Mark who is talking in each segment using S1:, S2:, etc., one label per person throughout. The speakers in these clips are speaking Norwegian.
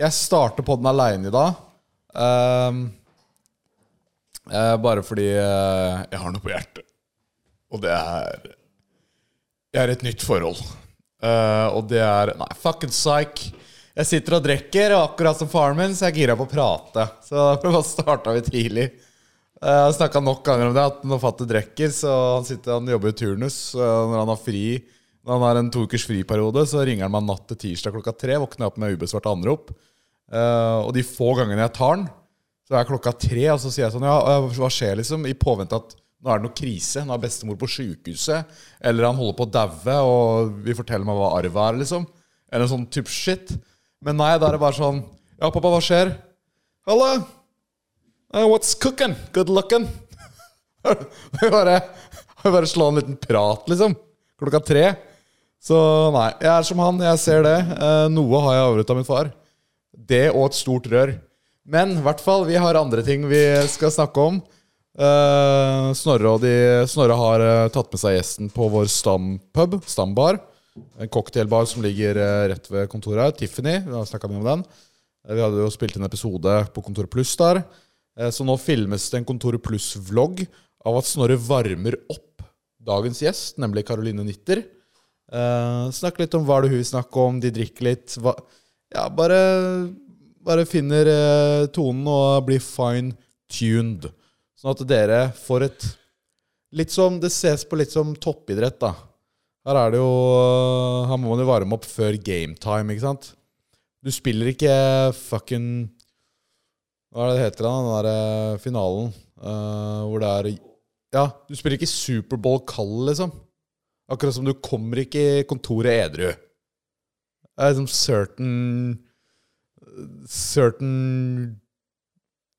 S1: Jeg starter på den aleine i dag. Ehm, eh, bare fordi eh, jeg har noe på hjertet. Og det er Jeg er i et nytt forhold. Eh, og det er Nei, fucking psych. Jeg sitter og drikker, og akkurat som faren min, så jeg er gira på å prate. Så da starta vi tidlig. Eh, Jeg snakka nok ganger om det, at når fatter drikker, så han, sitter, han jobber i turnus. så Når han har fri Når han har en to ukers friperiode, så ringer han meg natt til tirsdag klokka tre. Våkner jeg opp med ubesvarte anrop. Eh, og de få gangene jeg tar den, så er klokka tre, og så sier jeg sånn Ja, eh, hva skjer, liksom? I påvente at nå er det noe krise. Nå er bestemor på sjukehuset. Eller han holder på å daue, og vi forteller meg hva arv er, liksom. Eller sånn type shit. Men nei, da er det bare sånn Ja, pappa, hva skjer? Halla! Uh, what's cooking? Good looking? Vi bare, vi bare slå en liten prat, liksom. Klokka tre. Så nei, jeg er som han, jeg ser det. Eh, noe har jeg arvet av min far. Det og et stort rør. Men i hvert fall, vi har andre ting vi skal snakke om. Eh, Snorre, og de, Snorre har eh, tatt med seg gjesten på vår stampub, Stambar. En cocktailbar som ligger eh, rett ved kontoret her. Tiffany, vi har snakka mye om den. Eh, Vi hadde jo spilt inn episode på Kontor Pluss der. Eh, Så nå filmes det en Kontor Pluss-vlogg av at Snorre varmer opp dagens gjest, nemlig Caroline Nitter. Eh, snakk litt om hva det er hun vil snakke om, de drikker litt. Hva, ja, bare, bare finner eh, tonen og blir fine-tuned. Sånn at dere får et Litt som, Det ses på litt som toppidrett, da. Her er det jo eh, Her må man jo varme opp før gametime, ikke sant? Du spiller ikke fucking Hva er det det heter, da? Den derre finalen eh, hvor det er Ja, du spiller ikke Superbowl kald, liksom. Akkurat som du kommer ikke i kontoret edru. Det er liksom certain Certain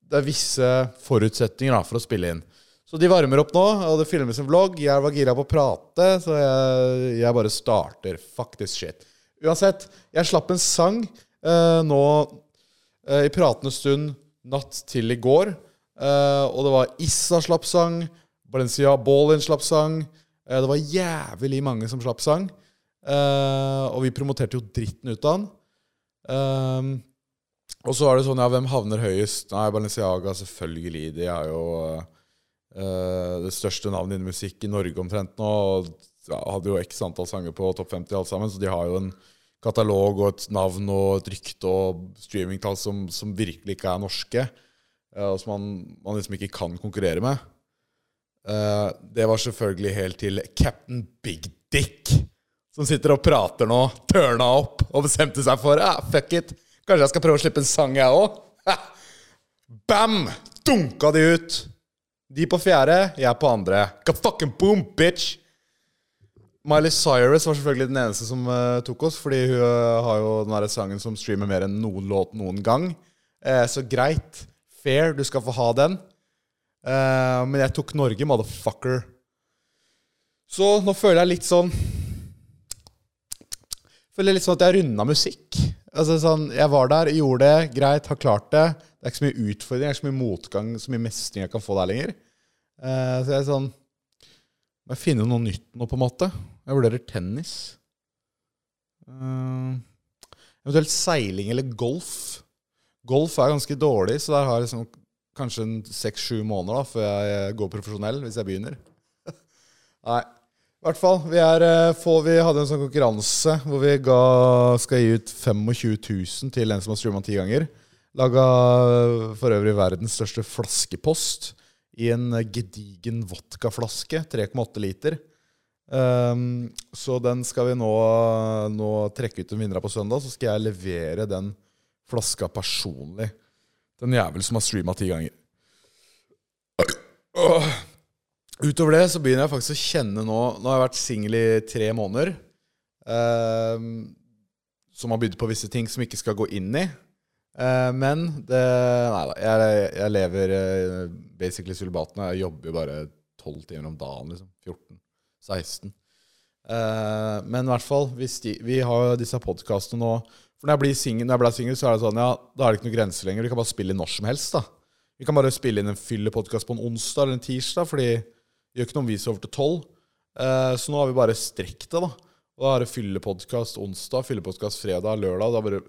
S1: Det er visse forutsetninger da, for å spille inn. Så de varmer opp nå, og det filmes en vlogg. Jeg var gira på å prate, så jeg, jeg bare starter. Fuck this shit. Uansett, jeg slapp en sang eh, nå eh, i pratende stund natt til i går. Eh, og det var Issa slapp sang, Balencia Ballin slapp sang. Eh, det var jævlig mange som slapp sang. Eh, og vi promoterte jo dritten ut av den. Eh, og så er det sånn, ja, hvem havner høyest? Nei, Balenciaga, selvfølgelig. De er jo eh, det største navnet innen musikk i Norge omtrent nå. Og ja, hadde jo x antall sanger på topp 50 alt sammen, så de har jo en katalog og et navn og et rykte og streamingtall som, som virkelig ikke er norske. eh, og som man, man liksom ikke kan konkurrere med. Eh, det var selvfølgelig helt til Captain Big Dick, som sitter og prater nå, tørna opp og bestemte seg for ah, fuck it, kanskje jeg skal prøve å slippe en sang, jeg òg. Bam! Dunka de ut. De på fjerde, jeg på andre. Ka fucking boom, bitch! Miley Cyrus var selvfølgelig den eneste som eh, tok oss, fordi hun eh, har jo den der sangen som streamer mer enn noen låt noen gang. Eh, så greit. Fair, du skal få ha den. Eh, men jeg tok Norge, motherfucker. Så nå føler jeg litt sånn Føler jeg litt sånn at jeg runda musikk. Altså sånn, Jeg var der, gjorde det, greit, har klart det. Det er ikke så mye utfordring, det er ikke så mye motgang, så mye mestring jeg kan få der lenger. Eh, så jeg er sånn Må jeg finne noe nytt nå, på en måte? Jeg vurderer tennis. Eh, eventuelt seiling eller golf. Golf er ganske dårlig, så der har jeg liksom kanskje en seks-sju måneder da, før jeg går profesjonell, hvis jeg begynner. Nei. I hvert fall. Vi, er, eh, få- vi hadde en sånn konkurranse hvor vi ga, skal gi ut 25 000 til en som har streama ti ganger. Laga eh, for øvrig verdens største flaskepost i en eh, gedigen vodkaflaske. 3,8 liter. Ehm, så den skal vi nå, nå trekke ut en vinner av på søndag. Så skal jeg levere den flaska personlig. Den jævel som har streama ti ganger. Åh. Utover det så begynner jeg faktisk å kjenne nå Nå har jeg vært singel i tre måneder. ehm, som har bydd på visse ting som jeg ikke skal gå inn i. Eh, men det Nei da. Jeg, jeg lever eh, basically sulibaten. Jeg jobber jo bare 12 timer om dagen. liksom 14-16. Eh, men i hvert fall hvis de, Vi har jo disse podkastene nå. For når jeg, blir singel- når jeg ble singel, så er det sånn Ja, da er det ikke noen grenser lenger. Du kan bare spille inn når som helst. da Vi kan bare spille inn en fyllepodkast på en onsdag eller en tirsdag, fordi det gjør ikke noe om vi sover til tolv. Eh, så nå har vi bare strekt det, da. Og da er det fyllepodkast onsdag, fyllepodkast fredag, lørdag. Da bare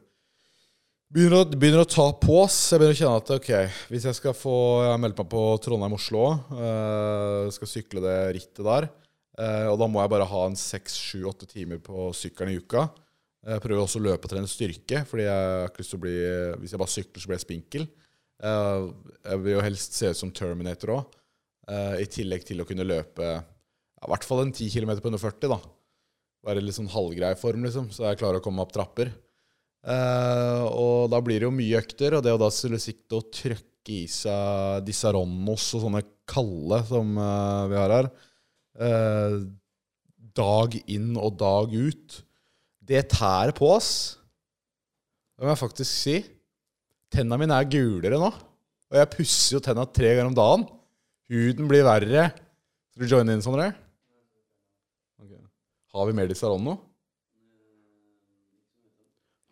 S1: Begynner å, begynner å ta på oss. Jeg begynner å kjenne at ok, hvis jeg skal få Jeg har meldt meg på Trondheim-Oslo. eh, skal sykle det rittet der. eh, og da må jeg bare ha en seks, sju, åtte timer på sykkelen i uka. Jeg prøver også å løpe og trene styrke, fordi jeg har ikke lyst til å bli Hvis jeg bare sykler, så blir jeg spinkel. Eh, jeg vil jo helst se ut som Terminator òg. I tillegg til å kunne løpe ja, i hvert fall en 10 km på under 40, da. Være i litt sånn halvgrei form, liksom, så jeg klarer å komme meg opp trapper. Eh, og da blir det jo mye økter, og det å da skulle sikte og trøkke i seg disaronnos og sånne kalde som eh, vi har her, eh, dag inn og dag ut, det tærer på oss. Det må jeg faktisk si. Tennene mine er gulere nå, og jeg pusser jo tennene tre ganger om dagen. Huden blir verre. Skal du joine inn, Sondre? Ok. Har vi mer disaronno? nå?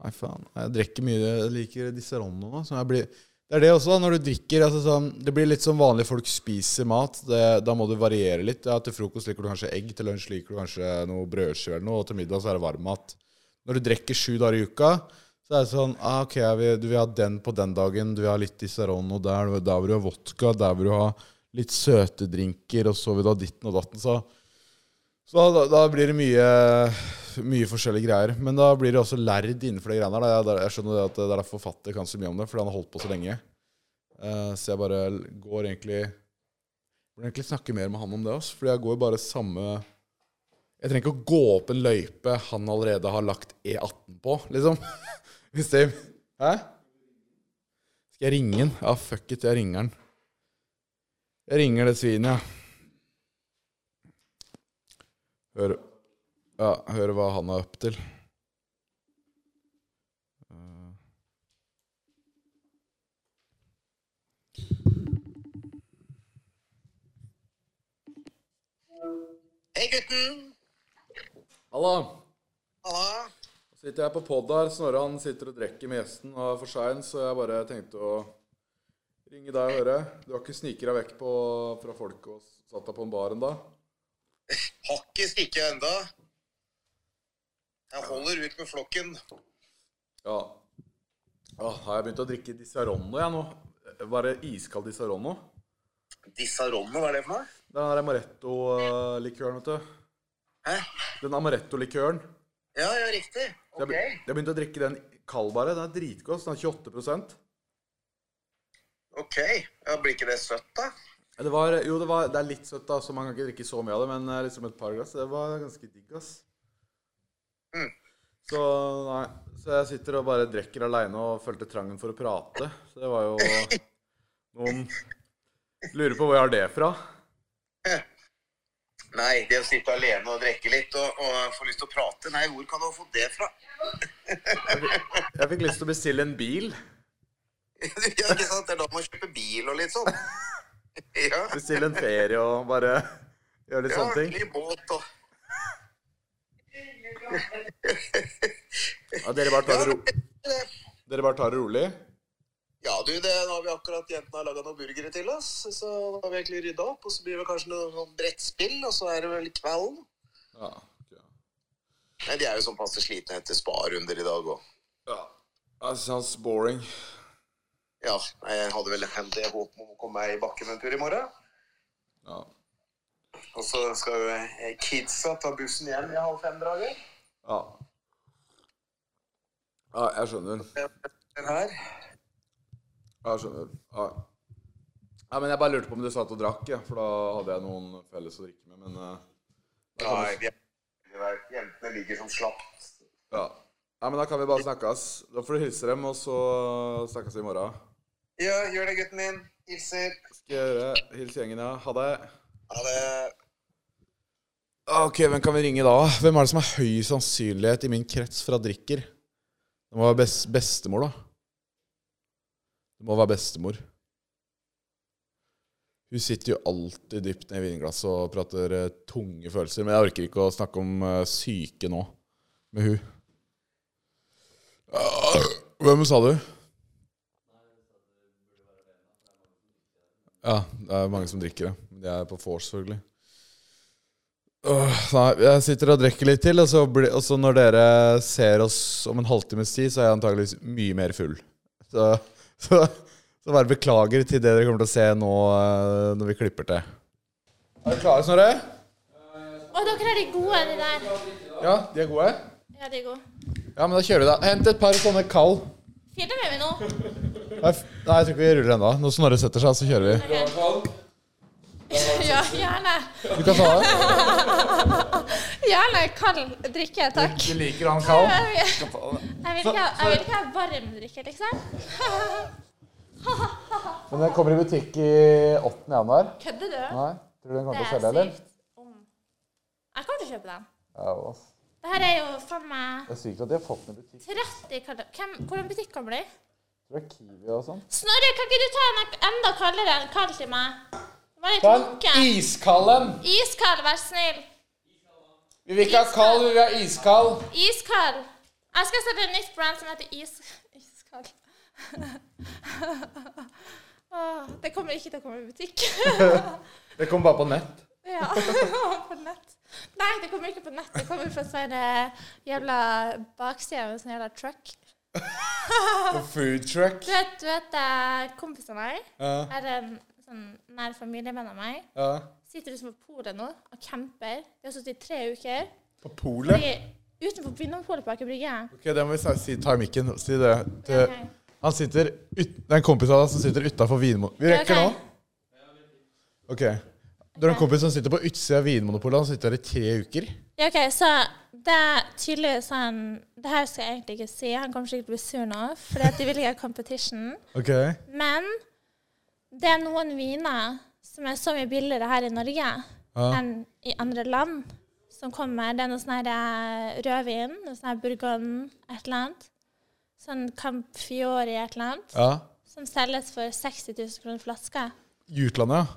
S1: Nei, faen. Jeg drikker mye. Jeg liker disse rondene nå. Så jeg blir, det er det også, da. Når du drikker altså, sånn, Det blir litt som vanlige folk spiser mat. Det, da må du variere litt. Ja, til frokost liker du kanskje egg, til lunsj liker du kanskje noe brødskive eller noe, og til middag så er det varmmat. Når du drikker sju dager i uka, så er det sånn ah, OK, jeg vil, du vil ha den på den dagen, du vil ha litt Disaronno der, der vil du ha vodka, der vil du ha litt søte drinker, og så vil du ha ditten og datten. Så så da, da blir det mye, mye forskjellige greier. Men da blir det også lærd innenfor de greiene her. da. Jeg, jeg skjønner det at det er derfor forfatter kan så mye om det, fordi han har holdt på så lenge. Eh, så jeg bare går egentlig Burde egentlig snakke mer med han om det. Også, fordi jeg går jo bare samme Jeg trenger ikke å gå opp en løype han allerede har lagt E18 på, liksom. Hvis det Hæ? Skal jeg ringe han? Ja, fuck it, jeg ringer han. Jeg ringer det svinet, jeg. Ja. Hør, ja, hør hva han er opp til.
S2: Hei, gutten.
S1: Halla!
S2: Halla.
S1: Så sitter jeg på pod her. Snorre han sitter og drikker med gjesten og er for sein, så jeg bare tenkte å ringe deg og høre. Du har ikke sniket deg vekk på, fra folk og satt deg på en bar ennå?
S2: Har ikke stikket enda. Jeg holder ut med flokken.
S1: Ja. Åh, har jeg begynt å drikke Disaronno, jeg nå? Var det iskald Disaronno?
S2: Disaronno, hva er det for noe?
S1: Den der amaretto-likøren, vet du.
S2: Hæ?
S1: Den amaretto-likøren.
S2: Ja, ja, riktig.
S1: Så Jeg,
S2: Ok.
S1: be- jeg begynte å drikke den kald bare. Den er dritgod. så Den er 28
S2: Ok. Ja, blir ikke det søtt, da?
S1: Ja, Det var, jo, det, var, det er litt søtt, da, så man kan ikke drikke så mye av det. Men eh, liksom et par glass, det var ganske digg, ass.
S2: Mm.
S1: Så nei. Så jeg sitter og bare drikker aleine og følte trangen for å prate. Så det var jo Noen lurer på hvor jeg har det fra.
S2: Nei, det å sitte alene og drikke litt og, og få lyst til å prate Nei, hvor kan du ha fått det fra?
S1: Jeg fikk lyst til å bestille en bil.
S2: ja, ikke sant? Det er da man kjøper bil og litt sånn. ja.
S1: Bestille en ferie og bare gjøre litt
S2: ja,
S1: sånne ting.
S2: I båt og
S1: Ja, dere bare tar det ro
S2: det-
S1: dere bare tar det rolig?
S2: Ja, du, det nå har vi akkurat jentene har laga noen burgere til oss. Så da har vi egentlig rydda opp, og så blir det kanskje noe sånn brettspill, og så er det vel kvelden.
S1: Ja. ok.
S2: Men de er jo sånn passe slitne etter sparunder i dag òg.
S1: ja. That sounds boring.
S2: Ja, nei, jeg hadde vel en del håp om å komme meg i bakken en tur i morgen.
S1: Ja.
S2: Og så skal jo eh, kidsa ta bussen hjem i halv fem-draget.
S1: ja. Ja, jeg skjønner.
S2: Her.
S1: Ja, jeg skjønner. Ja. ja, men jeg bare lurte på om du satt og drakk, ja, for da hadde jeg noen felles å drikke med, men eh, da kan
S2: Nei,
S1: vi,
S2: vi er, jentene ligger som slapt.
S1: ja. ja, men da kan vi bare snakkes. Da får du hilse dem, og så snakkes vi i morgen.
S2: Ja, gjør det, gutten min. Hilser.
S1: Skal jeg gjøre. Hils gjengen, ja. Ha det.
S2: Ha det.
S1: Ah, Ok, hvem kan vi ringe da? Hvem er det som har høy sannsynlighet i min krets for at drikker? Det må være bes- bestemor, da. Det må være bestemor. Hun sitter jo alltid dypt ned i vinglasset og prater eh, tunge følelser. Men jeg orker ikke å snakke om eh, syke nå med hun. Ah, Hvem sa du? Ja, det er mange som drikker det. Men De er på vors, selvfølgelig. Åh, nei, jeg sitter og drikker litt til, og så, blir- og så når dere ser oss om en halvtimes tid, så er jeg antageligvis mye mer full. Så, så, så bare beklager til det dere kommer til å se nå eh, når vi klipper til. Er dere klare, Snorre?
S3: Å, dere er de gode, de der.
S1: Ja, de er gode?
S3: Ja, de er gode.
S1: Ja, men da kjører vi, da. Hent et par sånne kall.
S3: Filmer vi nå?
S1: Nei, f- nei, jeg tror ikke vi ruller ennå. Når Snorre setter seg, så kjører vi.
S3: Ja, gjerne.
S1: Du kan ta det.
S3: Gjerne kald drikke, takk.
S1: Du liker han kald?
S3: Jeg vil, jeg vil, ikke, ha- jeg vil ikke ha varm drikke, liksom.
S1: Men den kommer i butikk i 8. januar.
S3: Kødder du?
S1: Nei, tror du den
S3: Det
S1: kommer til å
S3: er
S1: selge, eller?
S3: sykt. om- Jeg kommer til å kjøpe den.
S1: Ja, ass.
S3: Det her er jo faen meg
S1: Det er sykt at de har fått den i butikk.
S3: 30 kalde... Hvem, hvordan butikk kommer det i?
S1: Tror det er Kiwi og sånn.
S3: Snorre, kan ikke du ta en enda kaldere enn kald til meg? Det var litt lunken.
S1: iskald en!
S3: Iskald, vær snill.
S1: Vi vil ikke ha kald, vi vil ha iskald.
S3: Iskald. Jeg skal sette et nytt brand som heter is... Iskald. Åh, det kommer ikke til å komme i butikk.
S1: Det kom bare på nett.
S3: Ja, på nett. Nei, det kommer ikke på nett. Det kommer fra sånn eh, jævla bakside av en sånn jævla truck.
S1: På food truck.
S3: Du vet, du vet eh, kompisen av meg
S1: Ja.
S3: er en sånn nær familievenn av meg.
S1: ja.
S3: Sitter liksom på polet nå og camper. De har sittet i tre uker.
S1: På
S3: De
S1: polet.
S3: er utenfor Vinmonopolet på Aker Brygge.
S1: Ok, det må vi snart si. Ta i mikken. Si det. Til,
S3: Ok.
S1: Han sitter ut, Det er en kompis av deg som sitter utafor Vinmonopolet. Vi rekker
S3: Ok.
S1: nå. Ok. Du har en kompis som sitter på utsida av Vinmonopolet. Han sitter der i tre uker.
S3: Ja, OK, så det er tydeligvis han Det her skal jeg egentlig ikke si. Han kommer sikkert til å bli sur nå, fordi at de vil ikke ha competition.
S1: Ok.
S3: Men det er noen viner som er så mye billigere her i Norge enn i andre land som kommer. Det er noe sånn her eh, rødvin, noe sånn her Bourgogne, et eller annet. Sånn Camp Fiori, et eller annet.
S1: Ja.
S3: Som selges for 60 000 kroner flaska.
S1: I utlandet,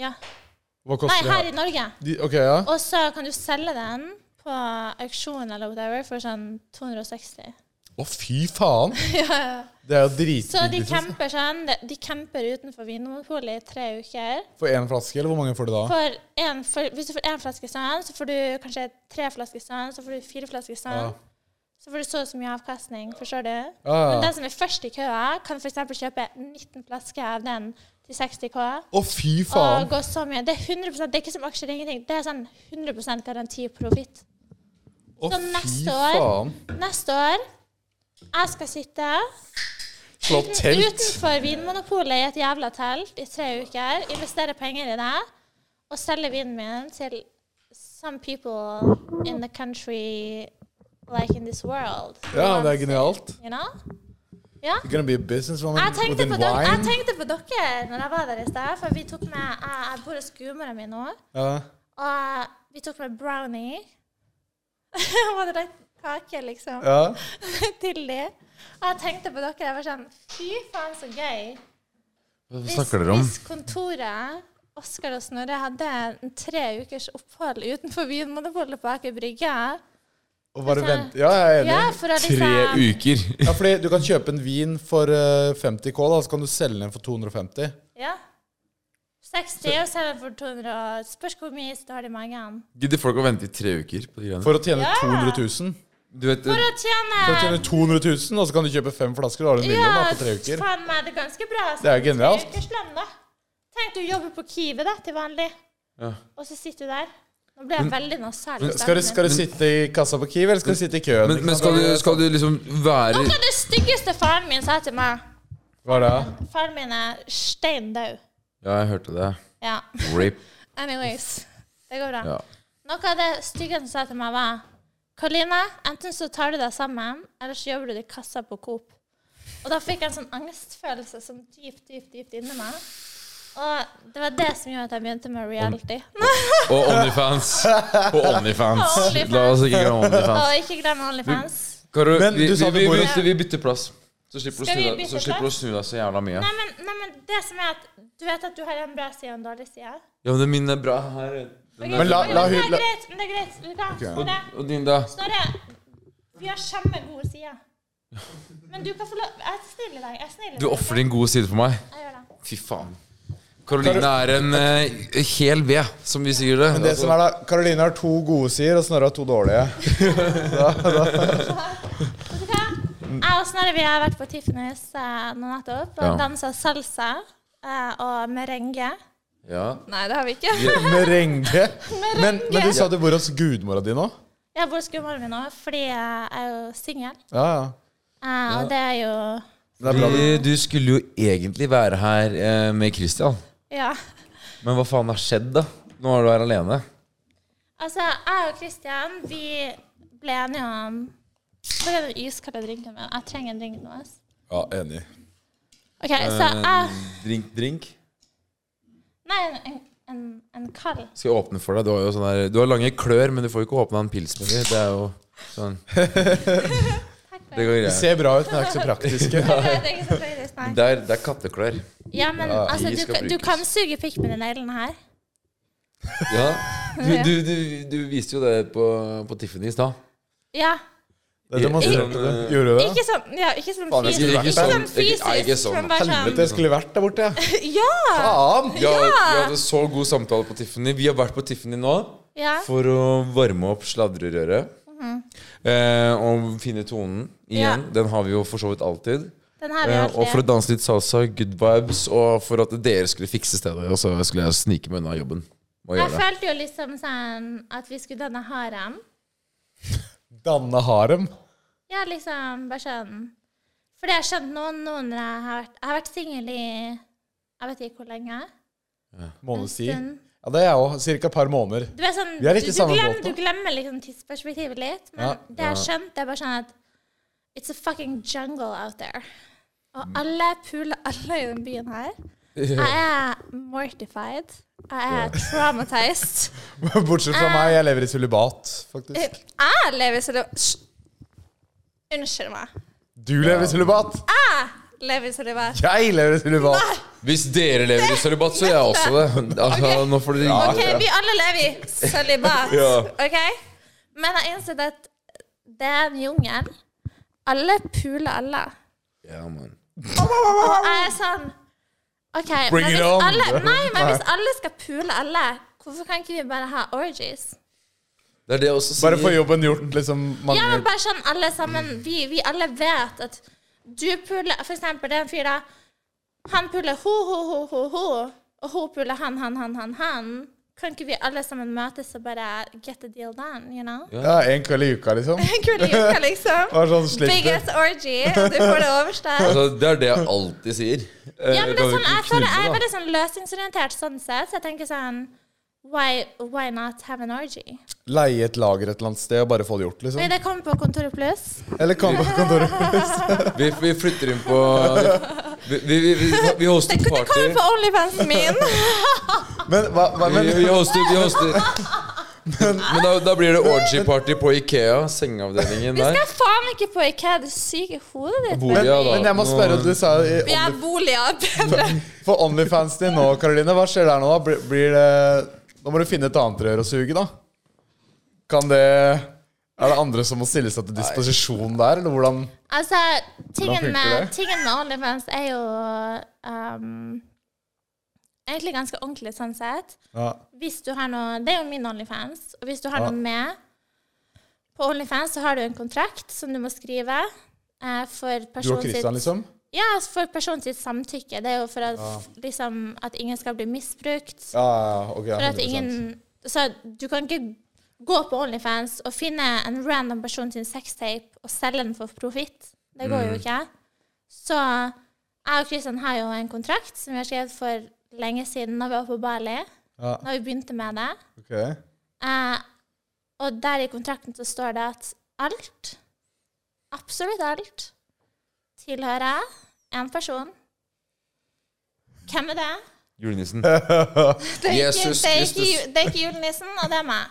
S1: ja.
S3: Ja.
S1: Hva
S3: Nei,
S1: koster det?
S3: her i Norge.
S1: De, ok, ja.
S3: Og så kan du selge den på auksjon eller whatever for sånn 260.
S1: Å, fy faen! Det er jo liksom.
S3: Så
S1: dritbillig.
S3: de
S1: for-
S3: camper sånn. de- De camper utenfor Vinmonopolet i tre uker.
S1: For én flaske, eller hvor mange får du da?
S3: For en, for, hvis du får én flaske sånn, så får du kanskje tre flasker sånn, så får du fire flasker sånn.
S1: Ja.
S3: Så får du så og så mye avkastning, forstår du?
S1: ja.
S3: Men den som er først i køa, kan f.eks. kjøpe 19 flasker av den til 60K.
S1: Å, fy
S3: Og
S1: faen!
S3: gå så mye. Det er 100 det er ikke som aksjer, det er ingenting. Det er sånn 100 garanti profitt.
S1: Å,
S3: Så
S1: fy
S3: neste år
S1: faen!
S3: Neste år jeg skal sitte
S1: Slå opp telt!
S3: utenfor Vinmonopolet i et jævla telt i tre uker, investere penger i det og selge vinen min til some people in the country like in this world.
S1: Ja, det er genialt.
S3: You know? Ja.
S1: You're gonna be a businesswoman
S3: Jeg tenkte,
S1: within
S3: på dere, jeg
S1: wine.
S3: tenkte på dere når jeg var der i sted, for vi tok med Jeg, jeg bor hos gudmoren min nå,
S1: Ja.
S3: og vi tok med brownie. Var det den kake, liksom?
S1: ja.
S3: til de. Og jeg tenkte på dere. Jeg var sånn Fy faen, så gøy.
S4: Hva
S3: Hvis,
S4: snakker dere om?
S3: hvis kontoret Oskar og Snorre hadde en tre ukers opphold utenfor Vinmonopolet på Aker Brygge
S1: Og bare vente Ja, jeg er enig.
S3: Ja, for å liksom
S4: Tre uker.
S1: Ja, fordi du kan kjøpe en vin for eh, 50K, da, så kan du selge den for 250.
S3: Ja. 60 og selger for 200. og Spørs hvor mye is du har i magen.
S4: Gidder folk å vente i tre uker på de greiene?
S1: For å tjene 200 000.
S4: Du vet,
S3: For å
S1: For å
S3: tjene
S1: tjene 200 000, og så kan du kjøpe fem flasker, og da har du en million da, på tre uker.
S3: faen meg, det er ganske bra. altså.
S1: Det er jo genialt.
S3: Tre ukers lønn, da. Tenk du jobber på Kiwi da, til vanlig,
S4: ja.
S3: og så sitter du der. Nå ble jeg veldig nasal.
S1: Skal
S3: i
S1: du,
S3: stemmen min.
S1: skal du sitte i kassa på Kiwi, eller skal du sitte i køen?
S4: Men, men skal, du, skal du liksom være
S3: Hva det styggeste faren min sa til meg?
S1: Hva er det?
S3: Faren min er stein død.
S4: Ja, jeg hørte det.
S3: Ja.
S4: Rape.
S3: Anyways. Det går bra.
S4: Ja.
S3: Noe av det styggeste han sa til meg, var Karoline, enten så tar du deg sammen, eller så jobber du i kassa på Coop. Og da fikk jeg en sånn angstfølelse som dypt, dypt, dypt inni meg. Og det var det som gjorde at jeg begynte med reality.
S4: Og Onlyfans. Og Onlyfans.
S3: Og Onlyfans.
S4: La oss ikke glemme Onlyfans.
S3: Og ikke glem OnlyFans.
S4: Karo,
S1: Men
S4: vi,
S1: du sa du
S4: vi, vi,
S1: bor i-
S4: bytter, vi bytter plass. Så slipper du å
S3: Skal vi
S4: snu deg-
S3: bytte
S4: så slipper du å snu deg så jævla mye.
S3: Nei men, nei, men det som er at du vet at du har en bra side og en dårlig side.
S4: Ja, men min er bra her.
S3: Ok,
S4: Den
S1: Men
S4: er,
S1: la- la hun-
S3: det er
S1: la-
S3: greit. men Det er greit. Det er greit. Snorre.
S4: og din, da?
S3: Snorre, vi har samme gode side. Men du kan få lov Jeg er snill i dag. Jeg er snill i dag.
S4: Du ofrer din gode side for meg.
S3: Jeg gjør det.
S4: Fy faen. Karoline er en eh, hel ved, som vi sier det.
S1: Det som er da, Karoline har to gode sider, og Snorre har to dårlige.
S3: Vet du hva? Jeg og Snorre vi har vært på Tiffany's eh, nå nettopp og
S4: Ja.
S3: dansa salsa eh, og merengue.
S4: Altså, Ja.
S5: Nei, det har vi ikke.
S1: Merengue. Men, men du sa du bor hos gudmora di nå?
S3: Jeg bor hos gudmoren min nå fordi jeg er jo singel,
S1: Ja, ja.
S3: eh, og det er jo
S1: Men Det er bra du
S4: Du, du skulle jo egentlig være her eh, med Christian,
S3: Ja.
S4: men hva faen har skjedd, da? Nå er du her alene.
S3: Altså, jeg og Christian, vi ble enige om Hvor er den iskalde drinken min? Jeg trenger en drink nå. ass.
S1: Ja, enig.
S3: OK, så ah. jeg
S4: Eh, Drink, drink.
S3: Nei, en, en, en kald.
S4: Skal jeg åpne for deg? Du har jo sånn der, du har lange klør, men du får jo ikke åpna en pilsmeny. Det er jo sånn Det går
S1: De
S4: greit.
S1: ser bra ut, men er ikke så praktiske.
S3: Jeg vet ikke så praktisk, nei.
S4: Det er, det er katteklør.
S3: Ja, men altså,
S4: de
S3: du,
S4: skal
S3: kan- du
S4: brukes.
S3: kan suge pikk med de neglene her.
S4: Ja. Du, du, du, du viste jo det på, på Tiffany i stad.
S3: Ja.
S1: Det demonstrerte du. Gjorde du det?
S3: Ikke sånn, ja, ikke sånn
S1: Faen, jeg skulle
S3: fysisk, ikke
S1: vært
S3: sånn
S4: der. Ikke-
S3: fysisk
S4: nei, ikke sånn.
S3: men bare
S1: Helvete, jeg skulle vært der borte, jeg.
S3: sånn Ja!
S1: Faen!
S4: Vi, har- vi hadde så god samtale på Tiffany. Vi har vært på Tiffany nå
S3: ja.
S4: for å varme opp sladrerøret. eh, og finne tonen igjen.
S3: Mhm. Ja.
S4: Den har vi jo for så vidt alltid.
S3: Den her
S4: Eh,
S3: vil
S4: og for å
S3: alltid
S4: danse litt salsa, good vibes, og for at dere skulle fikse stedet. Og så skulle jeg snike meg unna jobben. Og
S3: Jeg
S4: gjøre det.
S3: følte jo liksom sånn at vi skulle danne harem.
S1: Danne harem.
S3: Ja, liksom bare sånn For det har jeg skjønt nå, nå når jeg har vært Jeg har vært singel i Jeg vet ikke hvor lenge.
S1: Måned si.
S3: En stund.
S1: Ja, det er jeg òg. Cirka et par måneder.
S3: Du, er sånn,
S1: Vi er litt i
S3: du, du,
S1: samme
S3: glemmer,
S1: båt, da.
S3: du glemmer liksom tidsperspektivet litt, men
S1: Ja.
S3: det jeg har skjønt, det er bare sånn at It's a fucking jungle out there. Og alle puler alle i den byen her. Jeg er mortified. Jeg er traumatized.
S1: Bortsett fra meg, jeg lever i sølibat,
S3: Eh.
S1: faktisk.
S3: Jeg lever i sølibat Unnskyld meg.
S1: Du lever i sølibat!
S3: Jeg lever i sølibat.
S1: Jeg lever i sølibat!
S4: Hvis dere lever i sølibat, så gjør jeg også det. Altså, Nå får dere
S3: OK, vi alle lever i sølibat.
S4: Ja.
S3: OK? Men jeg har innsett at det er en jungel. Alle puler alle.
S4: Ja, man.
S3: Og jeg er sånn OK,
S1: Bring it
S3: men hvis,
S1: on.
S3: alle, nei, men hvis alle skal pule alle, hvorfor kan ikke vi bare ha orgies?
S4: Det er det jeg også sier.
S1: Bare få jobben gjort, liksom.
S3: Ja, men
S1: Mange
S3: bare sånn alle sammen Vi, vi alle vet at du puler For eksempel den fyr da Han puler ho, ho, ho, ho, ho Og ho puler han, han, han, han, han Kan ikke vi alle sammen møtes og bare Get the deal done, you know?
S1: Ja, en kveld i uka, liksom.
S3: Kule uka liksom
S1: Bare sånn slipper.
S3: Biggest orgy, og du får det overstått
S4: Altså, det er det jeg alltid sier. Eh,
S3: Ja, men det er
S4: kan vi
S3: sånn,
S4: ikke
S3: jeg føler jeg
S4: knulle,
S3: er
S4: da?
S3: veldig sånn løsningsorientert sånn sett, så jeg tenker sånn Why, why not have an orgy?
S1: Leie et lager et eller annet sted og bare få det gjort,
S3: Nei,
S1: liksom.
S3: det kommer på Kontoret Pluss.
S1: Eller kan på kontoret.
S4: Vi, vi flytter inn på Vi, vi, vi, vi, vi hoster
S3: Det, det
S4: party.
S3: kommer på Onlyfansen min!
S1: Men hva, hva
S4: Vi,
S1: men,
S4: vi hoster, vi hoster. Men da, da blir det orgy-party på Ikea. Sengeavdelingen
S3: Vi
S4: der.
S3: skal faen ikke på IKEA, det syke hodet ditt.
S4: Hvor-
S1: men,
S4: Ja, da.
S1: men jeg må spørre, du sa i
S3: Vi er
S1: Only-
S3: boliger bedre.
S1: For Onlyfans din nå, Karoline, hva skjer der nå? da? Blir, blir det Nå må du finne et annet rør å suge, da. Kan det Er det andre som må stille seg til disposisjon der, eller hvordan
S3: Altså,
S1: Hvordan
S3: tingen
S1: funker
S3: med,
S1: det?
S3: tingen med Onlyfans er jo ehm, egentlig ganske ordentlig sånn sett.
S1: ja.
S3: Hvis du har noe Det er jo min Onlyfans. Og hvis du har
S1: Ja.
S3: noe med på Onlyfans, så har du en kontrakt som du må skrive eh, for
S1: Du og
S3: personen sitt
S1: Christian, liksom?
S3: Ja, altså for personen sitt samtykke. Det er jo for at, liksom, at ingen skal bli misbrukt.
S1: Ja, ja, ok. ja,
S3: For at
S1: 100%.
S3: ingen Så du kan ikke gå på Onlyfans og finne en random person sin sextape og selge den for profitt. Det går
S1: Mm.
S3: jo ikke. Så jeg og Kristian har jo en kontrakt som vi har skrevet for lenge siden, da vi var på Bali.
S1: Ja.
S3: Da vi begynte med det.
S1: Ok.
S3: Eh, og der i kontrakten så står det at alt, absolutt alt, tilhører én person. Hvem er det?
S4: Julenissen.
S3: Det er, ikke,
S4: Jesus
S3: det, er ikke,
S4: Kristus.
S3: ju- det er ikke julenissen, og det er meg.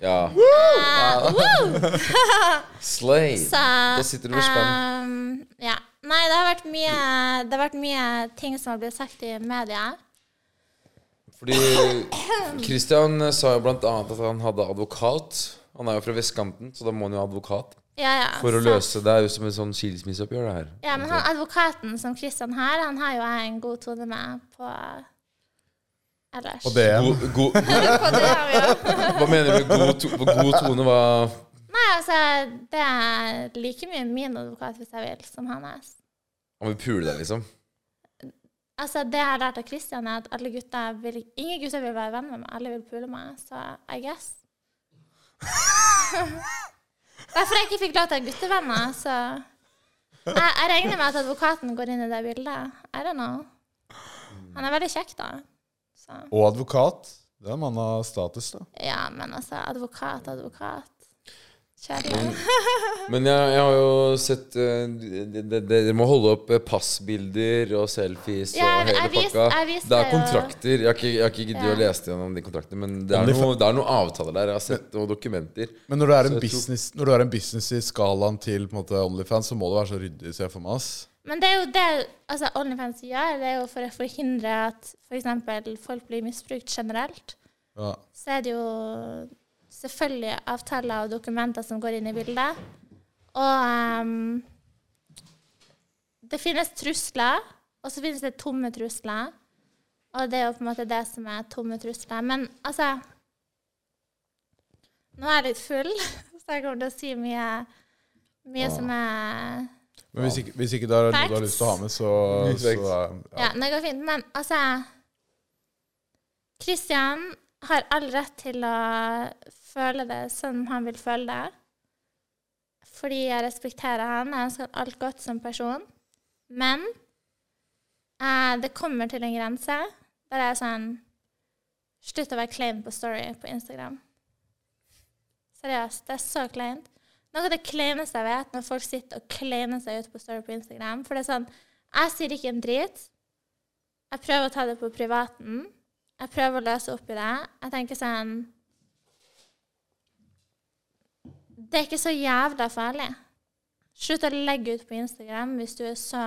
S4: Ja.
S3: Eh, woo!
S4: Slay.
S3: Så
S4: Da sitter du med spenn.
S3: ehm, ja. Nei, det har, vært mye, det har vært mye ting som har blitt sagt i media.
S4: Fordi Christian sa jo blant annet at han hadde advokat. Han er jo fra vestkanten, så da må han jo ha advokat.
S3: Ja, ja.
S4: For å
S3: så-
S4: løse Det er jo som en sånn skilsmisseoppgjør, det her.
S3: Ja, men han advokaten som Kristian har, han har jo jeg en god tone med på ellers.
S1: Og det
S4: God, god,
S3: På det har vi jo.
S4: hva mener du med god, to, god tone? Hva
S3: Nei, altså, det er like mye min advokat hvis jeg vil, som hans.
S4: Han vil pule deg, liksom.
S3: Altså, det jeg har lært av Christian, er at alle gutter vil, ingen gutter vil være venn med meg. Alle vil pule meg, så I guess. Derfor jeg ikke fikk lov til å ha guttevenner, så jeg, jeg regner med at advokaten går inn i det bildet. I don't know. Han er veldig kjekk, da. Så.
S1: Og advokat. Det er en mann av status, da.
S3: Ja, men altså, advokat, advokat. Kjærlighet.
S4: Men jeg, jeg har jo sett eh, de- de- de- Dere må holde opp eh, passbilder og selfies
S3: Ja, jeg-
S4: og hele
S3: jeg vis-
S4: pakka.
S3: jeg viste
S4: det er
S3: jo-
S4: kontrakter. Jeg har ikke, jeg har ikke giddet
S3: Ja.
S4: å lese gjennom de kontraktene, men det
S1: Om
S4: er,
S1: de
S4: noe, det er noen avtaler der. Jeg har sett noen dokumenter.
S1: Men når du er en,
S4: Så jeg tror-
S1: business, når du er en business i skalaen til på en måte, Onlyfans, så må det være så ryddig, ser jeg for meg. ass.
S3: Men det er jo det altså, OnlyFans gjør, det er jo for å forhindre at f.eks. folk blir misbrukt generelt.
S1: Ja.
S3: Så er det jo selvfølgelig avtaler og dokumenter som går inn i bildet. Og ehm, det finnes trusler, og så finnes det tomme trusler. Og det er jo på en måte det som er tomme trusler. Men altså Nå er jeg litt full, så jeg kommer til å si mye, mye som er
S1: Men hvis ikke, hvis ikke det er noe du har lyst til å ha med, så, så er- ja.
S3: Ja, det går fint. Men altså Kristian har all rett til å føle det som han vil føle det. Fordi jeg respekterer han. Jeg ønsker han alt godt som person. Men eh, det kommer til en grense der jeg er sånn Slutt å være klein på story på Instagram. Seriøst, det er så kleint. Noe av det kleineste jeg vet, når folk sitter og kleiner seg ut på story på Instagram. For det er sånn Jeg sier ikke en drit. Jeg prøver å ta det på privaten. Jeg prøver å løse opp i det. Jeg tenker sånn Det er ikke så jævla farlig. Slutt å legge ut på Instagram hvis du er så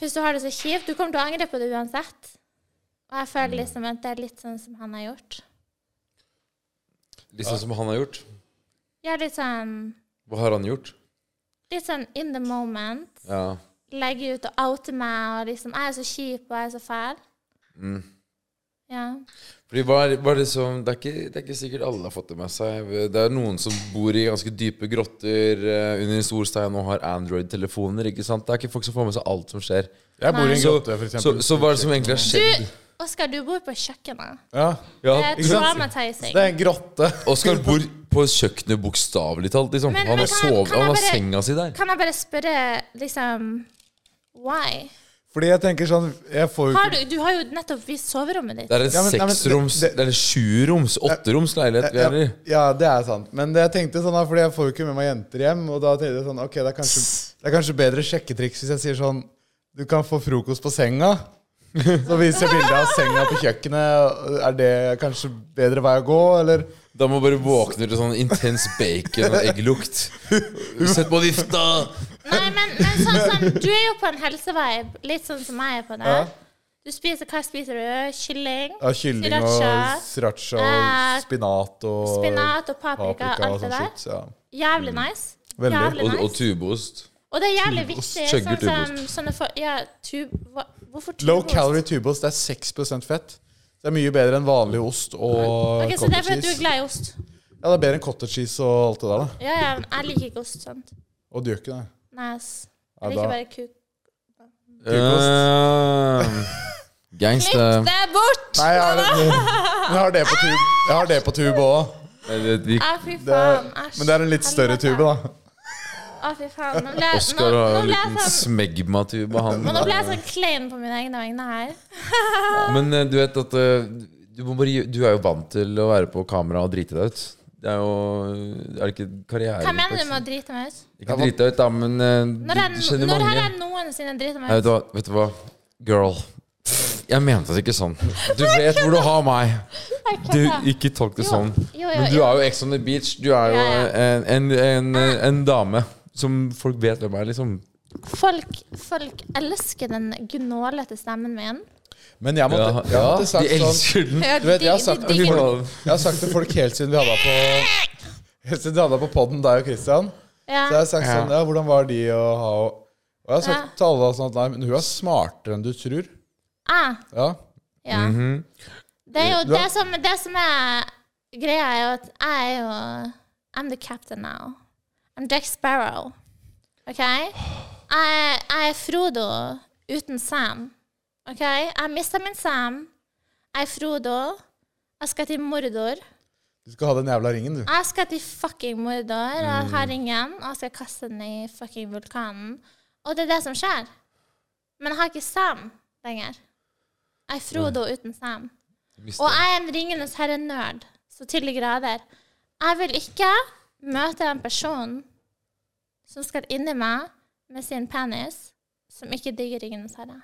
S3: Hvis du har det så kjipt. Du kommer til å angre på det uansett. Og jeg føler liksom at det er litt sånn som han har gjort.
S4: Litt sånn som han har gjort.
S3: Ja, litt sånn
S4: Hva har han gjort?
S3: Litt sånn in the moment.
S4: Ja.
S3: Legge ut og oute meg og liksom Jeg er så kjip og jeg er så fæl. Ja.
S4: Fordi hva er, hva er det, som, det, er ikke, det er ikke sikkert alle har fått det med seg. Det er noen som bor i ganske dype grotter eh, under en stor stein og har Android-telefoner. ikke sant? Det er ikke folk som får med seg alt som skjer.
S1: Jeg bor i en
S4: Så,
S1: grotte, for
S4: så,
S1: eksempel.
S4: så hva er det som egentlig har skjedd?
S3: Du, Oskar, du bor på kjøkkenet.
S1: ja.
S4: Ja,
S3: Det er
S1: ikke sant?
S3: traumatizing.
S1: Det er en grotte.
S4: Oskar bor på kjøkkenet bokstavelig talt. Liksom.
S3: Men- men
S4: han har,
S3: kan jeg-
S4: sovet,
S3: kan jeg
S4: han har
S3: bare-
S4: senga si der.
S3: Kan jeg bare spørre, liksom Why?
S1: Fordi jeg tenker sånn Jeg får jo
S3: Har
S1: ikke
S3: du, du har jo nettopp vist soverommet ditt.
S4: Det er en
S1: Ja, men- nei, men det-
S4: seksroms, det,
S1: det-
S4: er en sjuroms, åtteroms leilighet vi
S1: ja,
S4: er i.
S1: ja, det er sant. Men det jeg tenkte sånn da, fordi jeg får jo ikke med meg jenter hjem. Og da tenkte jeg sånn Ok, det er kanskje, det er kanskje bedre sjekketriks hvis jeg sier sånn Du kan få frokost på senga. Så viser jeg bilde av senga på kjøkkenet. Er det kanskje bedre vei å gå, eller?
S4: Da må man bare våkne til sånn intens bacon og egglukt. Sett på vifta!
S3: Nei, men, men sånn som Du er jo på en helsevibe, litt sånn som jeg er på det.
S1: Ja.
S3: Du spiser Hva spiser du? Kylling?
S1: Ja, kylling
S3: Sriracha.
S1: og sriracha
S3: eh,
S1: og spinat og
S3: Spinat og paprika og
S1: paprika og
S3: alt det
S1: sånn
S3: der.
S1: shit. Ja.
S3: Jævlig nice.
S1: Mm. Veldig.
S3: Jævlig
S4: Og,
S3: nice.
S4: og tubeost.
S3: Og det er jævlig
S4: Tubeost.
S3: viktig.
S4: Skjøgger
S3: Sånn som sånne for, ja, tub, hva, Hvorfor tubeost?
S1: Low calorie tubeost. Det er 6 fett. Det er mye bedre enn vanlig ost og
S3: Ok, Så det er
S1: cottage
S3: fordi du er
S1: cheese.
S3: glad i ost?
S1: Ja, det er bedre enn cottage cheese og alt det der. da
S3: Ja, ja, men jeg liker ikke ost. sant?
S1: Og du gjør ikke det.
S3: Nice.
S1: Ja,
S3: Jeg
S1: da-
S3: liker bare kuk.
S4: Uh, gangsta.
S3: Klipp det bort!
S1: Nei, jeg har, jeg har det på tube Jeg har det på tube òg.
S4: Nei, det- vi-
S3: Å, fy faen. Æsj.
S1: Men det er en litt større tube, da.
S3: Å, fy faen. Nå ble, jeg- nå,
S4: Oskar har
S3: nå,
S4: en
S3: ble jeg
S4: liten
S3: sånn,
S4: smegmatube, han.
S3: men nå ble jeg sånn klein på mine egne vegne her.
S4: Men eh, du vet at eh, du, må bare, gi- du er jo vant til å være på kamera og drite deg ut. Det er jo Er det ikke karriere
S3: Hva mener du med å drite meg ut?
S4: Ikke drite deg ut, da, men eh,
S3: Når,
S4: du,
S3: jeg,
S4: du kjenner
S3: når
S4: mange.
S3: har jeg noensinne driti
S4: Nei,
S3: meg
S4: vet,
S3: ut?
S4: du hva, vet du hva? Girl. Jeg mente det ikke sånn. Du vet hvor du har meg.
S3: Jeg
S4: Du,
S3: kødder.
S4: ikke tolk det sånn.
S3: jo, jo,
S4: Men du
S3: jo.
S4: er jo Ex on the beach. Du er jo
S3: Ja, Ah. ja.
S4: eh, en, en, en, en dame som folk vet hvem er, liksom.
S3: Folk, folk elsker den gnålete stemmen min.
S1: Men jeg måtte,
S4: Ja,
S1: jeg
S4: ja,
S1: måtte
S4: de
S1: sagt sånn
S4: elsker den.
S1: vet, jeg har
S3: De-
S1: sagt
S3: de
S1: det
S3: digger den.
S1: Jeg har sagt til folk helt siden vi hadde deg på Helt siden vi hadde deg på podden, deg og Christian. Så jeg
S3: Ja.
S1: har sagt sånn Ja, hvordan var de å ha Og jeg har sagt til alle sånn at nei, men hun er smartere enn du tror.
S3: Ah,
S1: Ja.
S3: ja. Det er jo
S1: Du har-
S3: det som, det som er Greia er jo at jeg er jo I'm the captain now. I'm Jack Sparrow. OK? Jeg, jeg er Frodo uten Sam. OK? Jeg mista min Sam. Jeg er Frodo. Jeg skal til Mordor.
S1: Du skal ha den jævla ringen, du.
S3: Jeg skal til fucking Mordor. Jeg har ingen, og jeg skal kaste den i fucking vulkanen. Og det er det som skjer. Men jeg har ikke Sam lenger. Jeg er Frodo uten Sam.
S4: Miste.
S3: Og jeg er en Ringenes herre-nerd, så til de grader. Jeg vil ikke møte en person som skal inni meg med sin penis, som ikke digger Ringenes herre.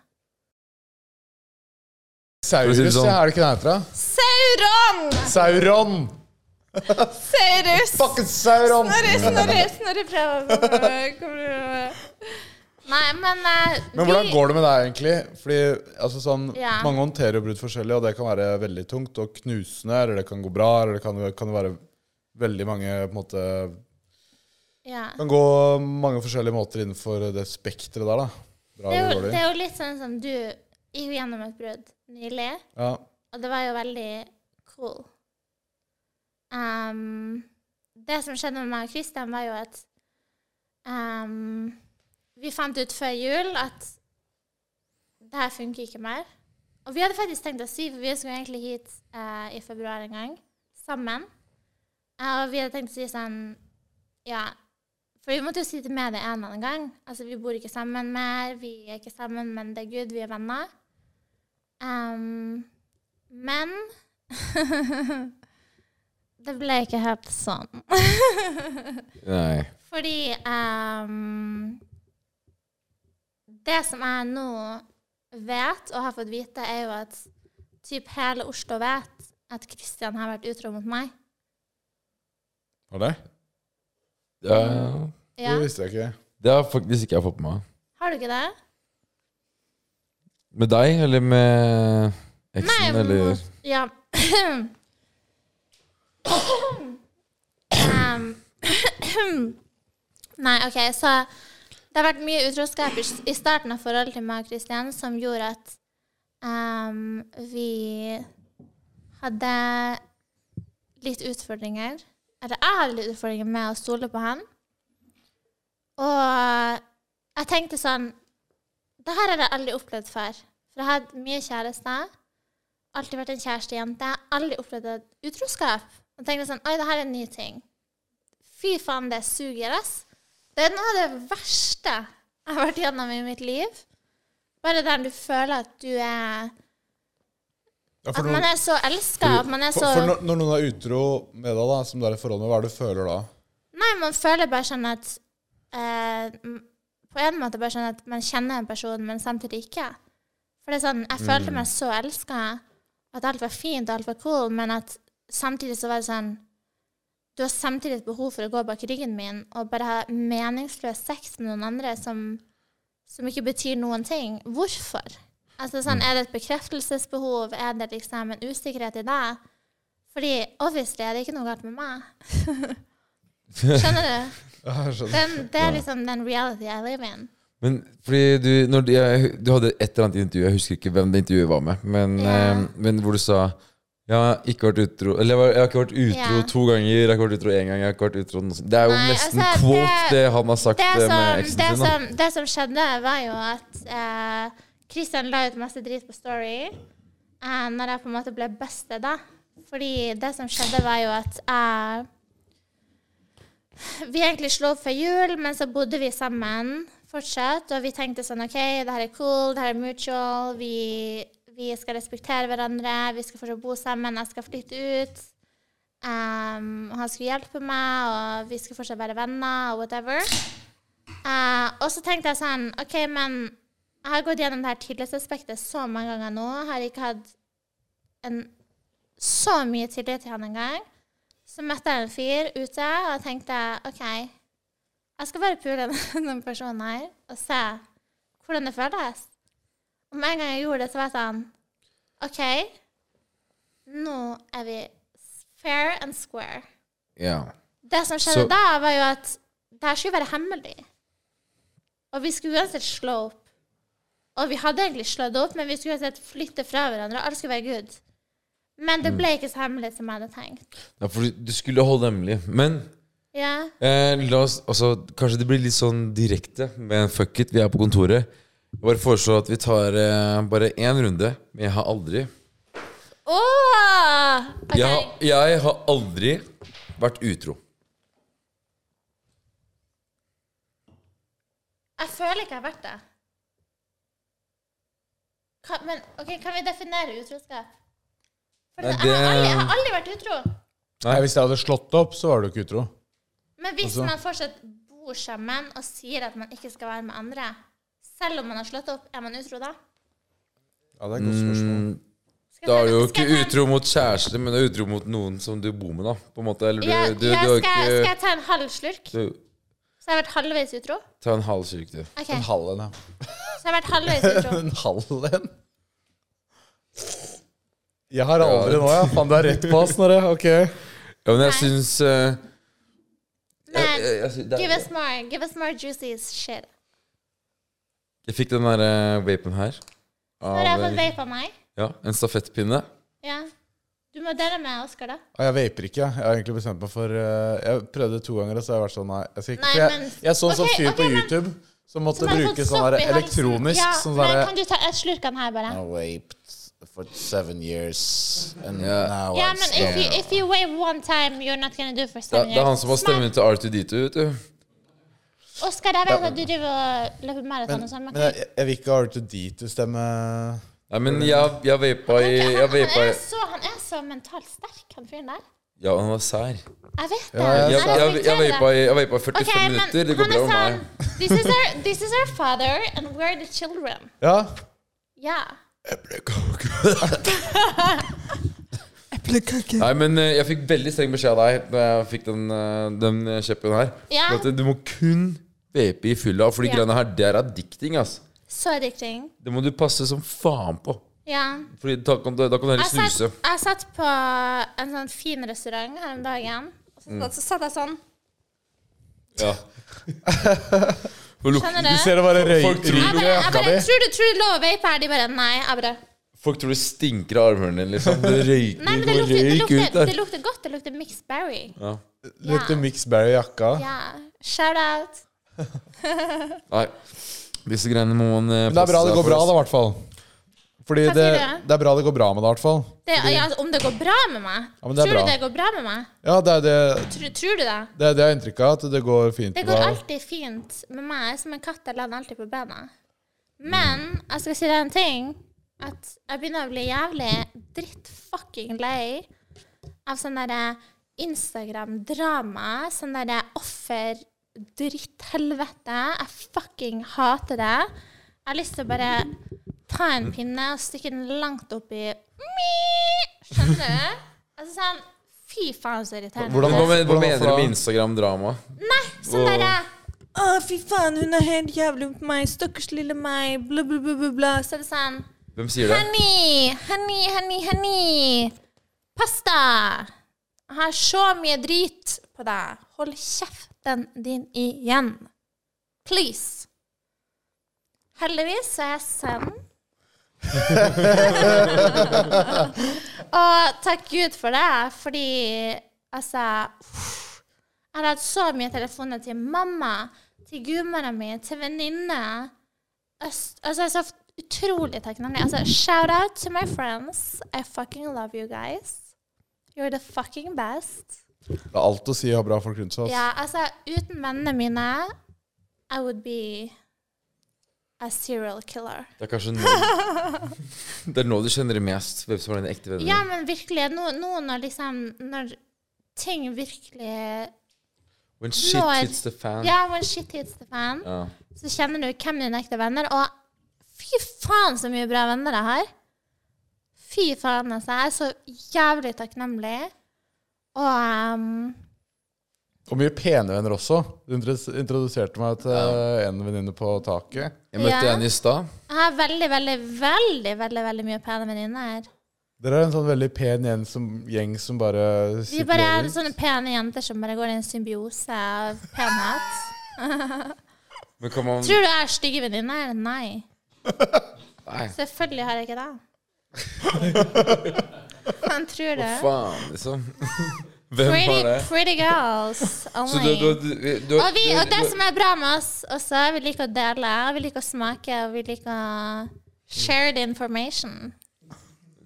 S1: Saurus,
S4: For å si det sånn.
S1: ja, er det ikke den heter? da?
S3: Sauron!
S1: Sauron!
S3: Saurus!
S1: Fucking Sauron!
S3: Snorre, Snorre, Snorre prøver Nei, men eh,
S1: Men hvordan går det med deg, egentlig? Fordi altså, sånn,
S3: Ja.
S1: Mange håndterer jo brudd forskjellig, og det kan være veldig tungt og knusende, eller det kan gå bra, eller det kan, kan jo være veldig mange på en måte
S3: ja.
S1: kan gå mange forskjellige måter innenfor det spekteret der, da. Bra
S3: det, er
S1: eller
S3: jo, det
S1: dårlig.
S3: er jo litt sånn som du gikk jo gjennom et brudd nylig.
S1: Ja.
S3: Og det var jo veldig cool. Ehm, det som skjedde med meg og Christian, var jo at ehm, Vi fant ut før jul at det her funker ikke mer. Og vi hadde faktisk tenkt å si, for vi skulle egentlig hit eh, i februar en gang, sammen. Eh, og vi hadde tenkt å si sånn Ja. For vi måtte jo si til media en eller annen gang. Altså, vi bor ikke sammen mer, vi er ikke sammen, men det er good, vi er venner. Ehm, men det ble ikke helt sånn.
S4: Nei.
S3: Fordi ehm, Det som jeg nå vet, og har fått vite, er jo at typ hele Oslo vet at Kristian har vært utro mot meg.
S1: Var det?
S4: Ja,
S3: Ja.
S1: Det visste jeg ikke.
S4: det har faktisk ikke jeg fått med meg.
S3: Har du ikke det?
S4: Med deg, eller med eksen,
S3: Nei,
S4: eller
S3: mot- Ja. um, nei, OK, så det har vært mye utroskap i s- i starten av forholdet til meg og Kristian som gjorde at um, vi hadde litt utfordringer. Eller jeg hadde litt utfordringer med å stole på han. Og jeg tenkte sånn Det her har jeg aldri opplevd før. For jeg har hatt mye kjærester alltid vært en kjærestejente. Jeg har aldri opplevd et utroskap. Og tenkte sånn Oi, det her er en ny ting. Fy faen, det suger, ass. Det er noe av det verste jeg har vært gjennom i mitt liv. Bare der du føler at du er
S1: Ja,
S3: At
S1: for
S3: man
S1: noen-
S3: er så elska, at man er
S1: for,
S3: så
S1: for når, når noen er utro med deg, da, som du er i forhold med, hva er det du føler da?
S3: Nei, man føler bare sånn at eh, m- På en måte bare sånn at man kjenner en person, men samtidig ikke. For det er sånn, jeg følte meg så elska, at alt var fint og alt var cool, men at samtidig så var det sånn Du har samtidig et behov for å gå bak ryggen min og bare ha meningsløs sex med noen andre som, som ikke betyr noen ting. Hvorfor? Altså sånn, Er det et bekreftelsesbehov? Er det liksom en usikkerhet i deg? Fordi obviously er det ikke noe galt med meg. Skjønner du?
S1: Ja, jeg skjønner.
S3: Den, det er liksom den reality jeg lever in.
S4: Men fordi du, når du, jeg, du hadde et eller annet intervju, jeg husker ikke hvem det intervjuet var med, men,
S3: Ja.
S4: eh, men hvor du sa jeg har ikke vært utro Eller jeg, var, jeg har ikke vært utro
S3: Ja.
S4: to ganger, jeg har ikke vært utro én gang. jeg har ikke vært utro noe sånt. Det er jo
S3: Nei,
S4: nesten
S3: altså,
S4: quote,
S3: det-
S4: det, han har sagt
S3: Det
S4: eh, med
S3: som,
S4: eksen
S3: det,
S4: sin. da.
S3: som, det som skjedde, var jo at eh, Christian la ut masse drit på Story eh, når jeg på en måte ble busted, da. Fordi det som skjedde, var jo at jeg Vi egentlig slo opp før jul, men så bodde vi sammen fortsatt. Og vi tenkte sånn OK, det her er cool, det her er mutual. Vi, vi skal respektere hverandre. Vi skal fortsatt bo sammen. Jeg skal flytte ut. Um, han skulle hjelpe meg, og vi skulle fortsatt være venner, og whatever. Eh, og så tenkte jeg sånn OK, men jeg har gått gjennom det her tillitsaspektet så mange ganger nå. Jeg har ikke hatt en, så mye tillit til han engang. Så møtte jeg en fyr ute og tenkte OK, jeg skal bare pule denne personen her og se hvordan det føles. Og med en gang jeg gjorde det, så var jeg sånn OK, nå er vi fair and square.
S4: Ja.
S3: Det som skjedde
S4: Så-
S3: da, var jo at det her skulle være hemmelig. Og vi skulle uansett slå opp. Og vi hadde egentlig slått opp, men vi skulle uansett flytte fra hverandre. og Alt skulle være good. Men
S4: Mm.
S3: det ble ikke så hemmelig som jeg hadde tenkt.
S4: Ja, for du- du skulle holde hemmelig. Men
S3: Ja.
S4: eh, la oss, altså, kanskje det blir litt sånn direkte med en fuck it. Vi er på kontoret. Jeg bare foreslår at vi tar eh, bare én runde. Men jeg har aldri
S3: Åh! Ok.
S4: jeg, har- jeg har aldri vært utro.
S3: Jeg føler ikke jeg har vært det. Ka, men ok, kan vi definere utroskap? For
S4: Nei,
S3: jeg, har aldri, jeg
S4: det-
S3: har aldri vært utro.
S1: Nei, Hvis jeg hadde slått opp, så var du ikke utro.
S3: Men hvis
S1: Altså-
S3: man fortsatt bor sammen og sier at man ikke skal være med andre, selv om man har slått opp, er man utro da?
S1: Ja, det er et godt spørsmål.
S3: Skal jeg
S4: Da
S3: ta-
S4: er du jo
S3: skal jeg
S4: ikke
S3: ta en-
S4: utro mot kjæreste, men du er utro mot noen som du bor med, da. På en måte. Eller du,
S3: Ja,
S4: du, du,
S3: ja,
S4: har
S3: skal, jeg- skal
S4: ikke
S3: jeg ta en halv slurk?
S4: du,
S3: Så jeg har vært halvveis utro?
S4: Ta en halv kirke, du.
S3: Ok,
S1: En halv en, ja.
S3: så jeg har vært halvveis utro.
S1: En halv en? Jeg har aldri nå, ja. Faen, du er rett på oss, Snorre. Ok.
S4: Ja, men jeg syns eh, jeg-
S3: Men
S4: jeg- jeg syns- det
S3: give us
S4: er-
S3: more, give us more juicy shit.
S4: Jeg fikk den derre vapen her.
S3: Nå har jeg
S4: Av,
S3: fått vape av meg.
S4: ja, en stafettpinne.
S3: Ja. Du må dele med Oskar, da.
S1: Ah, Jeg vaper ikke. Jeg Jeg har egentlig bestemt meg for eh, Jeg prøvde to ganger, og så har jeg vært sånn Nei. Jeg, skal ikke,
S3: Nei,
S1: for jeg,
S3: men-
S1: jeg så en sånn
S3: Ok,
S1: fyr på
S3: ok, men-
S1: YouTube som måtte
S3: Som har
S1: bruke
S3: fått
S1: sånn
S3: sopp
S1: der
S3: i halsen.
S1: elektronisk
S3: ja,
S1: sånn
S3: men
S1: derre
S3: Kan du ta et slurk av den her, bare?
S1: I vaped for seven years, and
S4: Ja.
S1: now
S3: Ja,
S1: I'm
S3: men if you,
S1: scared.
S3: if you wave one time, you're not gonna do for
S4: Det,
S3: seven
S4: det er han som har stemmen til R2D2, vet du.
S3: Smart. Oskar, jeg vet at du driver og løper maraton og sånn, men
S1: Men jeg, jeg vil ikke ha R2D2-stemme.
S4: Nei, men jeg, jeg vapa i
S3: han,
S4: eh, Jeg
S3: han,
S4: vapa i
S3: er så, han er så mentalt sterk, han fyren der.
S4: Ja, han var sær.
S3: Jeg vet det.
S1: Ja, ja,
S3: Jeg
S4: Jeg, jeg, jeg,
S3: respekterer det.
S4: vapa i, jeg vapa i 45
S3: Ok, men
S4: minutter. Det går
S3: han
S4: bra
S3: er
S4: med meg.
S3: sånn, This is, our, this is our father, and we're the children.
S1: Ja.
S3: Ja.
S4: Nei, men eh, jeg fikk veldig streng beskjed av deg da jeg fikk den, eh, den eh, kjeppen her.
S3: Ja.
S4: For At du må kun vape i fylla, for de
S3: Ja.
S4: greiene her, det er addicting, ass.
S3: Så addicting.
S4: Det må du passe som faen på.
S3: Ja.
S4: Fordi da kan du, da kan du heller
S3: Jeg
S4: snuse.
S3: satt, Altså, jeg satt på en sånn fin restaurant her om dagen. Og så,
S4: Mm.
S3: så satt jeg sånn.
S4: Ja. For luk,
S3: Skjønner
S1: Du
S3: du?
S1: ser det bare røy,
S4: Folk tror-
S3: Jeg bare, jeg
S1: røyka
S3: bare
S1: di.
S3: tror, du, tror du lov å vape her? De bare nei. Jeg bare
S4: folk tror det stinker av armhulene din, liksom. Det røyker
S3: Nei, men det
S4: går
S3: lukter, det
S4: røyk ut
S3: lukter,
S4: der.
S3: det lukter godt. Det lukter mixed berry.
S4: Ja.
S1: Lukter Mix Berry i jakka.
S3: Ja. Shout out.
S4: Nei. Disse greiene må man eh,
S1: Men det er bra
S4: passe
S1: det
S4: seg
S1: går
S4: for,
S1: bra,
S4: ass.
S1: da, i hvert fall. Fordi
S3: Hva
S1: det,
S3: sier du?
S1: det er bra det går bra med det, i hvert fall.
S3: Det, ja, altså, om det går bra med meg?
S1: Ja, men det er
S3: tror
S1: bra.
S3: du det går bra med meg?
S1: Ja, det er det,
S3: Tror, tror du det?
S1: det, er det jeg har inntrykk av. At det går fint
S3: Det
S1: med
S3: går
S1: deg.
S3: alltid fint med meg. Jeg er Som en katt, jeg lander alltid på bena. Men jeg skal si deg en ting. At jeg begynner å bli jævlig drittfucking lei av sånn derre Instagram-drama. Sånn derre offer-dritthelvete. Jeg fucking hater det. Jeg har lyst til å bare ta en pinne og stikke den langt opp i Skjønner du? Altså sånn Fy faen, så irriterende.
S1: Hvordan-
S4: Men Hva, men- hva
S1: Hvordan-
S4: mener du
S1: hvorfor da?
S4: med Instagram-drama?
S3: Nei, sånn
S4: Åh.
S3: derre Å, fy faen, hun er helt jævlig mot meg. Stakkars lille meg. Bla, bla, bla, bla, bla. Så er det sånn
S4: Hvem sier det?
S3: Honey, honey, honey, honey. Pasta. Jeg har så mye drit på deg. Hold kjeften din igjen. Please. Heldigvis så er jeg send. Og takk Gud for det, fordi altså uff, Jeg har hatt så mye telefoner til mamma, til gudmora mi, til venninne. Øst- Altså, jeg er så f- utrolig takknemlig. Altså, shout out to my friends. I fucking love you guys. You're the fucking best.
S1: Det er alt å si å ha bra folk rundt seg. ass.
S3: Ja, altså, uten vennene mine, I would be a serial killer.
S4: Det er kanskje nå Det er nå du kjenner det mest hvem som er dine ekte venner.
S3: Ja, men virkelig, nå, nå når liksom Når ting virkelig
S4: When shit
S3: Når-
S4: hits the fan.
S3: Ja, when shit hits the fan,
S4: Ja.
S3: så kjenner du hvem dine ekte venner Og fy faen så mye bra venner jeg har. Fy faen, altså. Jeg er så jævlig takknemlig. Og ehm,
S1: Og mye pene venner også. Du introdu- introduserte meg til en venninne på taket.
S4: Jeg møtte
S3: Ja.
S4: en i stad.
S3: jeg har veldig, veldig, veldig veldig, veldig mye pene venninner.
S1: Dere er en sånn veldig pen gjeng som, gjeng som bare
S3: Vi
S1: sirkulerer
S3: bare er
S1: rundt.
S3: sånne pene jenter som bare går i en symbiose av penhet.
S4: Men kan man
S3: Tror du jeg er stygge venninner? Nei.
S4: Nei.
S3: Selvfølgelig har jeg ikke det. Han tror
S4: Hva
S3: det.
S4: faen, liksom? Hvem var
S3: Pretty,
S4: det?
S3: pretty girls
S4: eh. Så du,
S3: only.
S4: du, du, du,
S3: og, vi, og det
S4: du-
S3: som er bra med oss også, er vi liker å dele, og vi liker å smake, og vi liker å share the information.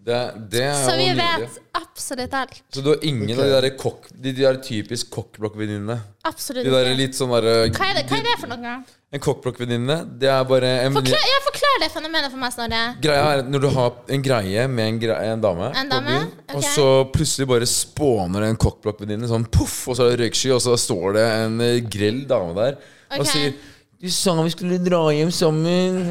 S4: det, det er
S3: Så
S4: jo
S3: vi
S4: nydelig.
S3: vet absolutt alt.
S4: Så du har ingen av de der, kokk, de, de der typisk kokkblokkvenninnene?
S3: Absolutt
S4: De der
S3: ikke.
S4: litt sånn derre
S3: Hva er det, hva er det for noe?
S4: En kokkblokkvenninne, det er bare en venninne-
S3: Forklar, ja, forklar det fenomenet for meg, Snorre.
S4: Greia er at når du har en greie med en, grei- en dame,
S3: En
S4: på
S3: dame,
S4: byen, og
S3: ok.
S4: så plutselig bare spåner det en kokkblokkvenninne sånn poff, og så er det røyksky, og så står det en eh, grell dame der og
S3: Ok.
S4: sier Du sa vi skulle dra hjem sammen.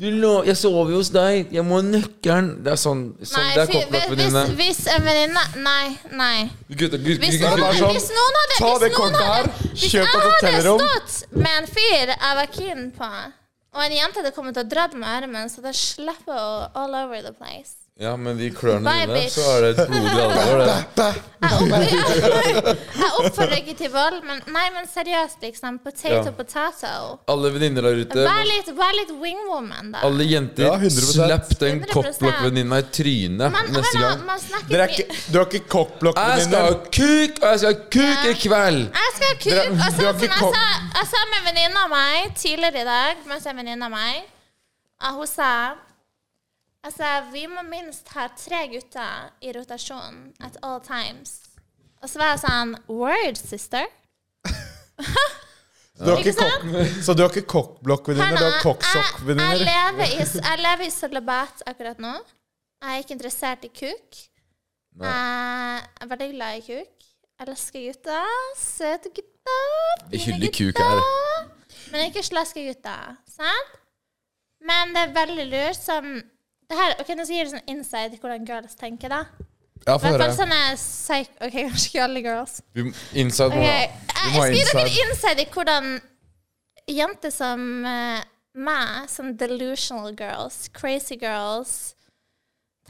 S4: Du lo jeg sover jo hos deg. Jeg må ha nøkkelen. Det er sånn. sånn det er
S3: fy- hvis,
S4: kokkblokkvenninne.
S3: hvis en venninne Nei, nei.
S4: Gutta, gutta,
S3: Hvis
S4: gutta,
S3: noen,
S1: det er sånn,
S3: hvis noen hadde
S1: ta
S3: hvis
S1: det
S3: noen
S1: kortet
S3: hadde-
S1: her,
S3: Hvis
S1: kjøp
S3: jeg
S1: et
S3: hadde
S1: hotellrom.
S3: stått med en fyr jeg var keen på, og en jente hadde kommet og dratt med armen, så det slipper å all over the place.
S4: Ja, men de klørne
S3: Bye,
S4: dine,
S3: bitch.
S4: så er det et blodig alvor. det.
S3: sånn- Jeg oppfordrer, jeg oppfordrer ikke til vold, men nei, men seriøst, liksom. Potato,
S4: Ja.
S3: potato.
S4: Alle venninner der ute
S3: Vær litt, vær litt wingwoman, da.
S4: Alle jenter,
S1: Ja, 100%.
S4: slapp den
S3: 100%.
S4: kokkblokkvenninna i trynet
S3: Man,
S4: neste
S3: men,
S4: gang.
S3: man, man snakker
S1: Dere er
S3: mye-
S1: ikke, du er ikke
S4: Jeg skal ha
S1: kokkblokkvenninner.
S4: kuk, og jeg skal ha kuk
S3: Ja.
S4: i kveld!
S3: Jeg skal ha
S1: Dere-
S3: kuk. Og så,
S1: dere har
S3: sånn,
S1: ikke
S3: jeg,
S1: kom-
S3: sa, jeg sa med en venninne av meg tidligere i dag mens en venninne av meg at Hun sa Jeg sa vi må minst ha tre gutter i rotasjon at all times. Og så var jeg sånn Word, sister.
S1: Du er ikke
S3: Ikke sant?
S1: kokk- Så du er ikke kokkblokkvenninner, du er
S3: Hanna, jeg, jeg,
S1: kokksokkvenninner.
S3: lever i, jeg lever i sølibat akkurat nå. Jeg er ikke interessert i kuk. Jeg er veldig glad i kuk. Jeg elsker gutter. Søte gutter.
S4: Vi
S3: fine
S4: hyller kuk
S3: gutter.
S4: her.
S3: Men ikke slaske gutter. Sant? Men det er veldig lurt sånn det her, ok, Nå skal jeg gi deg sånn insight i hvordan girls tenker, da.
S1: Ja,
S3: I
S1: få
S3: hvert
S1: høre.
S3: fall sånne psych... Ok, kanskje ikke alle girls.
S4: Vi må- Inside må
S3: Ok,
S4: okay.
S3: Jeg,
S1: må ha
S3: jeg skal gi
S1: insight.
S3: dere insight i hvordan jenter som eh, meg, sånn delusional girls, crazy girls,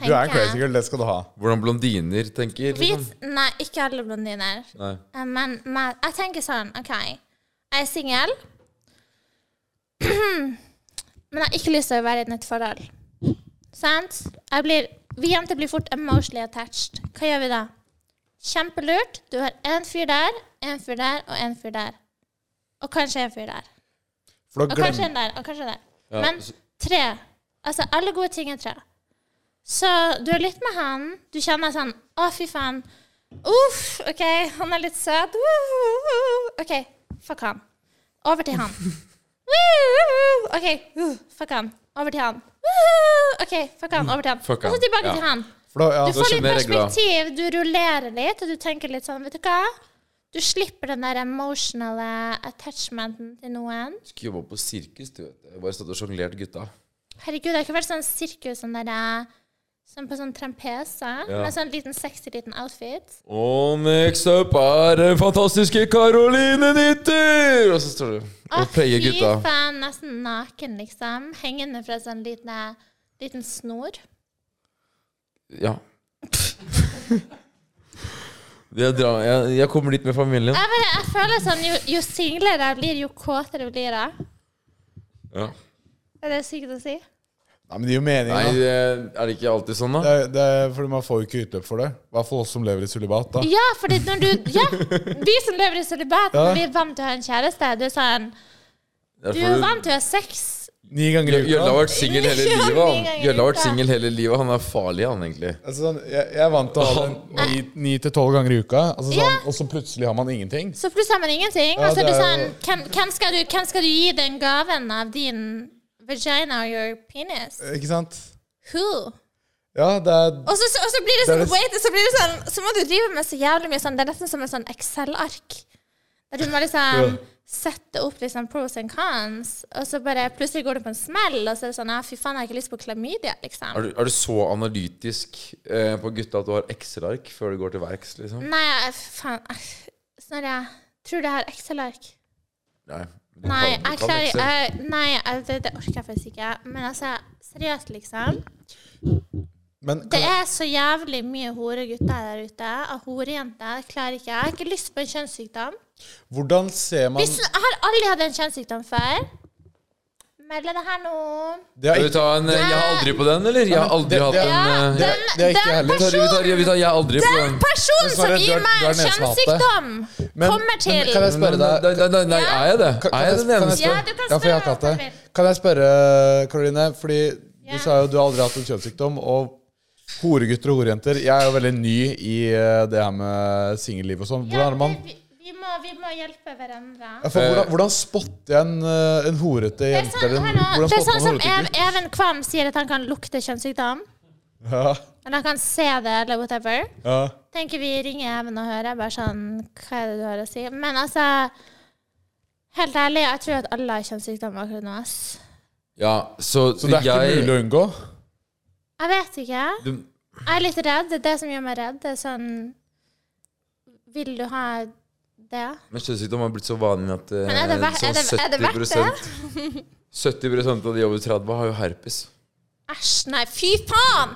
S1: Du er en crazy
S3: girl.
S1: girl, det skal du ha.
S4: Hvordan blondiner tenker. Liksom.
S3: Hvit Nei, ikke alle blondiner.
S4: Nei.
S3: Eh, Men men jeg tenker sånn, OK. Jeg er singel. Men jeg har ikke lyst til å være i et nytt forhold. Sant? Jeg blir, vi jenter blir fort emotionally attached. Hva gjør vi da? Kjempelurt. Du har én fyr der, én fyr der og én fyr der. Og kanskje en fyr der.
S1: For da
S3: Og kanskje
S1: glemmer
S3: en der. Og kanskje en der.
S4: Ja,
S3: Men
S4: så-
S3: tre. Altså, alle gode ting er tre. Så du er litt med han. Du kjenner sånn Å, fy faen. Uff, OK, han er litt søt. Woo-hoo-hoo. OK, fuck han. Over til han. Woo-hoo. OK, uh, fuck han. Over til han. Woo-hoo. OK, fuck han. Over til han.
S4: Fuck
S3: Og
S4: han.
S3: så tilbake
S4: Ja.
S3: til han.
S1: For da,
S3: Du
S1: ja. altså.
S3: får litt
S4: skjønner jeg reglene.
S3: perspektiv, du rullerer litt, og du tenker litt sånn, vet du hva? Du slipper den der emotionale attachmenten til noen.
S4: Skulle jobba på sirkus, du vet. Jeg bare stått og sjonglert gutta.
S3: Herregud, det har ikke vært sånn sirkus sånn der, eh, sånn på sånn trampese, med sånn liten sexy liten outfit.
S4: Og next up er den fantastiske Karoline Nytter! Og så står du og player gutta.
S3: Fy faen, nesten naken, liksom. Hengende fra sånn liten, eh, liten snor.
S4: Ja. Jeg, drar, jeg, jeg kommer dit med familien.
S3: Jeg, bare, jeg føler sånn, jo, jo singlere jeg blir, jo kåtere blir jeg.
S4: Ja.
S3: Er det sykt å si?
S1: Nei, men det gir jo mening.
S4: Nei,
S1: da.
S4: det- er det ikke alltid sånn, da?
S1: Det, er- det, er fordi man får jo ikke utløp for det. I hvert fall oss som lever i sølibat. da.
S3: Ja, fordi når du Ja, vi som lever i sølibat,
S1: Ja.
S3: når vi er vant til å ha en kjæreste. Du er sånn Du
S4: Derfor
S3: er
S4: du-
S3: vant til å ha sex.
S1: Ni ganger i
S4: Jølle har
S1: uka.
S4: vært singel hele
S3: Ja,
S4: livet.
S3: ni
S4: Han.
S3: ganger
S4: Jølle har vært
S3: uka.
S4: single hele livet. Han er farlig, han egentlig.
S1: Altså, sånn, jeg, jeg er vant til å ha det ni, ni til tolv ganger i uka, altså, sånn,
S3: Ja.
S1: og så plutselig har man ingenting.
S3: Så plutselig har man ingenting.
S1: Ja,
S3: og så er
S1: det
S3: du
S1: er
S3: sånn
S1: jo-
S3: hvem, hvem, skal du, hvem skal du gi den gaven av din vagina or your penis?
S1: Ikke sant?
S3: Who?
S1: Ja, det er
S3: Og så, så- og så blir det sånn
S1: Det er det-
S3: Wait, så blir det sånn Så må du drive med så jævlig mye sånn Det er nesten som en sånn Excel-ark. Der du må liksom sette opp liksom pros and cons, og så bare plutselig går du på en smell, og så er det sånn Ja, fy faen, jeg har ikke lyst på klamydia, liksom.
S4: Er du, er du så analytisk eh, på gutta at du har Excel-ark før du går til verks, liksom?
S3: Nei, jeg- faen jeg- Snorre, tror du jeg har Excel-ark?
S4: Nei. du
S3: Nei,
S4: kan- du
S3: jeg
S4: kan
S3: klarer
S4: Excel.
S3: jeg, Nei, jeg, det, det orker jeg faktisk ikke. Men altså, seriøst, liksom.
S1: Men
S3: Det er så jævlig mye horegutter der ute. Og horejenter klarer ikke. Jeg har ikke lyst på en kjønnssykdom.
S1: hvordan ser man
S3: Hvis, jeg har aldri hatt en kjønnssykdom før. Melder det her nå.
S1: Det
S4: Skal
S1: er
S4: vi ta en eh, 'jeg har aldri' på den, eller? Jeg har aldri
S1: Det-
S4: hatt
S1: det-
S4: en eh,
S1: det-
S3: den-
S1: det er ikke
S3: den
S1: heller.
S4: Vi tar, vi tar, vi tar 'jeg har aldri' på
S3: Den
S4: den.
S3: personen som
S1: Sverre, du
S3: gir
S1: er-
S3: meg
S1: du er
S3: en
S1: nesehate.
S3: kjønnssykdom,
S1: Men-
S3: kommer
S1: men
S3: til
S1: kan jeg spørre
S4: Nei,
S1: deg
S4: nei, nei, nei, er jeg det?
S1: Kan, kan
S4: Er
S1: jeg,
S4: jeg den
S1: kan jeg
S4: eneste?
S3: Ja,
S1: spørre?
S3: du kan
S1: Ja, for jeg har ikke
S3: spørre
S1: hatt
S3: hva
S1: det.
S3: du vil.
S1: Kan jeg spørre, Karoline, fordi
S3: Ja.
S1: du sa jo du har aldri hatt en kjønnssykdom, og horegutter og horejenter Jeg er jo veldig ny i eh, det her med singelliv og sånn. Hvordan er det man
S3: Ja, vi, vi, må, vi må hjelpe hverandre.
S1: ja, for
S4: Eh.
S1: hvordan, hvordan spotter jeg en, eh, en horete
S3: Det er
S1: jente?
S3: sånn,
S1: eller
S3: hør
S1: en-
S3: nå,
S1: hvordan
S3: det er
S1: spotter
S3: sånn
S1: man
S3: som
S1: en
S3: Ev-
S1: horegutt?
S3: Even Kvam sier at han kan lukte kjønnssykdom.
S1: Ja,
S3: Men han kan se det, eller whatever.
S1: ja.
S3: Tenker vi ringer Even og hører, bare sånn Hva er det du har å si? Men altså Helt ærlig, jeg tror at alle har kjønnssykdom akkurat nå. ass.
S4: Ja, så,
S1: Så det er ikke
S4: jeg
S1: mulig å unngå?
S3: Jeg vet ikke.
S4: du,
S3: Jeg er litt redd. Det er det som gjør meg redd. Det er sånn Vil du ha det?
S4: Men kjønnssykdom har blitt så vanlig at eh,
S3: Men er det ver- er det- er det verdt det?
S4: 70 av de over 30 har jo herpes.
S3: Æsj, nei, fy faen!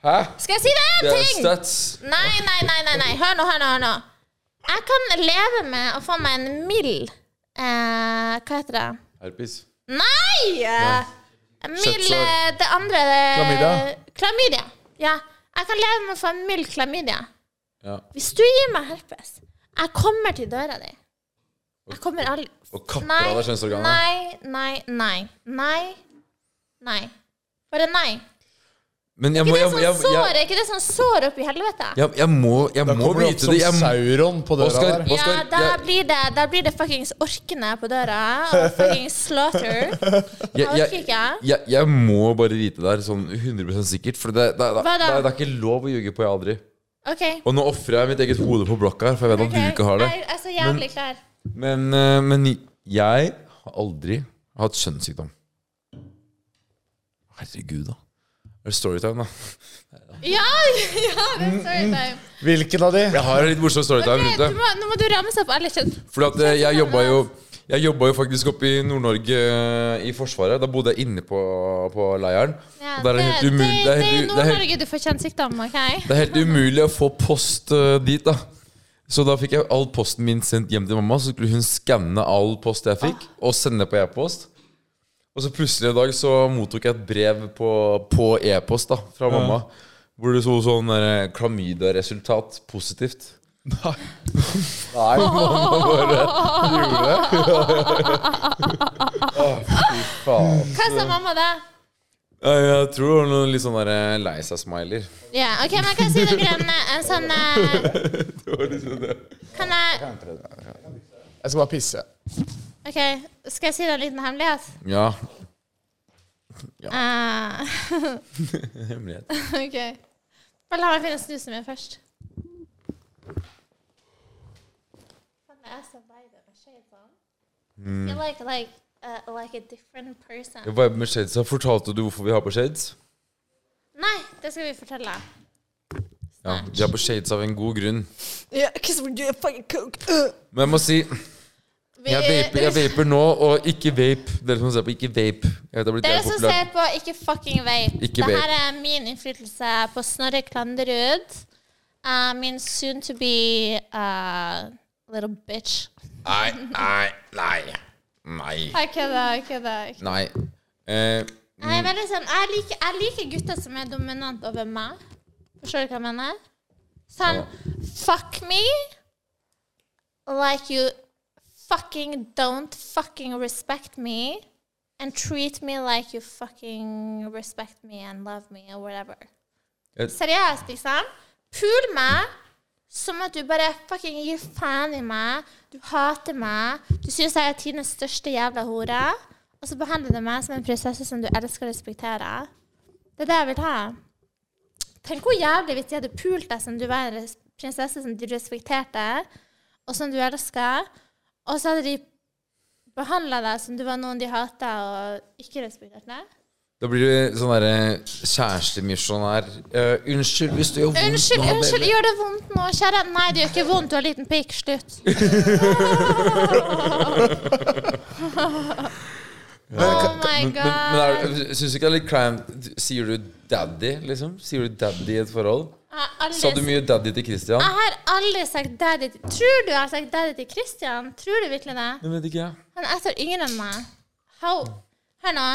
S4: Hæ?
S3: Skal jeg si deg
S4: Det
S3: én
S4: er
S3: ting?
S4: stats.
S3: Nei, nei, nei, nei, nei. Hør nå, hør nå, hør nå. Jeg kan leve med å få meg en mild eh, Hva heter det?
S4: Herpes.
S3: Nei! eh, Mild
S4: Kjøttsår.
S3: eh, Det andre eh,
S1: Klamydia?
S3: Klamydia. Ja. Jeg kan leve med å få en mild klamydia.
S4: Ja.
S3: Hvis du gir meg herpes, jeg kommer til døra di. Jeg kommer aldri
S4: Og kapper av deg kjønnsorganene.
S3: Nei, nei, nei. Nei. Nei. Bare nei.
S4: Men jeg
S3: Ikke
S4: må
S3: det
S4: jeg,
S3: sånn
S4: jeg,
S3: sår,
S4: jeg,
S3: er ikke det sånn sår oppi helvete?
S4: jeg, jeg må, jeg
S1: Da
S4: må
S1: kommer du opp
S4: vite
S1: som
S4: det. Jeg, må-
S1: sauron på døra
S4: Oskar-
S1: der.
S3: Ja,
S4: Oskar,
S3: da
S4: jeg-
S3: blir det, da blir det fuckings orkene på døra. Og fuckings slaughter. Jeg
S4: jeg,
S3: orker
S4: jeg,
S3: ikke.
S4: jeg, jeg må bare vite det her sånn 100 sikkert. For det, det, det,
S3: Hva
S4: det,
S3: da?
S4: det er ikke lov å ljuge på jeg aldri.
S3: OK.
S4: Og nå ofrer jeg mitt eget hode på blokka her, for jeg vet at
S3: ok.
S4: du ikke har det.
S3: Jeg er så jævlig klar.
S4: Men, eh, men jeg har aldri hatt kjønnssykdom. Herregud, da. Er det storytime, da?
S3: Ja! ja det er sorry, time.
S1: Hvilken av de?
S4: Jeg har en litt morsom storytime
S3: Ok, mm.
S4: rundt
S3: du
S4: det.
S3: må, nå må du ramse opp alle kjønn.
S4: Fordi at eh, jeg jobba jo jeg jobba jo faktisk oppe i Nord-Norge eh, i Forsvaret. Da bodde jeg inne på, på leiren.
S3: Ja,
S4: og der er det helt umulig
S3: det,
S4: det
S3: det er
S4: er
S3: i
S4: helt, u- det er helt,
S3: Nord-Norge du får kjønnssykdom, OK?
S4: det er helt umulig å få post eh, dit, da. Så da fikk jeg all posten min sendt hjem til mamma. Så skulle hun skanne all post jeg fikk, og sende på e-post. Og så plutselig en dag så mottok jeg et brev på, på e-post da, fra mamma. Hvor det sto sånn eh, klamydia-resultat positivt.
S1: Nei, faen.
S3: Hva
S4: altså.
S3: sa mamma da?
S4: Ja, Jeg tror det var noen litt sånn der eh, lei seg-smiler.
S3: Ja, OK, men kan jeg si noe om eh, en sånn eh,
S4: liksom
S3: Kan jeg
S1: Jeg skal bare pisse.
S3: OK, skal jeg si deg en liten hemmelighet?
S4: Ja.
S3: Eh,
S4: Hemmelighet.
S3: OK. Bare la meg finne snusen min først. Faen, jeg er så lei den med shades on.
S4: Mm.
S3: I like, like, uh, like a different person.
S4: Jeg var med shades, så Fortalte du hvorfor vi har på shades?
S3: Nei, det skal vi fortelle.
S4: Ja, Vi har på shades av en god grunn.
S5: Yeah, because we're doing fucking coke. Ugh.
S4: Men jeg må si
S3: Vi,
S4: jeg vaper, jeg vaper nå, og ikke vape. Dere som ser på, ikke vape. Jeg vet, det har blitt
S3: Dere
S4: jævlig
S3: som
S4: populært.
S3: ser på, ikke fucking vape.
S4: Ikke
S3: Dette
S4: vape.
S3: er min innflytelse på Snorre Klanderud. Uh, min soon to be uh, little bitch.
S4: Nei, nei, nei. Nei.
S3: Jeg kødder, jeg kødder. jeg kødder.
S4: Nei. Eh,
S3: Jeg er veldig sånn Jeg liker, jeg liker gutter som er dominant over meg. Forstår du hva jeg mener? Sånn Fuck me like you fucking don't fucking respect me. And treat me like you fucking respect me and love me or whatever.
S4: Jeg-
S3: Seriøst, liksom. Pul meg som at du bare fucking gir faen i meg. Du hater meg. Du syns jeg er tidenes største jævla hore. Og så behandler du meg som en prinsesse som du elsker og respekterer. Det er det jeg vil ha. Tenk hvor jævlig hvis de hadde pult deg som du var en res- prinsesse som de respekterte, og som du elska, og så hadde de behandla deg som du var noen de hata og ikke respekterte.
S4: da blir du sånn derre kjærestemisjonær. Eh, unnskyld hvis du gjør vondt
S3: Unnskyld,
S4: nå,
S3: unnskyld,
S4: baby.
S3: gjør det vondt nå, kjære? Nei, det gjør ikke vondt, du har liten pikk. Slutt. Oh my
S4: Men,
S3: god.
S4: men, men er- syns du ikke det er litt kleint Sier du 'daddy', liksom? Sier du 'daddy' i et forhold?
S3: Jeg har aldri
S4: Sa du mye 'daddy' til Christian?
S3: Jeg har aldri sagt daddy til Tror du jeg har sagt daddy til Christian? Tror du virkelig det?
S4: Jeg vet ikke, jeg.
S3: Han er så yngre enn meg. How Hør nå.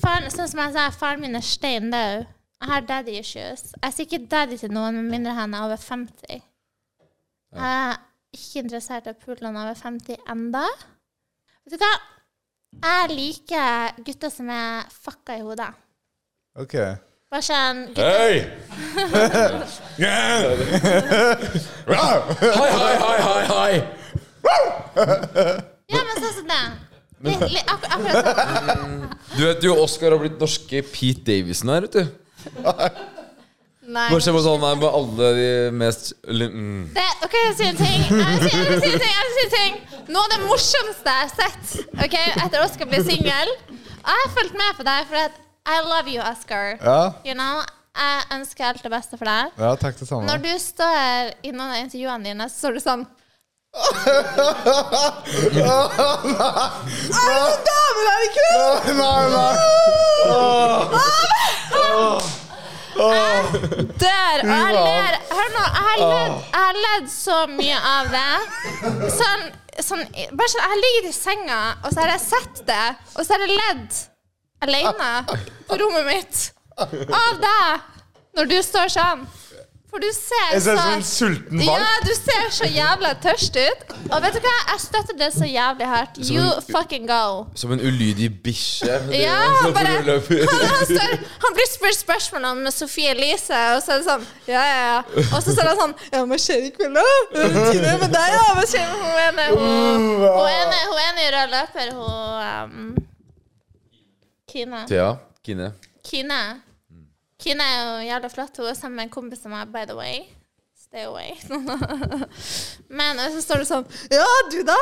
S3: Faren, sånn som jeg sa, faren min er stein død. Jeg har daddy issues. Jeg sier ikke daddy til noen med mindre han er over 50. Jeg er ikke interessert i å pule noen over 50 enda. Vet du hva? Jeg liker gutter som er fucka i hodet.
S1: Ok.
S3: Bare sånn gutter,
S4: Hei!
S1: Wow!
S4: Hei, hei, hei, hei, hei!
S3: Ja, men sånn som det. Litt, litt, ak akkurat sånn.
S4: Du vet jo Oscar har blitt norske Pete Davison her, vet du.
S3: Nei.
S4: Bortsett fra sånn her med alle de mest li- mm.
S3: Det, ok, jeg sier en ting. Jeg vil si- jeg vil si en ting, jeg vil si en ting. Noe av det morsomste jeg har sett ok, etter Oscar ble singel Og jeg har fulgt med på deg, for at I love you, Oscar.
S1: Ja,
S3: You know, Jeg ønsker alt det beste for deg.
S1: ja takk det samme.
S3: Når du står i noen av intervjuene dine, så står du sånn
S5: Damen er ikke det?
S1: Nei, nei.
S3: dør. Og jeg
S1: Wow.
S3: ler Hør nå, jeg har ledd,
S1: Ah.
S3: jeg har ledd så mye av det. Sånn, sånn, bare sånn, Jeg ligger i senga, og så har jeg sett det, og så har jeg ledd alene på rommet mitt av deg når du står sånn. For du ser
S1: Jeg ser sånn ut som
S3: så
S1: en sulten
S3: ja,
S1: valp.
S3: du ser så jævla tørst ut. Og vet du hva? Jeg støtter det så jævlig hardt. You fucking go.
S4: Som en ulydig bikkje. Det-
S3: Ja,
S4: som
S3: bare
S4: løper.
S3: han, han, står, han blir spurt spørsmål om Sofie Elise, og så er det sånn Ja, ja, ja. Og så står han sånn Ja, hva skjer i kveld, da? Hva er rutinen med deg, da? Hva skjer med hun ene? Hun, hun ene hun ene i rød løper, hun um, Kine.
S4: Thea, Kine.
S3: Kine. Kine er jo jævla flott. Hun er sammen med en kompis av meg, by the way. Stay away. Men og så står det sånn
S5: Ja, du da?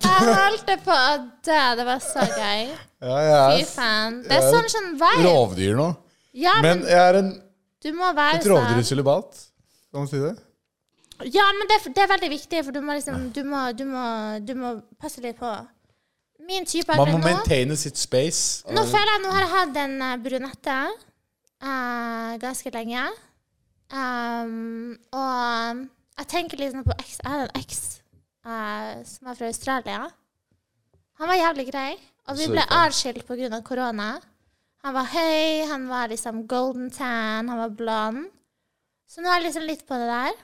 S3: Jeg holdt på å dø. Det var så gøy.
S1: Ja, jeg
S3: Fy faen. Det er sånn sånn
S1: er
S3: vibe.
S1: rovdyr nå.
S3: Ja, men
S1: Men jeg er en,
S3: Du må være
S1: et rovdyr i
S3: sånn.
S1: sølibat. Kan man si det?
S3: Ja, men det, er- det er veldig viktig, for du må liksom Du må, du må, du må passe litt på. Min type
S1: Man må
S3: akkurat nå
S1: maintaine sitt space.
S3: Nå føler jeg nå har jeg hatt en eh, brunette eh, ganske lenge. Um, og jeg tenker liksom på eks. Jeg hadde en eks eh, som var fra Australia. Han var jævlig grei, og vi
S4: Så
S3: ble
S4: fan.
S3: avskilt pga. korona. Han var høy, han var liksom golden tan, han var blond. Så nå er jeg liksom litt på det der.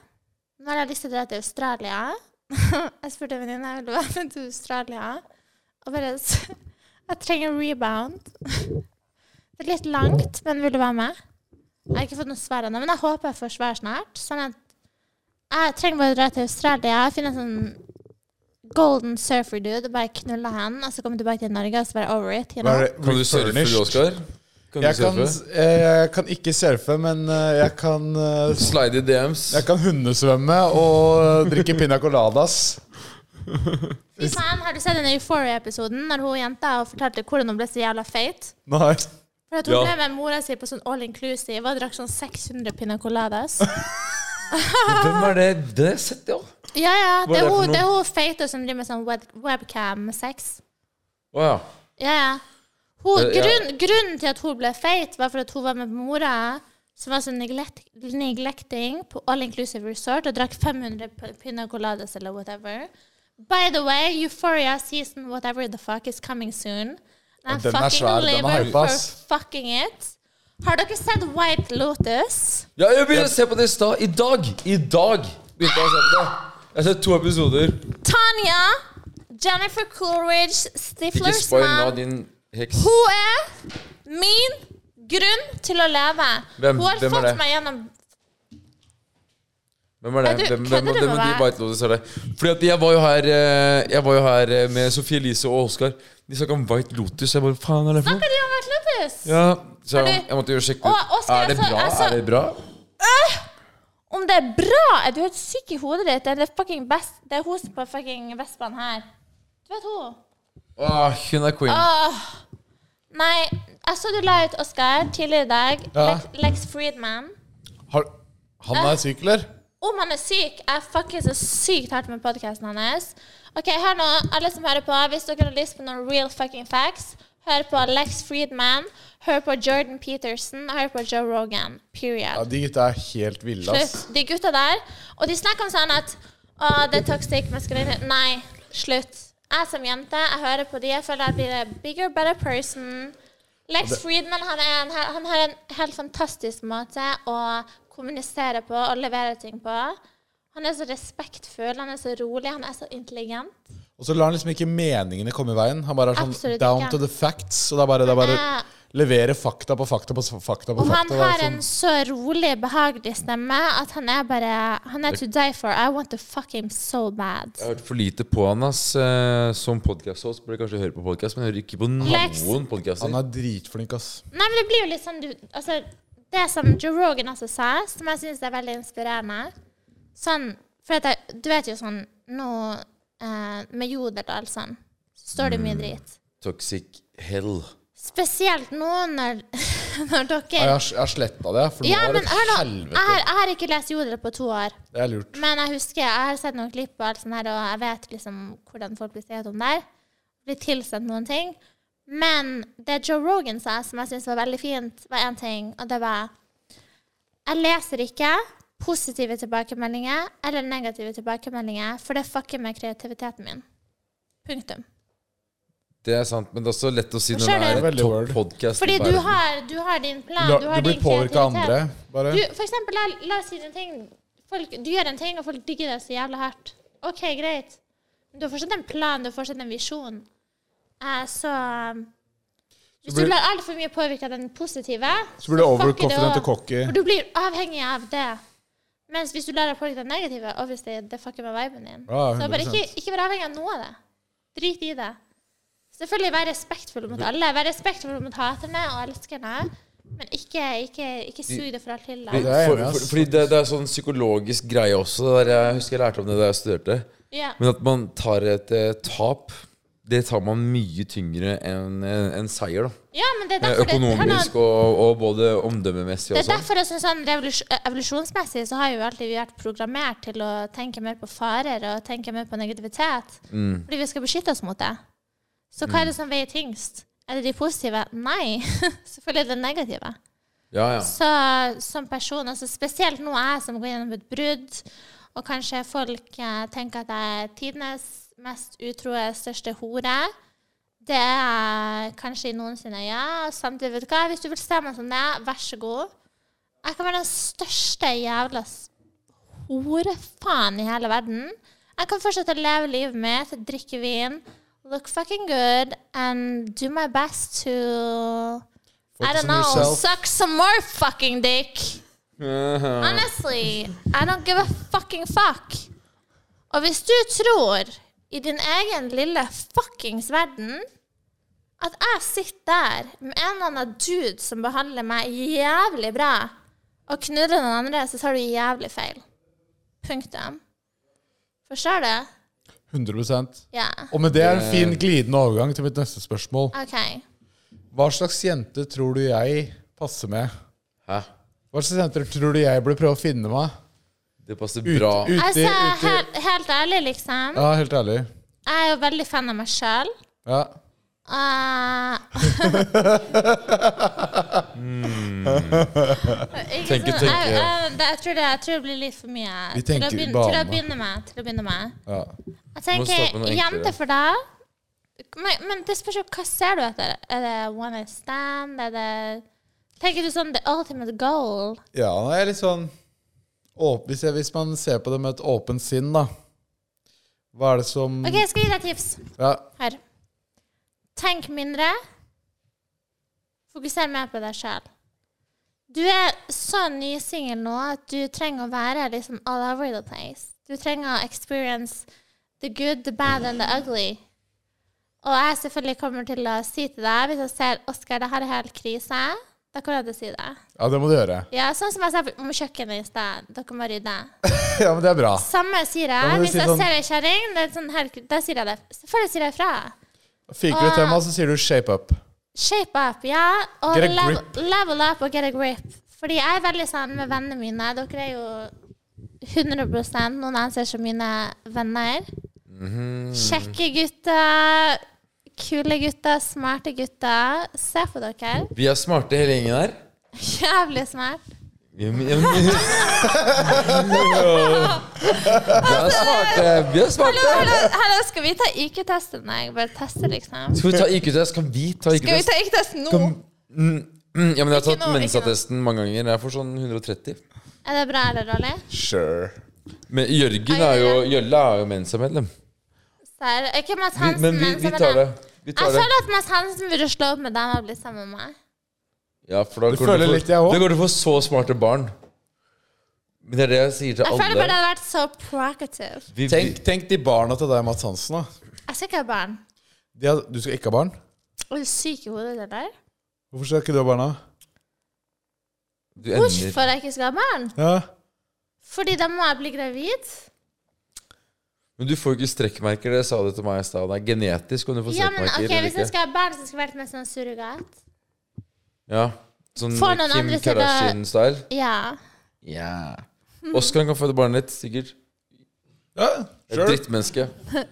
S3: Nå har jeg lyst til å dra til Australia. jeg spurte en venninne om jeg ville være med til Australia. Og bare s- Jeg trenger en rebound. det er litt langt, men vil du være med? Jeg har ikke fått noe svar ennå, men jeg håper jeg får svar snart. Sånn at jeg trenger bare å dra til Australia, finne en sånn golden surfer dude og bare knulle han, og så komme tilbake til Norge og så være over it. You know?
S1: Bare
S4: Kan du surfe,
S1: refurnished.
S4: du, Oskar? Kan du
S1: Jeg kan,
S4: surfe?
S1: jeg jeg kan ikke surfe, men eh, jeg kan eh,
S4: Slide i DMs.
S1: Jeg kan hundesvømme og drikke piña coladas.
S3: Fy faen, har du sett den Euphoria-episoden når hun jenta fortalte hvordan hun ble så jævla feit?
S1: Nei.
S3: For at hun
S4: Ja.
S3: ble med mora si på sånn all inclusive og drakk sånn 600 pina coladas.
S4: Hvem er det? Det har jeg sett, ja.
S3: Ja, ja.
S4: Hva
S3: Det er
S4: er det for
S3: hun,
S4: noe?
S3: det er hun feite som driver med sånn web webcam-sex.
S4: Å ja.
S3: Ja, ja. Hun,
S4: Eh, ja.
S3: grunn, grunnen til at hun ble feit, var for at hun var med mora, som var sånn neglect, neglecting på all inclusive resort og drakk 500 p- pina coladas eller whatever. By the way, Euphoria season whatever the fuck is coming soon. And I
S1: den er
S3: fucking
S1: svær, den er
S3: live
S1: hype,
S3: for
S1: ass.
S3: fucking it. Har dere sett White Lotus?
S4: Ja, jeg begynte å se på det i stad. I dag! I dag begynte jeg å se på det. Jeg har sett to episoder.
S3: Tanya, Jennifer Coolridge,
S4: Ikke
S3: Stiflers
S4: spoil nå,
S3: mann.
S4: din heks.
S3: Hun er min grunn til å leve.
S4: Hvem-
S3: Hun har
S4: hvem er
S3: fått
S4: det?
S3: meg gjennom
S4: Hvem er det?
S3: Ja, du,
S4: hvem,
S3: kødder
S4: hvem, hvem,
S3: du
S4: hvem
S3: med
S4: er de
S3: meg?
S4: White Lotus? Er det? Fordi at jeg var jo her eh, Jeg var jo her eh, med Sofie Elise og Oskar. De snakka om White Lotus. Jeg bare, faen er det for
S3: Hva
S4: noe?
S3: er det om White Lotus?
S4: Ja, så
S3: Har
S4: jeg,
S3: du-
S4: jeg måtte jo sjekke
S3: Å,
S4: ut.
S3: Oskar,
S4: Er det
S3: jeg så-
S4: bra?
S3: jeg så-
S4: Er det bra?
S3: Om det er bra? Er du helt syk i hodet ditt? Det er, det fucking best, det er hun som på fucking Vestbanen her. Du vet hun?
S4: Åh, hun er queen.
S3: Åh. Nei, jeg så du la ut Oskar tidligere i dag.
S1: Ja.
S3: Lex, Lex Friedman.
S1: Har, han
S3: Ah.
S1: er syk, eller?
S3: Om han er syk, jeg fucker så sykt hardt med podkasten hans. Ok, hør nå, alle som hører på, hvis dere har lyst på noen real fucking facts, hør på Lex Friedman, hør på Jordan Peterson, hør på Joe Rogan. Period.
S1: Ja, De gutta er helt ville, ass.
S3: Slutt. De gutta der. Og de snakker om sånn at Å, det er toxic maskulinitet. Nei, slutt. Jeg som jente, jeg hører på de, jeg føler jeg blir a bigger, better person. Lex Friedman han, er en, hel- han har en helt fantastisk måte å kommunisere på og levere ting på. Han er så respektfull, han er så rolig, han er så intelligent.
S1: Og så lar han liksom ikke meningene komme i veien. Han bare er sånn
S3: Absolutt
S1: down
S3: ikke.
S1: to the facts. Og det er bare, det er bare
S3: Han er-
S1: levere fakta på fakta på s- fakta. på
S3: Og han
S1: fakta. Det sånn- er liksom
S3: har en så rolig, behagelig stemme at han er bare Han er to die for. I want to fuck him so bad.
S4: Jeg har hørt for lite på han, ass. Eh, Som podcast-host burde jeg kanskje høre på podcast, men jeg hører ikke på
S3: Lex.
S1: han
S4: noen podcaster.
S1: er dritflink, ass.
S3: Nei, men det blir jo litt sånn du, altså, Det som Joe Rogan også sa, som jeg syns er veldig inspirerende Sånn, for at jeg, Du vet jo sånn nå eh, Med Joderdal sånn, så står det
S1: Mm.
S3: mye drit.
S4: Toxic hell.
S3: Spesielt nå når, når dere
S1: Nei, Jeg har, jeg har sletta det, for nå
S3: Ja,
S1: er
S3: men
S1: det
S3: hør nå. Jeg
S1: helvete.
S3: har, jeg har ikke lest Jodel på to år.
S1: Det er lurt.
S3: Men jeg husker, jeg har sett noen klipp og alt sånt her, og jeg vet liksom hvordan folk blir skrevet om der. Blir tilsendt noen ting. Men det Joe Rogan sa, som jeg syns var veldig fint, var én ting, og det var Jeg leser ikke positive tilbakemeldinger eller negative tilbakemeldinger, for det fucker med kreativiteten min. Punktum.
S4: Det er sant, men det er også lett å si når
S3: Skjønner du?
S4: det er en
S1: Veldig word.
S4: topp podcast i
S3: Fordi du
S4: verden.
S3: har, du har din plan,
S1: La,
S3: du har
S1: du blir
S3: din
S1: påvirka av
S3: kreativitet.
S1: andre, bare.
S3: Du, for eksempel, la, la oss si en ting. Folk, du gjør en ting, og folk digger det så jævla hardt. OK, greit. Men du har fortsatt en plan, du har fortsatt en visjon. Eh, så um, Hvis
S1: blir-
S3: du lar altfor mye påvirke av den positive,
S1: Så blir du
S3: fucker
S1: overconfident
S3: også.
S1: og cocky.
S3: For du blir avhengig av det. Mens hvis du lar deg påvirke av den negative, obviously, det fucker med viben din.
S1: Ja,
S3: så bare
S1: 100%.
S3: ikke, ikke vær avhengig av noe av det. Drit i det. Selvfølgelig vær respektfull mot alle. Vær respektfull mot haterne og elskerne. Men ikke, ikke, ikke sug det fra til deg.
S1: det er jeg
S4: For,
S1: enig i,
S4: for,
S1: ass.
S4: fordi det, det er sånn psykologisk greie også. det Der jeg husker jeg lærte om det da jeg studerte.
S3: Ja.
S4: Men at man tar et eh, tap, det tar man mye tyngre enn en, seier. da
S3: Ja, men det er
S4: Eh,
S3: derfor det, hør nå,
S4: Økonomisk og, og både omdømmemessig
S3: det er
S4: og sånn.
S3: derfor jeg synes sånn revolusjon, evolusjonsmessig så har jo alltid vi vært programmert til å tenke mer på farer og tenke mer på negativitet.
S4: Mm.
S3: Fordi vi skal beskytte oss mot det. Så hva er det som veier tyngst? Er det de positive? Nei. Selvfølgelig er det det negative.
S4: Ja, ja.
S3: Så som person, altså spesielt nå jeg som går gjennom et brudd, og kanskje folk eh, tenker at jeg er tidenes mest utroe, største hore. Det er kanskje i noens øyne, ja. og Samtidig, vet du hva, hvis du vil se meg som det, er, vær så god. Jeg kan være den største jævla s- horefaen i hele verden. Jeg kan fortsette å leve livet mitt, drikke vin, look fucking good, and do my best to I
S1: Focus on
S3: don't know.
S1: yourself.
S3: Suck some more fucking dick. Honestly, I don't give a fucking fuck. Og hvis du tror i din egen lille fuckings verden at jeg sitter der med en eller annen dude som behandler meg jævlig bra, og knuller noen andre, så tar du jævlig feil. Punktum. Forstår du?
S1: 100
S3: Ja.
S1: Og med det er en fin glidende overgang til mitt neste spørsmål.
S3: OK.
S1: Hva slags jente tror du jeg passer med?
S4: Hæ?
S1: Hva slags jenter tror du jeg burde prøve å finne meg?
S4: Det passer
S1: Ut-
S4: bra.
S1: ute,
S3: Altså,
S1: ute.
S3: helt, helt ærlig, liksom.
S1: Ja, helt ærlig.
S3: Jeg er jo veldig fan av meg sjøl.
S1: Ja.
S3: Ah.
S1: Hmm.
S3: Ikke
S4: Tenke,
S3: sånn,
S4: tenke.
S3: Jeg, jeg, det, jeg, tror det, jeg tror det blir litt for mye.
S1: Vi
S3: Til å,
S1: tenker
S3: begynne,
S1: bane.
S3: til, å begynne med, til å begynne med.
S1: ja.
S3: Jeg
S4: starte med
S3: tenker
S4: noe
S3: jente
S4: enklere.
S3: for deg. Men, men det spørs jo hva ser du etter. Er det one night stand? Er det Tenker du sånn the ultimate goal?
S1: ja, det er litt sånn åp, hvis, jeg, hvis man ser på det med et åpent sinn, da. Hva er det som
S3: OK, jeg skal gi deg tips.
S1: ja,
S3: Her. Tenk mindre. Fokuser mer på deg sjøl. Du er så nysingel nå at du trenger å være liksom all over the place. Du trenger å experience the good, the bad and the ugly. Og jeg selvfølgelig kommer til å si til deg hvis jeg ser Oskar, det her er helt krise. Da kommer jeg til å si det.
S1: ja, det må du gjøre.
S3: Ja, Sånn som jeg sa om kjøkkenet i sted. Dere må rydde.
S1: Ja, men det er bra.
S3: Samme sier
S1: må
S3: jeg.
S1: du
S3: Hvis
S1: si
S3: jeg
S1: sånn-
S3: ser ei kjerring, det er sånn helt- da sier jeg det. Selvfølgelig sier jeg ifra.
S1: Fiker
S3: Ah.
S1: du til meg, så sier du 'shape up'.
S3: Shape up, ja. Og
S1: Get a
S3: level,
S1: grip.
S3: level up og get a grip. Fordi jeg er veldig sånn med vennene mine. Dere er jo 100 noen anser som mine venner.
S4: Mhm.
S3: Kjekke gutter. Kule gutter, smarte gutter. Se på dere.
S4: Vi er smarte hele gjengen her.
S3: Jævlig smart.
S4: Ja, men- ja, men- Vi er smarte. Vi
S3: Hallo,
S4: er smarte.
S3: hallo, hallo, skal vi ta IQ-testen? Nei, jeg bare tester, liksom.
S4: Skal vi ta IQ-test? Kan vi ta IQ-test?
S3: Skal vi ta IQ-testen nå?
S4: Kan- Mm, mm, ja, men jeg har
S3: Ikke
S4: tatt
S3: nå, ikke nå.
S4: mensattesten mange ganger. Jeg får sånn 130.
S3: Er det bra eller dårlig?
S1: Sure.
S4: Men Jørgen er jo Jølle er jo Mensa-medlem.
S3: Ser, ikke Mads
S4: Vi-
S3: Hansen,
S4: Men vi,
S3: men
S4: vi
S3: som er
S4: tar det.
S3: den.
S4: Vi
S3: Jeg
S4: tar det.
S3: føler at Mads Hansen burde slå opp med dem og bli sammen med meg.
S4: Ja, for da
S1: Det
S4: går
S1: føler
S4: for,
S1: litt jeg også.
S4: Da går du for så smarte barn. Men det er det jeg sier til
S3: Jeg føler bare det
S4: alle.
S3: hadde vært så provocative.
S4: Vi,
S1: Tenk, tenk de barna til deg, Mats Hansen. da
S3: Jeg skal ikke ha barn.
S1: de har, Du skal ikke ha barn?
S3: Er du syk i hodet, eller?
S1: Hvorfor skal ikke du ha barna?
S4: du ender.
S3: Hvorfor jeg ikke skal ha barn?
S1: Ja.
S3: Fordi da må jeg bli gravid.
S4: Men du får jo ikke strekkmerker. Det sa du til meg i stad. Det er genetisk om du får
S3: Ja, men
S4: strekkmerker
S3: ok,
S4: eller
S3: Hvis jeg
S4: ikke.
S3: skal ha barn, så skal jeg være med sånn surrogat.
S4: Ja, sånn
S3: Får noen
S4: Kim
S3: andre til å-
S4: Kardashian-style.
S3: Ja.
S4: Ja
S3: Mhm.
S4: Oskar kan føde barnet ditt, sikkert.
S1: ja
S4: Et
S1: sure.
S4: drittmenneske.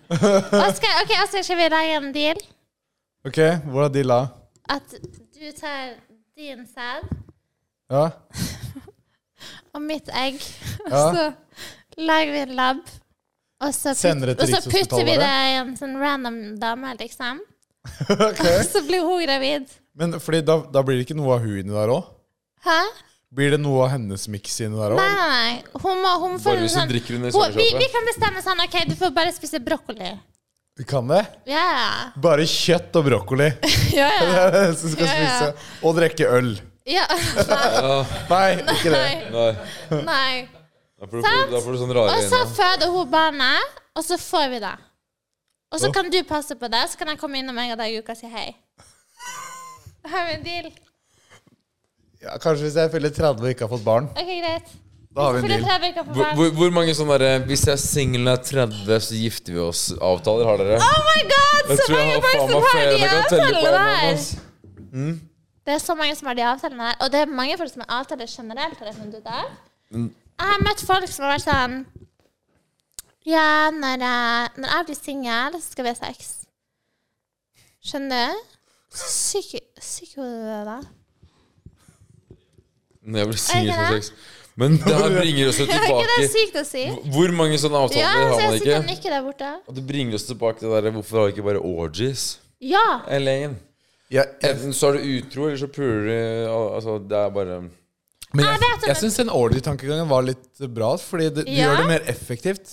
S3: Oskar, ok, Oskar, skal vi lage en deal?
S1: Ok, hvordan er de la?
S3: At du tar din sæd
S1: Ja.
S3: og mitt egg, og
S1: Ja.
S3: så lager vi en lab. Og så,
S1: Sender det
S3: putt,
S1: til
S3: og så
S1: Rikshospitalet,
S3: putter
S1: bare?
S3: vi det i en sånn random dame, liksom.
S1: Ok.
S3: Og så blir hun gravid.
S1: Men fordi da, da blir det ikke noe av hun inni der òg?
S3: Hæ?
S1: Blir det noe av hennes miks inni der
S3: Nei,
S1: òg?
S3: nei, nei. Hun må, hun får
S4: Bare
S3: en
S4: hvis hun
S3: sånn-
S4: drikker under
S3: hun, vi, vi
S4: svangerskapet.
S3: kan bestemme sånn OK, du får bare spise brokkoli.
S1: Vi kan det?
S3: Ja,
S1: Bare kjøtt og brokkoli
S3: ja. ja,
S1: som skal
S3: Ja, ja.
S1: spise. Og drikke øl.
S3: ja. ja.
S1: Nei, ikke det.
S3: Nei.
S4: Nei,
S3: Nei.
S4: da får du,
S3: Sant?
S4: da får du sånn rare
S3: Og så
S4: øyne.
S3: føder hun barnet, og så får vi det. Og så
S1: Ja.
S3: kan du passe på det, så kan jeg komme innom en gang i uka og si hei. Har vi en deal?
S1: Ja, kanskje hvis jeg fyller 30 og ikke har fått barn.
S3: OK, greit.
S1: Da har vi en
S3: Fyller
S1: deal.
S3: 30 uker på
S4: Hvor,
S3: barn.
S4: hvor, hvor mange sånne der, Hvis jeg er singel og er 30, så gifter vi oss-avtaler har dere?
S3: Oh my god,
S4: Jeg
S3: så
S4: tror jeg
S3: mange
S4: har
S3: folk
S4: faen
S3: som
S4: meg
S3: har
S4: flere.
S3: de
S4: Jeg kan telle på en
S3: avtalene
S4: hånd.
S3: der.
S4: ass.
S3: Det er så mange som har de avtalene der. Og det er mange folk som har avtaler generelt, har jeg funnet ut av. Jeg har møtt folk som har vært sånn Ja, når jeg, når jeg blir singel, så skal vi ha sex. Skjønner du? Syk syk hode du er, da.
S4: Når jeg blir singel
S3: Er
S4: for
S3: det
S4: sex. Men det her bringer oss jo
S3: Er ikke det
S4: tilbake
S3: sykt å si?
S4: Hvor mange sånne
S3: Ja,
S4: avtaler
S3: så
S4: har man
S3: jeg sitter og
S4: ikke?
S3: nikker der borte.
S4: Og det bringer oss tilbake til det der Hvorfor har vi ikke bare orgies?
S3: Ja!
S4: Elaine.
S1: Jeg, jeg,
S4: Enten så er du utro, eller så puler du al- Altså, det er bare
S1: men
S3: Jeg
S1: jeg,
S3: vet om
S1: jeg
S3: en-
S1: syns den orgy-tankegangen var litt bra, fordi det, du
S3: Ja.
S1: gjør det mer effektivt.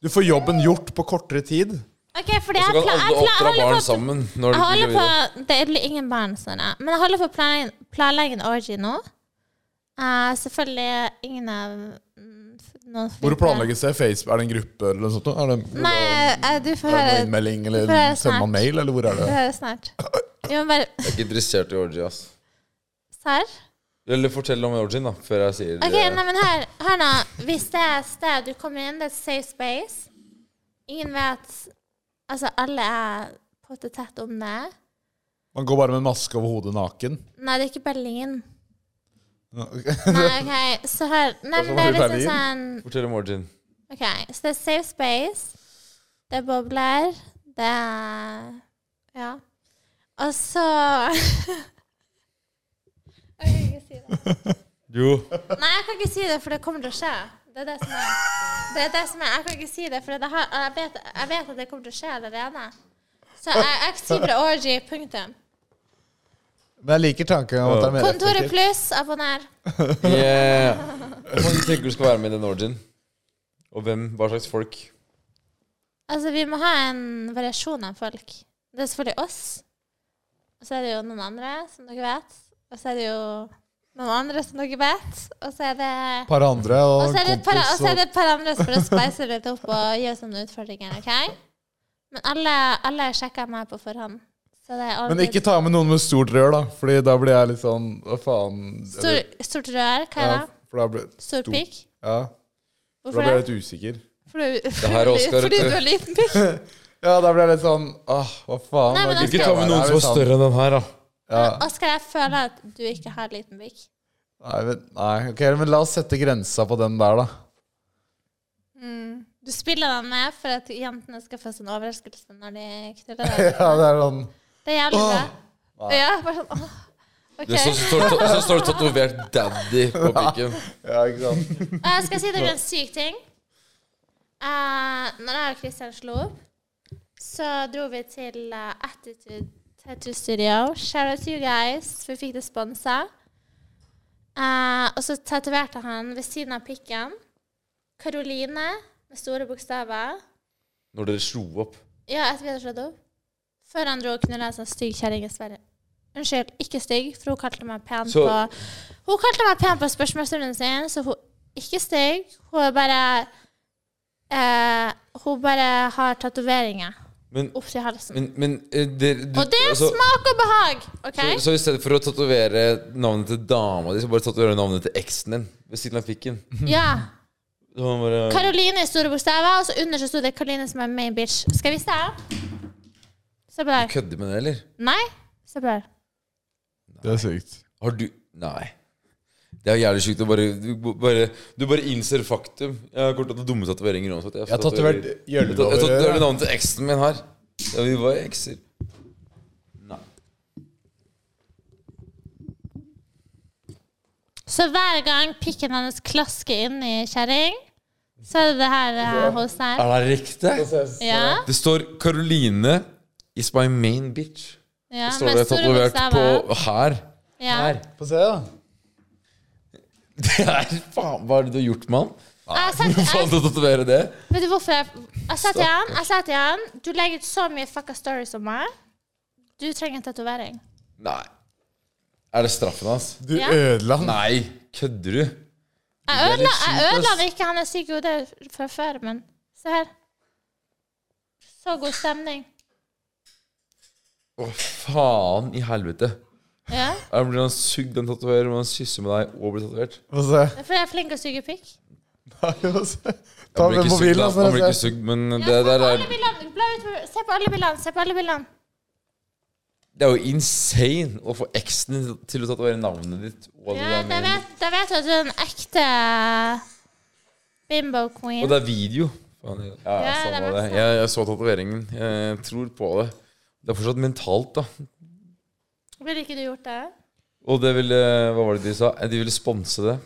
S1: Du får jobben gjort på kortere tid.
S3: OK, fordi
S4: Så
S3: jeg,
S4: kan
S3: pla-
S4: alle
S3: jeg, pla-
S4: oppdra
S3: jeg holder
S4: barn
S3: på-
S4: sammen når du
S3: Jeg
S4: blir
S3: holder
S4: gravid.
S3: på Det blir ingen barn, sånn, ja. men jeg holder på å planlegge, planlegge en orgy nå. Eh, selvfølgelig ingen av mm, f- noen
S1: Hvor
S3: flinkere.
S1: planlegges det? Facebook? Er det en gruppe eller noe sånt? nå? Er det,
S3: Nei, eh, du får
S1: er det
S3: høre
S1: noe innmelding,
S3: du
S1: eller
S3: får høre
S1: sender man
S3: snart.
S1: mail, eller hvor er
S3: Du
S1: det?
S3: får høre snart. Vi må bare
S4: Jeg er ikke interessert i orgy, ass.
S3: Serr?
S4: Eller fortell om orgien, da, før jeg sier
S3: OK, nei, men her, her nå. Hvis det er et sted du kommer inn, det er et safe space Ingen vet Altså, alle er potte tett om det.
S1: Man går bare med en maske over hodet naken.
S3: Nei, det er ikke Berlin.
S1: Ok.
S3: Nei, OK, så her Nei, men det er liksom sånn
S4: Fortell om orgien.
S3: Ok, så det er safe space. Det er bobler. Det er Ja. Og så Jeg kan ikke si det.
S4: Jo.
S3: Nei, jeg kan ikke si det, for det kommer til å skje. Det er det som er. Det er det som er. Jeg kan ikke si det, for det har, og jeg, vet, jeg vet at det kommer til å skje allerede. Så jeg, jeg sier bare orgy, punktum.
S1: Men jeg liker tanken om at det er mer
S3: Kontoret
S1: effektivt.
S3: pluss, abonner.
S4: Yeah. Hvor mange tenker du skal være med i den orgien? Og hvem? Hva slags folk?
S3: Altså, vi må ha en variasjon av folk. Det er selvfølgelig oss. Og så er det jo noen andre, som dere vet. Og så er det jo noen andre, som dere vet. Og så er det
S1: Et par andre og
S3: og så
S1: en
S3: er det, et par, og
S1: kompis.
S3: så er
S1: Og,
S3: det et par andre som bare speiser litt opp og gjør sånne utfordringer, OK? Men alle, alle sjekker meg på forhånd. Så det er aldri
S1: men ikke ta med noen med stort rør, da, Fordi da blir jeg litt sånn Hva faen?
S3: Stor, Stort rør, hva er
S1: ja,
S3: det?
S1: for da blir,
S3: Stor pikk?
S1: ja, for da
S3: Hvorfor
S1: blir jeg
S3: det?
S1: litt usikker.
S3: Fordi,
S4: her er
S3: fordi,
S4: Oscar,
S3: fordi
S4: vet du.
S3: du har liten pikk?
S1: Ja, da blir jeg litt sånn Åh, hva faen?
S3: Nei, men
S1: hva
S3: da
S1: gidder jeg
S3: skal jeg-
S1: å være her, liksom?
S4: enn den her, da.
S1: sånn, Ja.
S3: Oskar, jeg føler at du ikke har liten pikk.
S1: Nei, men, nei, ok, men la oss sette grensa på den der, da.
S3: Du spiller den med for at jentene skal få sånn overraskelse når de knuller deg.
S1: Ja, det er sånn
S3: Det er jævlig bra. Ja, bare sånn, åh. Ok.
S4: Det så, så, står, det- så står det tatovert 'daddy' på pikken.
S1: Ja, ikke sant?
S3: Og jeg Eh, skal si dere en syk ting. Eh, når jeg og Kristian slo opp, så dro vi til eh, Attitude Tattoo Studio. Shout out to you guys. Vi fikk det sponsa. Eh, og så tatoverte han ved siden av pikken Karoline med store bokstaver.
S4: Når dere slo opp.
S3: Ja, etter vi hadde slått opp. Før han dro og knulla en sånn stygg kjerring i Sverige. Unnskyld, ikke stygg, for hun kalte meg pen
S4: Så-
S3: på Hun kalte meg pen på spørsmålsrunden sin, så hun ikke stygg. Hun er bare eh, Hun bare har tatoveringer
S4: Men,
S3: opp til halsen.
S4: men, men eh, dere du-
S3: og det er
S4: altså,
S3: smak og behag! OK?
S4: så, så i stedet for å tatovere navnet til dama di, så bare tatovere navnet til eksen din ved siden av pikken.
S3: ja.
S4: Så han bare,
S3: Karoline i store bokstaver, og så under så sto det Karoline som er main bitch. Skal jeg vise deg? Se på der.
S4: Kødder med det, eller?
S3: Nei? Se på der.
S1: Det er sykt.
S4: Har du Nei. Det er jævlig sjukt å bare du, bare du bare innser faktum. Jeg kommer til å ha dumme tatoveringer uansett.
S1: Jeg har tatovert
S4: Jeg tat- jeg tatoverer
S1: gjøllelover.
S4: navnet til eksen min her. Ja, vi var ekser. Nei.
S3: Så hver gang pikken hennes klasker inn i kjerring, så er det det her eh, hos her.
S4: Er det riktig?
S3: Ja,
S4: Det står 'Caroline is my main bitch'.
S3: ja
S4: Står
S3: med
S4: det
S3: store
S4: tatovert på
S3: bokstaver.
S4: her.
S3: Ja.
S1: Få se, da.
S4: Det er faen Hva er det du har gjort, mann?
S3: Ah, Jeg sa til
S4: Faen,
S3: jeg-
S4: du tatoverer det?
S3: Vet du hvorfor jeg Jeg sa til han, jeg sa til han Du legger ut så mye fucka stories om meg. Du trenger en tatovering.
S4: Nei. Er det straffen hans?
S1: Du
S3: Ja.
S1: ødela den.
S4: Nei, kødder du?
S3: Jeg
S4: Det er
S3: ødela
S4: litt
S3: jeg
S4: sjukt, ass.
S3: ødela han ikke, han er syk i hodet fra før, men se her. Så god stemning.
S4: Å, faen i helvete.
S3: Ja.
S4: Her blir han sugd den tatoverer, men han kysser med deg og blir tatovert.
S1: Få se.
S3: Det er fordi jeg er flink til å suge pikk.
S1: Nei, få se. Ta
S4: Han blir
S1: med
S4: ikke sugd,
S1: mobilen,
S4: da.
S1: så
S4: han blir
S1: dere
S4: ikke
S1: altså, ser.
S4: sugd, men
S3: Ja,
S4: det
S3: se, på
S4: der er
S3: alle bildene. Bla ut- se på alle bildene. Se på alle bildene.
S4: Det er jo insane å få eksen din til å tatovere navnet ditt. Og, det
S3: Ja, da
S4: der med-
S3: vet, da vet du at du er en ekte bimbo queen.
S4: og det er video. Faen, ja,
S3: Ja,
S4: ja,
S3: det er
S4: samme det.
S3: masse.
S4: Jeg, jeg så tatoveringen. Jeg tror på det. Det er fortsatt mentalt, da.
S3: Ville ikke du gjort det?
S4: Og det ville Hva var det de sa? Eh, De ville sponse det.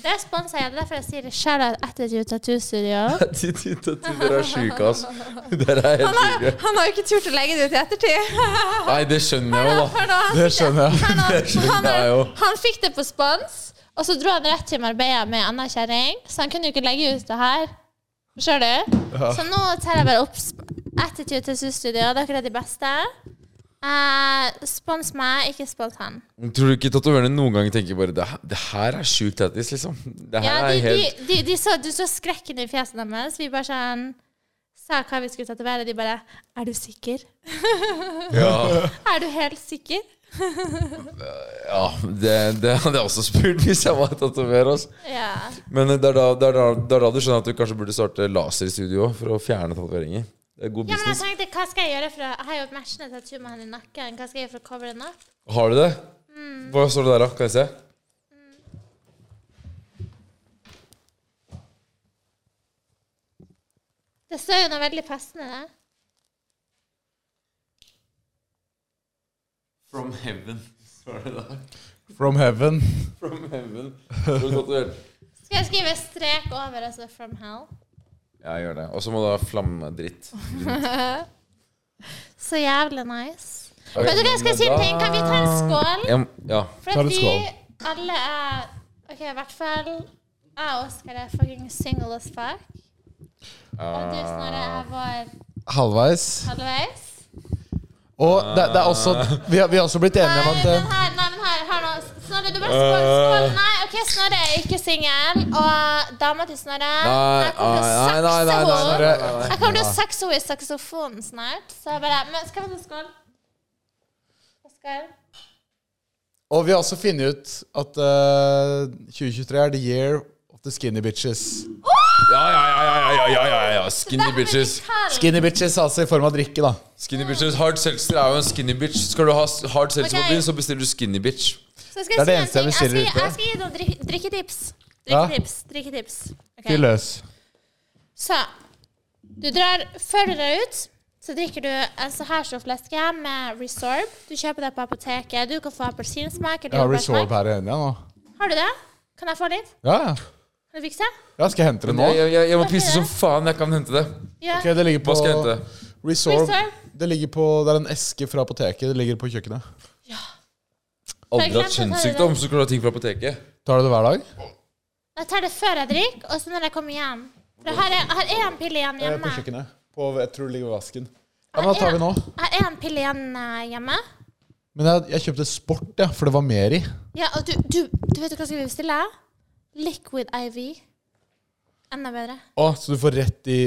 S3: Det sponser jeg. Det er derfor jeg sier det sjæl at Attitude Tattoo Studio.
S4: De- de- de- de- Dere er sjuke, ass. Dere er helt sjuke.
S5: Han har jo ikke turt å legge det ut i ettertid.
S4: Nei, det skjønner jeg jo, da.
S3: Hør nå, han
S1: Det
S3: fikk
S1: skjønner jeg.
S3: Han, han,
S4: Det er jo-
S3: han fikk det på spons, og så dro han rett til Marbella med Anna Kjerring, så han kunne jo ikke legge ut det her. Skjønner du? Så nå tar jeg bare opp sp- Attitude Tattoo Studio. Dere er de beste. Eh, spons meg, ikke spons han.
S4: Tror du ikke tatoverene noen gang tenker bare Det, her- det her er sjukt tattis, liksom? Det her
S3: Ja, de,
S4: er helt
S3: de, de, de så, du så skrekken i fjeset deres. Vi bare sånn sa hva vi skulle tatovere. De bare 'Er du sikker?
S4: Ja,
S3: Er du helt sikker?'
S4: ja det, det hadde jeg også spurt hvis jeg var tatoverer. Altså.
S3: Ja.
S4: Men det er, da, det, er da, det er da du skjønner at du kanskje burde starte laserstudio også for å fjerne tatoveringer. Det er god
S3: ja, men jeg
S4: business.
S3: tenkte, hva skal jeg gjøre for å Jeg har jo et matchende tattoo med han i nakken. Hva skal jeg gjøre for å cover den opp?
S4: Har du det?
S3: Mm.
S4: Hva står det der, da? Kan jeg se?
S3: Det står jo noe veldig passende der.
S4: From heaven. Står det der?
S1: From heaven.
S4: From heaven. Står det tatovert?
S3: Skal jeg skrive strek over, altså 'from hell'?
S4: Ja, gjør det. Og så må du ha flammedritt.
S3: Så jævlig nice. Vet du hva, skal jeg si en ting? Kan vi ta en skål?
S4: Ja, ja.
S1: Ta
S3: For at
S1: litt
S3: vi
S1: skål.
S3: alle er OK, i hvert fall jeg og Oskar er fucking single as fuck. Og du, Snorre, er vår
S1: Halvveis.
S3: halvveis.
S1: Og det, det er også
S4: Ah.
S1: vi har, vi har også blitt enige om
S3: Nei,
S1: at
S3: men
S1: eh,
S3: her, nei, men her, her nå. Snorre, du bare skål, skål. Nei, OK, Snorre er ikke singel. Og dama til Snorre
S4: Nei,
S3: Jeg kommer til å
S4: nei, nei, nei, nei,
S1: nei,
S3: sakse
S4: nei,
S3: henne.
S1: nei, nei.
S3: Jeg kommer til å sakse henne i saksofonen snart. Så jeg bare men, Skal vi ta skål? Oskar?
S1: Og vi har også funnet ut at eh, 2023 er the year of the skinny bitches.
S4: Ja, ja, ja, ja, ja, ja, ja, ja. Skinny bitches.
S1: Skinny bitches altså i form av drikke, da.
S4: Skinny bitches, Hard seltzer er jo en skinny bitch. Skal du ha s- hard seltzer
S3: Ok.
S4: på byen, så bestiller du skinny bitch.
S1: Det er det eneste jeg bestiller ute.
S3: Jeg skal gi noen drik drikketips.
S1: Ja.
S3: Drikketips. drikketips. Ok.
S1: Fyr løs.
S3: Så du drar Før du drar ut, så Så drikker du en så her stor flaske med Resorb. Du kjøper det på apoteket. Du kan få appelsinsmak. eller
S1: Jeg har
S3: jordbærsmak.
S1: Resorb her inne nå.
S3: Har du det? Kan jeg få litt?
S1: Ja, ja.
S3: Kan du fikse?
S1: ja. Skal jeg hente det nå?
S4: Jeg, jeg, jeg, jeg må pisse
S3: det?
S4: som faen. Jeg kan hente det.
S3: Ja.
S1: Ok, det ligger på
S4: Hva skal jeg hente?
S1: Resorb.
S3: Resorb.
S1: Det ligger på Det er en eske fra apoteket. Det ligger på kjøkkenet.
S3: Jeg
S4: Aldri
S3: glemte
S4: hatt
S3: å ta det
S4: kjønnssykdom, så skulle du ha ting fra apoteket.
S1: Tar du det hver dag?
S3: Jeg tar det før jeg drikker, og så når jeg kommer hjem. For her er, her er en pille igjen
S1: Eh, På
S3: hjemme.
S1: kjøkkenet. På, jeg tror det ligger ved vasken. Ja, men da tar vi nå.
S3: Her er en pille igjen eh, hjemme.
S1: Men jeg, jeg kjøpte Sport, ja, for det var mer i.
S3: Ja, og du, du, du vet jo hva skal vi bestille? Liquid IV. Enda bedre.
S1: Å, så du får rett i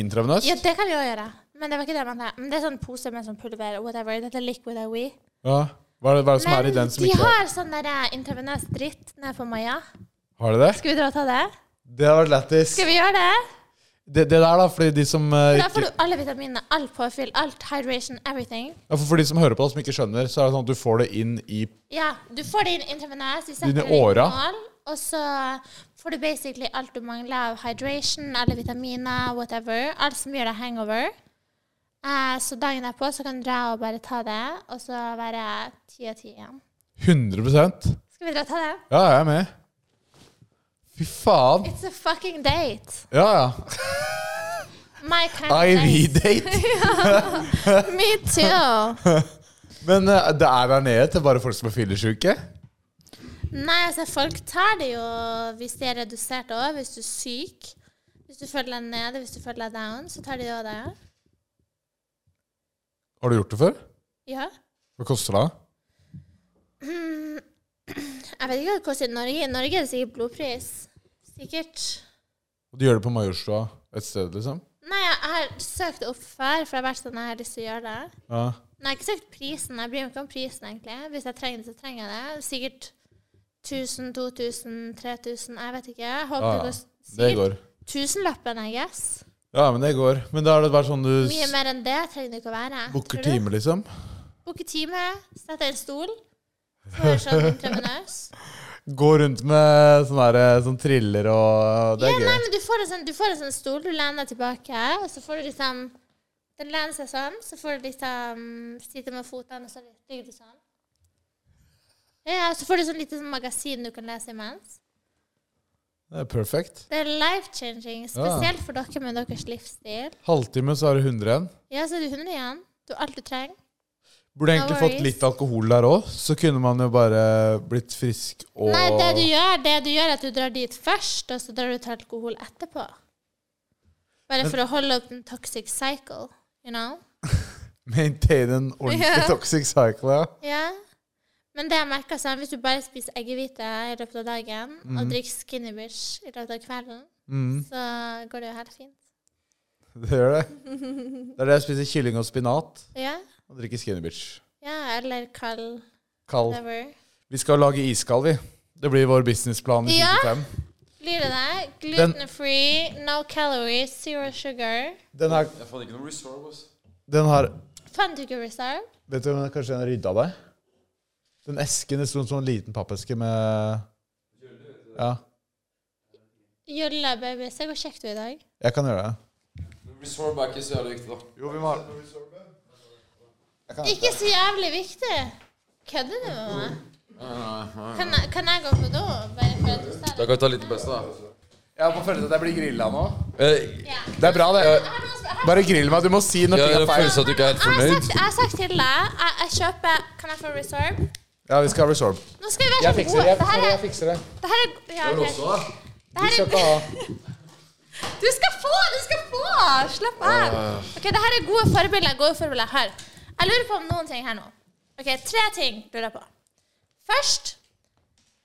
S1: intravenøst?
S3: Ja, det kan vi òg gjøre. Men det var ikke det jeg mente. Men det er sånn pose med sånn pulver, whatever. Dette er liquid IV.
S1: Ja. Hva er det, hva er det som er
S3: Men
S1: i den som
S3: de
S1: ikke har
S3: har sånn der eh, intravenøs dritt nede på Maja.
S1: Har de det?
S3: Skal vi dra og ta det?
S1: Det hadde vært lættis.
S3: Skal vi gjøre det?
S1: Det, det der, da, fordi de som eh,
S3: For da får
S1: ikke,
S3: du alle vitaminene, alt påfyll, alt hydration, everything.
S1: ja, for, for de som hører på, da, som ikke skjønner, så er det sånn at du får det inn i
S3: Ja, du får det inn intravenøs. Vi
S1: Dine
S3: setter det i
S1: åra.
S3: kanal, og så får du basically alt du mangler av hydration, alle vitaminer, whatever. Alt som gjør deg hangover. Eh, så dagen derpå så kan du dra og bare ta det, og så være ti av ti igjen.
S1: 100 Ja,
S3: Skal vi dra og ta det?
S1: jeg er med. Fy faen.
S3: It's a fucking date.
S1: Ja, ja.
S3: My kind of date.
S1: IV-date.
S3: Me too.
S1: Men eh, det er der nede til bare folk som er fyllesyke?
S3: Nei, altså, folk tar det jo hvis de er redusert òg, hvis du er syk. Hvis du føler deg nede, hvis du føler deg down, så tar de òg det.
S1: Har du gjort det før?
S3: Ja.
S1: Hva koster det?
S3: Jeg vet ikke hva det koster i Norge. I Norge er det sikkert blodpris. Sikkert.
S1: Og de gjør det på Majorstua et sted, liksom?
S3: Nei, jeg har søkt opp før, for jeg har vært sånn jeg har lyst til å gjøre det.
S1: Ja.
S3: Men jeg har ikke søkt prisen. Jeg bryr meg ikke om prisen, egentlig. Hvis jeg trenger det, så trenger jeg det. Sikkert 1000, 2000, 3000, jeg vet ikke. Jeg håper
S1: Ja, ja.
S3: det går
S1: Det
S3: sikkert
S1: går.
S3: tusenlappen, I guess.
S1: Ja, men det går. Men da er det bare sånn du
S3: Mye mer enn det trenger det ikke å være.
S1: booker
S3: tror du?
S1: time, liksom?
S3: Booker time, setter en stol, får en sånn intravenøs.
S1: Gå rundt med sånn der, sånn triller og Det
S3: Ja,
S1: er
S3: nei,
S1: gøy.
S3: men du får, en sånn, du får en sånn stol, du lener tilbake, og så får du liksom Den lener seg sånn, så får du liksom sitte med føttene, og så ligger du sånn. Ja, og så får du sånn lite sånn magasin du kan lese imens.
S1: Det er perfekt.
S3: Det er
S1: Ah.
S3: life-changing, spesielt for dere med deres livsstil.
S1: Halvtime, så er det 100 igjen.
S3: Ja, så er du 100 igjen. Du har alt du trenger.
S1: Burde
S3: No
S1: egentlig fått
S3: worries.
S1: litt alkohol der òg, så kunne man jo bare blitt frisk og
S3: Nei, det du gjør, det du gjør er at du drar dit først, og så drar du til alkohol etterpå. Bare for å holde opp den toxic cycle, you know?
S1: Maintain en ordentlig
S5: Ja.
S1: toxic cycle, ja.
S3: Ja. Men det jeg merker sånn, hvis du bare spiser eggehvite i løpet av dagen,
S1: Mhm.
S3: og drikker Skinny Bitch i løpet av kvelden,
S1: Mm,
S3: så går det jo helt fint.
S1: det gjør det. Det er det jeg spiser kylling og spinat
S3: Ja.
S1: og drikker Skinny Bitch.
S3: ja eller kald
S1: Kald.
S3: whatever.
S1: Vi skal lage iskald, vi. Det blir vår businessplan i
S3: Ja.
S1: 2025.
S3: Blir det det?
S1: Den-
S3: Gluten-free, no calories, zero sugar.
S1: Den her,
S4: Jeg fant ikke noe resorb, ass.
S1: den her
S3: Fant du ikke reserve?
S1: Vet du om jeg kanskje den har rydda deg? Den esken det sto en sånn liten pappeske med Ja,
S3: Jolla, baby. Se hvor kjekk du er i dag.
S1: jeg kan gjøre det.
S4: Resorb er ikke så jævlig viktig, da.
S1: Jo, vi må ha
S3: Ikke så jævlig viktig. Kødder du med meg? Kan, jeg- kan jeg gå på do? Bare for at du sa
S4: Da
S3: det?
S4: kan vi ta litt best, da.
S1: Jeg må føle at jeg blir grilla nå.
S4: Eh,
S3: Ja.
S1: Det er bra, det.
S3: Jeg har noe som- jeg har-
S1: Bare grill meg. Du må si når
S4: Jeg
S1: ting
S4: har
S1: er feil.
S4: følelsen at du ikke er helt
S3: Jeg har
S4: fornøyd.
S3: sagt, jeg har sagt til deg jeg, jeg kjøper Kan jeg få reserve?
S1: Ja, vi skal ha resorb.
S3: Nå skal vi være
S1: Jeg
S3: så
S1: fikser
S3: gode.
S1: det. Jeg
S3: Det her
S1: fikser det. jeg fikser det.
S3: er, det her er, ja, ok. det
S1: Vi
S3: her
S1: skal ikke ha
S3: er Du skal få! Du skal få! Slapp av. Ok, Det her er gode forbilder. Gode forbilder. Her. Jeg lurer på om noen ting her nå. Ok, Tre ting lurer jeg på. Først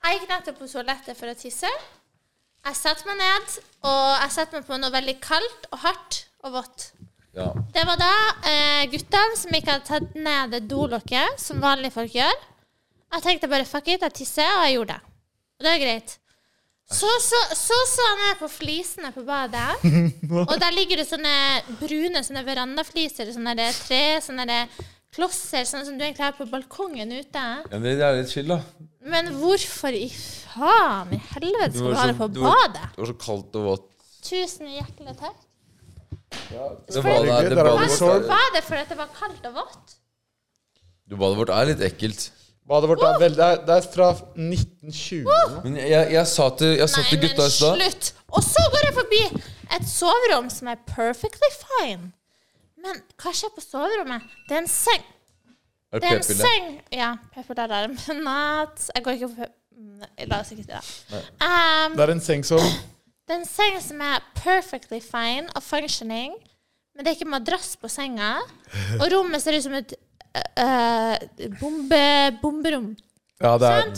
S3: Jeg gikk nettopp på toalettet for å tisse. Jeg satte meg ned, og jeg satte meg på noe veldig kaldt og hardt og vått.
S4: Ja.
S3: Det var da eh, guttene som ikke hadde tatt ned det dolokket, som vanlige folk gjør. Jeg tenkte bare fuck it, jeg tisser, og jeg gjorde det. Og det er greit. Så så, så, så jeg ned på flisene på badet, og der ligger det sånne brune sånne verandafliser, sånne der tre, sånne der klosser, sånn som du egentlig har på balkongen ute.
S4: Ja, det er litt chill, da.
S3: Men hvorfor i faen i helvete
S4: Du
S3: skal
S4: var
S3: du ha
S4: så-
S3: det på
S4: du var-
S3: badet?
S4: Det var så kaldt og vått.
S3: Tusen hjertelig takk.
S4: Det badet,
S1: Hyggelig,
S4: det
S1: der har
S4: badet,
S1: vi
S4: vårt,
S1: sår.
S4: er-
S3: Var det fordi det var kaldt og vått?
S4: det badet vårt er litt ekkelt.
S1: Badet vårt er veldig det er- Det er fra 1920. nå.
S4: Men jeg, jeg, jeg sa til, jeg sa til
S3: Nei,
S4: gutta
S3: men
S4: i stad
S3: slutt! Og så går jeg forbi et soverom som er perfectly fine. Men hva skjer på soverommet? Det er en seng.
S4: Er
S3: Det
S4: det
S3: er en
S4: p-pille?
S3: seng. Ja, p-pille-alarm. Natt. Jeg går ikke på p- Nei, La oss ikke si det. Um,
S1: Det er en seng som
S3: det er en seng som er perfectly fine og functioning, men det er ikke madrass på senga. Og rommet ser ut som et øh, øh, bombe, bomberom.
S1: Ja, det er,
S3: Sant?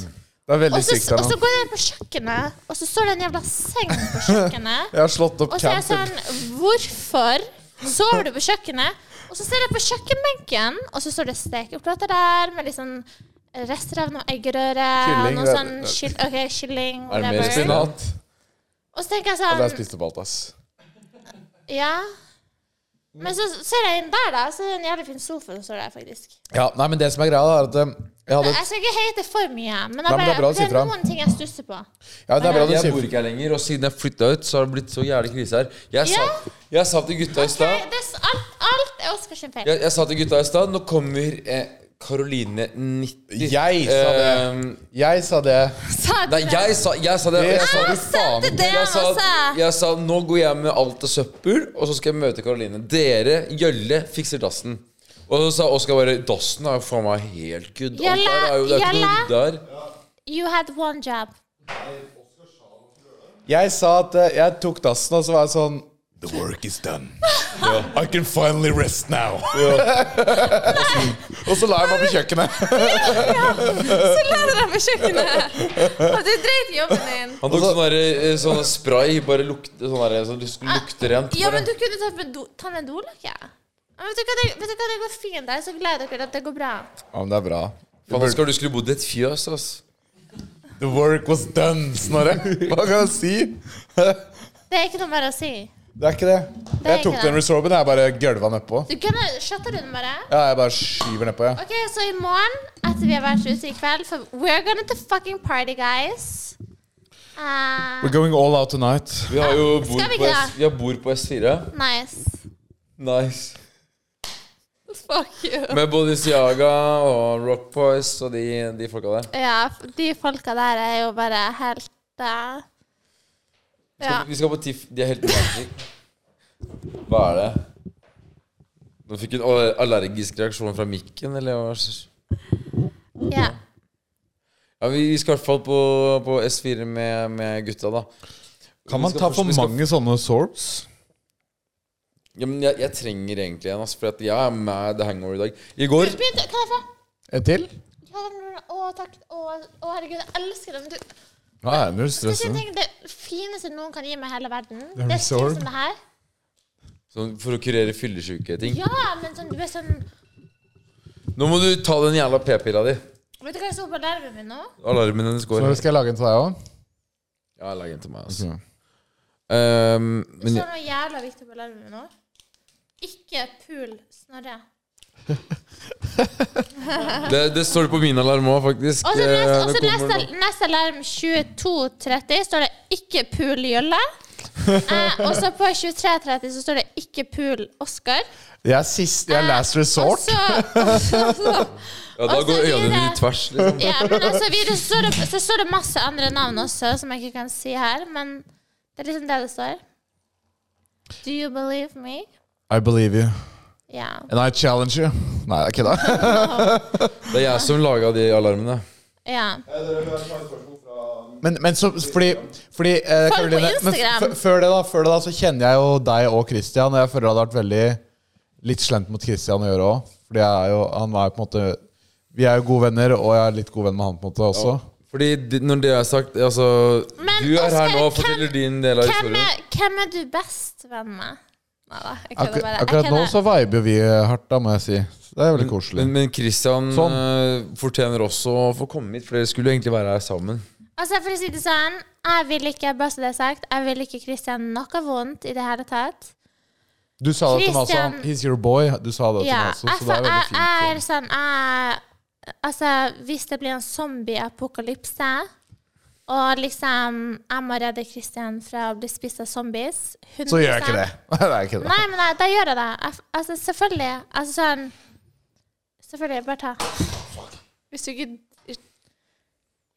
S1: det er veldig
S3: Og så
S1: sykt der
S3: og så
S1: nå.
S3: går jeg inn på kjøkkenet, og så står det en jævla seng på kjøkkenet.
S1: Jeg har slått opp
S3: Og så er jeg
S1: campen.
S3: sånn Hvorfor sover du på kjøkkenet? Og så ser jeg på kjøkkenbenken, og så står det stekeplater der med litt sånn rester av noe eggerøre.
S1: Kylling,
S3: Noe
S1: det-
S3: sånn kyll, ok, kylling,
S4: Er det mer
S3: whatever.
S1: Spinat.
S4: spinat?
S3: Og så tenker jeg
S1: Ja, det er
S3: sånn
S1: spist opp alt, ass.
S3: Ja. Men så ser jeg inn der, da, så er det en jævlig fin sofa som står der, faktisk.
S1: Ja, nei, men det som er greia, da, er at eh, jeg hadde
S3: Jeg skal ikke hate for mye, men, jeg
S1: Nei, men det er bra
S3: bare,
S1: å si
S3: det er
S1: fra.
S3: noen ting jeg stusser på.
S1: Ja, det er bra du
S4: Jeg
S1: sier
S4: bor ikke her lenger, og siden jeg flytta ut, så har det blitt så jævlig krise her. Jeg sa, jeg sa til gutta i
S3: Ok,
S4: stad
S3: det er s- alt, alt er Oskar sin feil.
S4: jeg, jeg sa til gutta i stad Nå kommer eh, Karoline 90
S1: Jeg sa det.
S4: Ehm,
S1: Jeg sa det.
S3: Sa du
S4: Nei,
S3: det?
S4: jeg sa, jeg sa det.
S1: Det
S4: Jeg sa,
S1: sa
S4: det faen.
S3: det
S4: Jeg sa,
S3: også.
S4: jeg sa nå går jeg med alt av søppel, og så skal jeg møte Karoline. Dere, Gjølle, fikser dassen. Og så sa Oskar bare Dassen er jo faen meg helt good. Alt
S3: Gjølle,
S4: der er jo, det er ikke noe
S3: Gjølle.
S4: rydde her.
S3: You had one job.
S1: Jeg sa at eh, jeg tok dassen, og så var jeg sånn The work is done. I can finally rest now. og så la jeg meg på kjøkkenet.
S5: Så la du deg på kjøkkenet! Og du dreit i jobben din.
S4: Han tok sånn der, eh, sånn spray, bare lukte sånn der, så det skulle lukte rent.
S3: Ah, Ja, men
S4: bare.
S3: du kunne tatt med do, ta med dolakke. Ja, Vet du hva, det, vet du hva, det går fint. Jeg er så glad i dere at det går bra.
S1: Ja, men det er bra.
S4: Faen, Oskar, du skulle bodd i et fjøs, ass.
S1: The work was done, Snorre. Hva kan jeg si?
S3: Det er ikke noe mer å si.
S1: Det er ikke det.
S3: Det er
S1: Jeg tok
S3: ikke det.
S1: den resorben, jeg bare gølva nedpå.
S3: Du kunne shotte rundt bare.
S1: Ja, jeg bare skyver nedpå, jeg.
S3: Ok, så i morgen, etter vi har vært ute i kveld, for we're gonna to fucking party, guys. Eh,
S1: We're going all out tonight.
S4: Vi har jo bor
S3: Skal vi
S4: på,
S3: ikke
S4: S,
S3: det?
S4: vi har bor på S4.
S3: nice.
S4: Nice.
S5: Fuck you.
S4: Med både Siaga og Rock Boys og de, de folka der.
S3: Ja, f- de folka der er jo bare helt eh, Ja.
S4: Vi skal på TIFF. De er helt magic. Hva er det? Nå fikk hun al- allergisk reaksjon fra mikken, eller hva?
S3: ja.
S4: Ja, vi, vi skal i hvert fall på, på S4 med, med gutta, da.
S1: Kan
S4: Vi
S1: man
S4: skal
S1: ta
S4: først-
S1: for
S4: vi skal-
S1: mange sånne sorbs?
S4: Ja, men jeg, jeg trenger egentlig en, ass, for at jeg er mad hangover i dag. I går
S3: Begynte, kan jeg få?
S1: En til?
S3: Ja, men- Å, takk. Å, å, herregud, jeg elsker dem. Du,
S1: Nei, nå er du
S3: Skal jeg
S1: stressa.
S3: tenke det fineste noen kan gi meg i hele verden?
S1: er
S3: Det er ting
S1: resorb.
S3: som det her.
S4: sånn, For å kurere fyllesyke-ting.
S3: Ja, men sånn, du er sånn
S4: Nå må du ta den jævla p-pilla di.
S3: Vet du hva jeg så på nerven min nå?
S4: Alarmen hennes går.
S1: Snorre, skal jeg lage en til deg òg?
S4: Ja, lag en til meg, ass. Ehm,
S3: Så
S4: men
S3: noe jævla viktig på nerven min nå. Ikke pul Snorre.
S4: det, det står det på min alarm òg, faktisk.
S3: Og så
S4: Eh,
S3: neste,
S4: det
S3: også
S4: kommer nå.
S3: neste, neste alarm 22.30 står det 'ikke pul Jølle'. Eh, og så på 23.30 så står det 'ikke pul Oskar'.
S1: Jeg er sist. Jeg er last
S3: Og
S1: resort.
S3: så, og så
S4: Ja, da
S3: Og så
S4: går øynene
S3: videre.
S4: mine i tvers, liksom.
S3: Ja, men altså, videre så står, det, så står det masse andre navn også, som jeg ikke kan si her, men det er liksom det det står. Do you believe me?
S1: I believe you.
S3: Ja.
S1: And I challenge you. Nei, jeg kødda.
S4: Det er jeg som laga de alarmene.
S3: ja.
S1: Men, men så, fordi, fordi eh,
S3: på
S1: Karoline, men
S3: Instagram.
S1: f- før, det da, før det da, så kjenner jeg jo deg og Christian. Og jeg føler det hadde vært veldig litt slemt mot Christian å gjøre òg. Fordi jeg er jo, han er jo på en måte Vi er jo gode venner, og jeg er litt god venn med han på en måte også.
S4: Fordi de, når det er sagt, altså
S3: Men
S4: Du er
S3: Oskar,
S4: her nå og
S3: hvem-
S4: forteller din del av
S3: Hvem
S4: historien.
S3: er, hvem er du best venn med? Nei da, jeg
S1: Akkur
S3: kødder bare. Jeg
S1: akkurat nå
S3: kødder.
S1: så viber vi hardt, da, må jeg si. Det er veldig koselig.
S4: Men, men Christian
S1: Sånn.
S4: eh, fortjener også å få komme hit, for dere skulle jo egentlig være her sammen.
S3: Altså, for å si det sånn, jeg vil ikke, bare så det er sagt, jeg vil ikke Christian noe vondt i det hele tatt.
S1: Du sa det til meg også.
S3: Christian-
S1: He's your boy. Du sa det til
S3: Ja,
S1: meg også,
S3: jeg,
S1: så det er veldig
S3: jeg, jeg er
S1: fint.
S3: sånn, jeg Altså, hvis det blir en zombie-apokalypse, Og liksom, jeg må redde Kristian fra å bli spist av zombies.
S1: Så gjør jeg ikke
S3: 100%.
S1: det. det er ikke det.
S3: Nei, men da, da gjør jeg det. Jeg, f- altså, selvfølgelig. Altså sånn Selvfølgelig. Bare ta.
S5: Hvis du ikke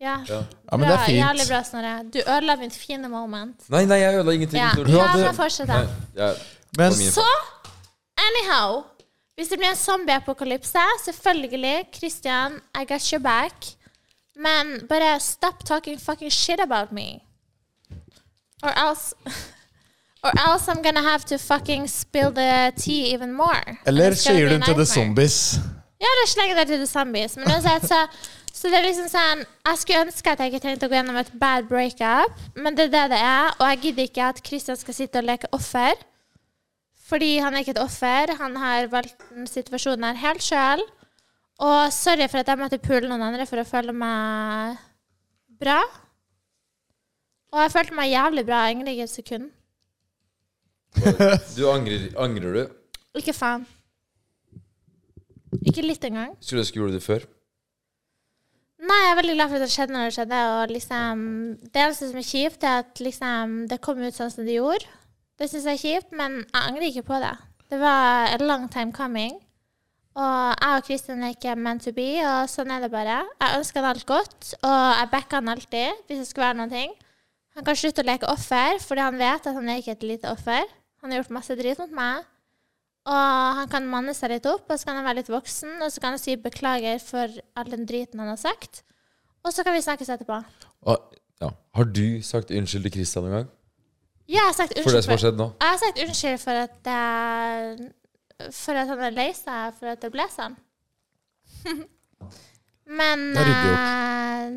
S3: Ja.
S1: Ja, men det er
S3: Bra, Jævlig
S1: fint.
S3: bra, Snorre. Du ødela mitt fine moment.
S4: Nei, nei, jeg ødela ingenting.
S3: Ja,
S4: Victoria.
S3: ja men fortsett, da.
S4: Nei, jeg-
S1: Men
S4: det var min
S3: Så, anyhow Hvis det blir en zombieapokalypse, selvfølgelig, Christian, I got your back. Men bare stop talking fucking shit about me. Or else Or else I'm gonna have to fucking spill the tea even more. And
S1: Eller
S3: it's gonna
S1: sier
S3: be a
S1: du til The
S3: nightmare.
S1: Zombies?
S3: Ja, det slenger det til The Zombies. Men uansett, så så det er liksom sånn Jeg skulle ønske at jeg ikke trengte å gå gjennom et bad breakup, men det er det det er. Og jeg gidder ikke at Christian skal sitte og leke offer. Fordi han er ikke et offer. Han har valgt den situasjonen her helt sjøl. Og sorry for at jeg måtte pule noen andre for å føle meg bra. Og jeg følte meg jævlig bra egentlig i et sekund.
S4: Du angrer, angrer du?
S3: Ikke faen. Ikke litt engang.
S4: Skulle ønske du gjorde det før.
S3: Nei, jeg er veldig glad for at det skjedde når det skjedde. Og liksom, det eneste som er kjipt, er at liksom, det kom ut sånn som det gjorde. Det syns jeg er kjipt, men jeg angrer ikke på det. Det var a long time coming. Og jeg og Kristin er ikke meant to be, og sånn er det bare. Jeg ønsker han alt godt, og jeg backer han alltid hvis det skulle være noen ting. Han kan slutte å leke offer, fordi han vet at han er ikke et lite offer. Han har gjort masse drit mot meg. Og han kan manne seg litt opp, og så kan han være litt voksen, og så kan han si beklager for all den driten han har sagt. Og så kan vi snakkes etterpå.
S4: Og, Ah, ja. Har du sagt unnskyld til Christian noen gang?
S3: Ja, jeg har sagt
S4: For det
S3: unnskyld
S4: som har skjedd nå?
S3: Jeg har sagt unnskyld for at eh, For at han er lei seg for at det ble sånn. Men
S4: Det er ryddig
S3: eh,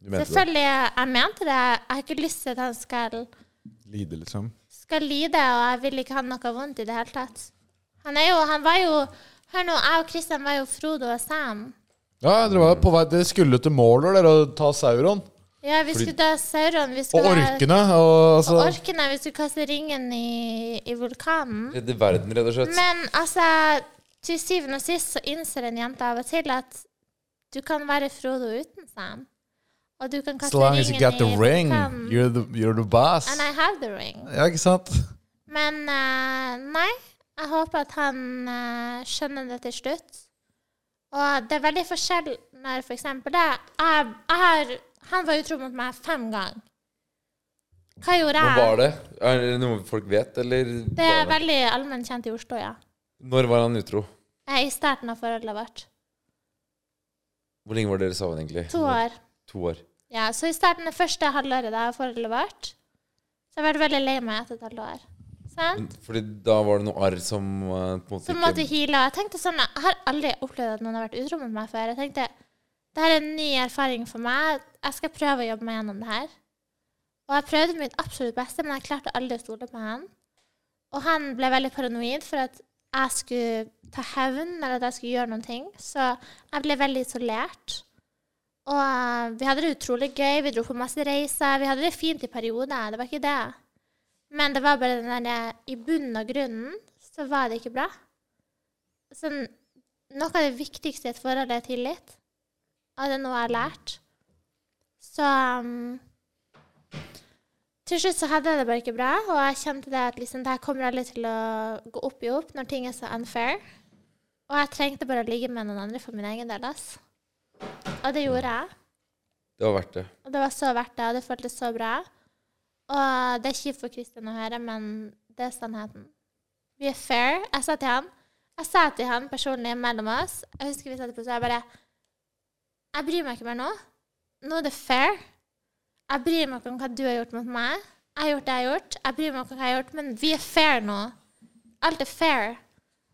S4: Du mente det?
S3: selvfølgelig, jeg mente det. Jeg har ikke lyst til at han skal
S1: Lide, liksom.
S3: skal lide, og jeg vil ikke ha noe vondt i det hele tatt. Han er jo Han var jo Hør nå, jeg og Kristian var jo Frodo og Sam.
S1: Ja, dere var på vei Dere skulle til Mauler, dere, og ta Sauron.
S3: Ja, vi skulle dø sauron. Vi
S1: Og
S3: skulle
S1: orkene. Og
S3: Og
S1: altså
S3: orkene. Vi skulle kaste ringen i, i vulkanen.
S4: Redde verden, rett og slett.
S3: Men altså, til syvende og sist så innser en jente av og til at du kan være Frodo uten Sam. Og du kan kaste
S1: So long as you
S3: ringen
S1: got the
S3: i Ah,
S1: ring,
S3: vulkanen.
S1: you're the, you're the boss.
S3: And I have the ring.
S1: Ja, ikke sant?
S3: Men eh, nei, jeg håper at han eh, skjønner det til slutt. Og det er veldig forskjell når for eksempel det jeg, jeg har, Han var utro mot meg fem ganger. Hva gjorde
S4: Når
S3: jeg?
S4: var det? Er det noe folk vet, eller?
S3: Det er
S4: var det-
S3: veldig allment kjent i Oslo, ja.
S4: Når var han utro?
S3: Eh, I starten av forholdet vårt.
S4: Hvor lenge var dere sammen, egentlig?
S3: To år.
S4: To år.
S3: Ja, så i starten det første halvåret da forholdet vart, så har jeg vært veldig lei meg etter et halvt år. Sant?
S4: Fordi da var det noe arr som eh, på
S3: Så
S4: en måte
S3: måtte
S4: ikke
S3: heale. Og jeg tenkte sånn, jeg har aldri opplevd at noen har vært utro mot meg før. Jeg tenkte, det her er en ny erfaring for meg. Jeg skal prøve å jobbe meg gjennom det her. Og jeg prøvde mitt absolutt beste, men jeg klarte aldri å stole på han. Og han ble veldig paranoid for at jeg skulle ta hevn, eller at jeg skulle gjøre noen ting. Så jeg ble veldig isolert. Og eh, vi hadde det utrolig gøy, vi dro på masse reiser, vi hadde det fint i perioder, det var ikke det. Men det var bare den der I bunnen og grunnen så var det ikke bra. Sånn, noe av det viktigste i et forhold er tillit. Og det er noe jeg har lært. Så um, Til slutt så hadde jeg det bare ikke bra, og jeg kjente det at liksom, det her kommer aldri til å gå opp i opp når ting er så unfair. Og jeg trengte bare å ligge med noen andre for min egen del. Ass. Og det gjorde jeg.
S4: Det var verdt det.
S3: Og det var så verdt det, og det føltes så bra. Og det er kjipt for Kristian å høre, men det er sannheten. Vi er fair. Jeg sa til han Jeg sa til han personlig mellom oss Jeg husker vi satt på, så jeg bare Jeg bryr meg ikke mer nå. Nå er det fair. Jeg bryr meg ikke om hva du har gjort mot meg. Jeg har gjort det jeg har gjort. Jeg bryr meg ikke om hva jeg har gjort, men vi er fair nå. Alt er fair.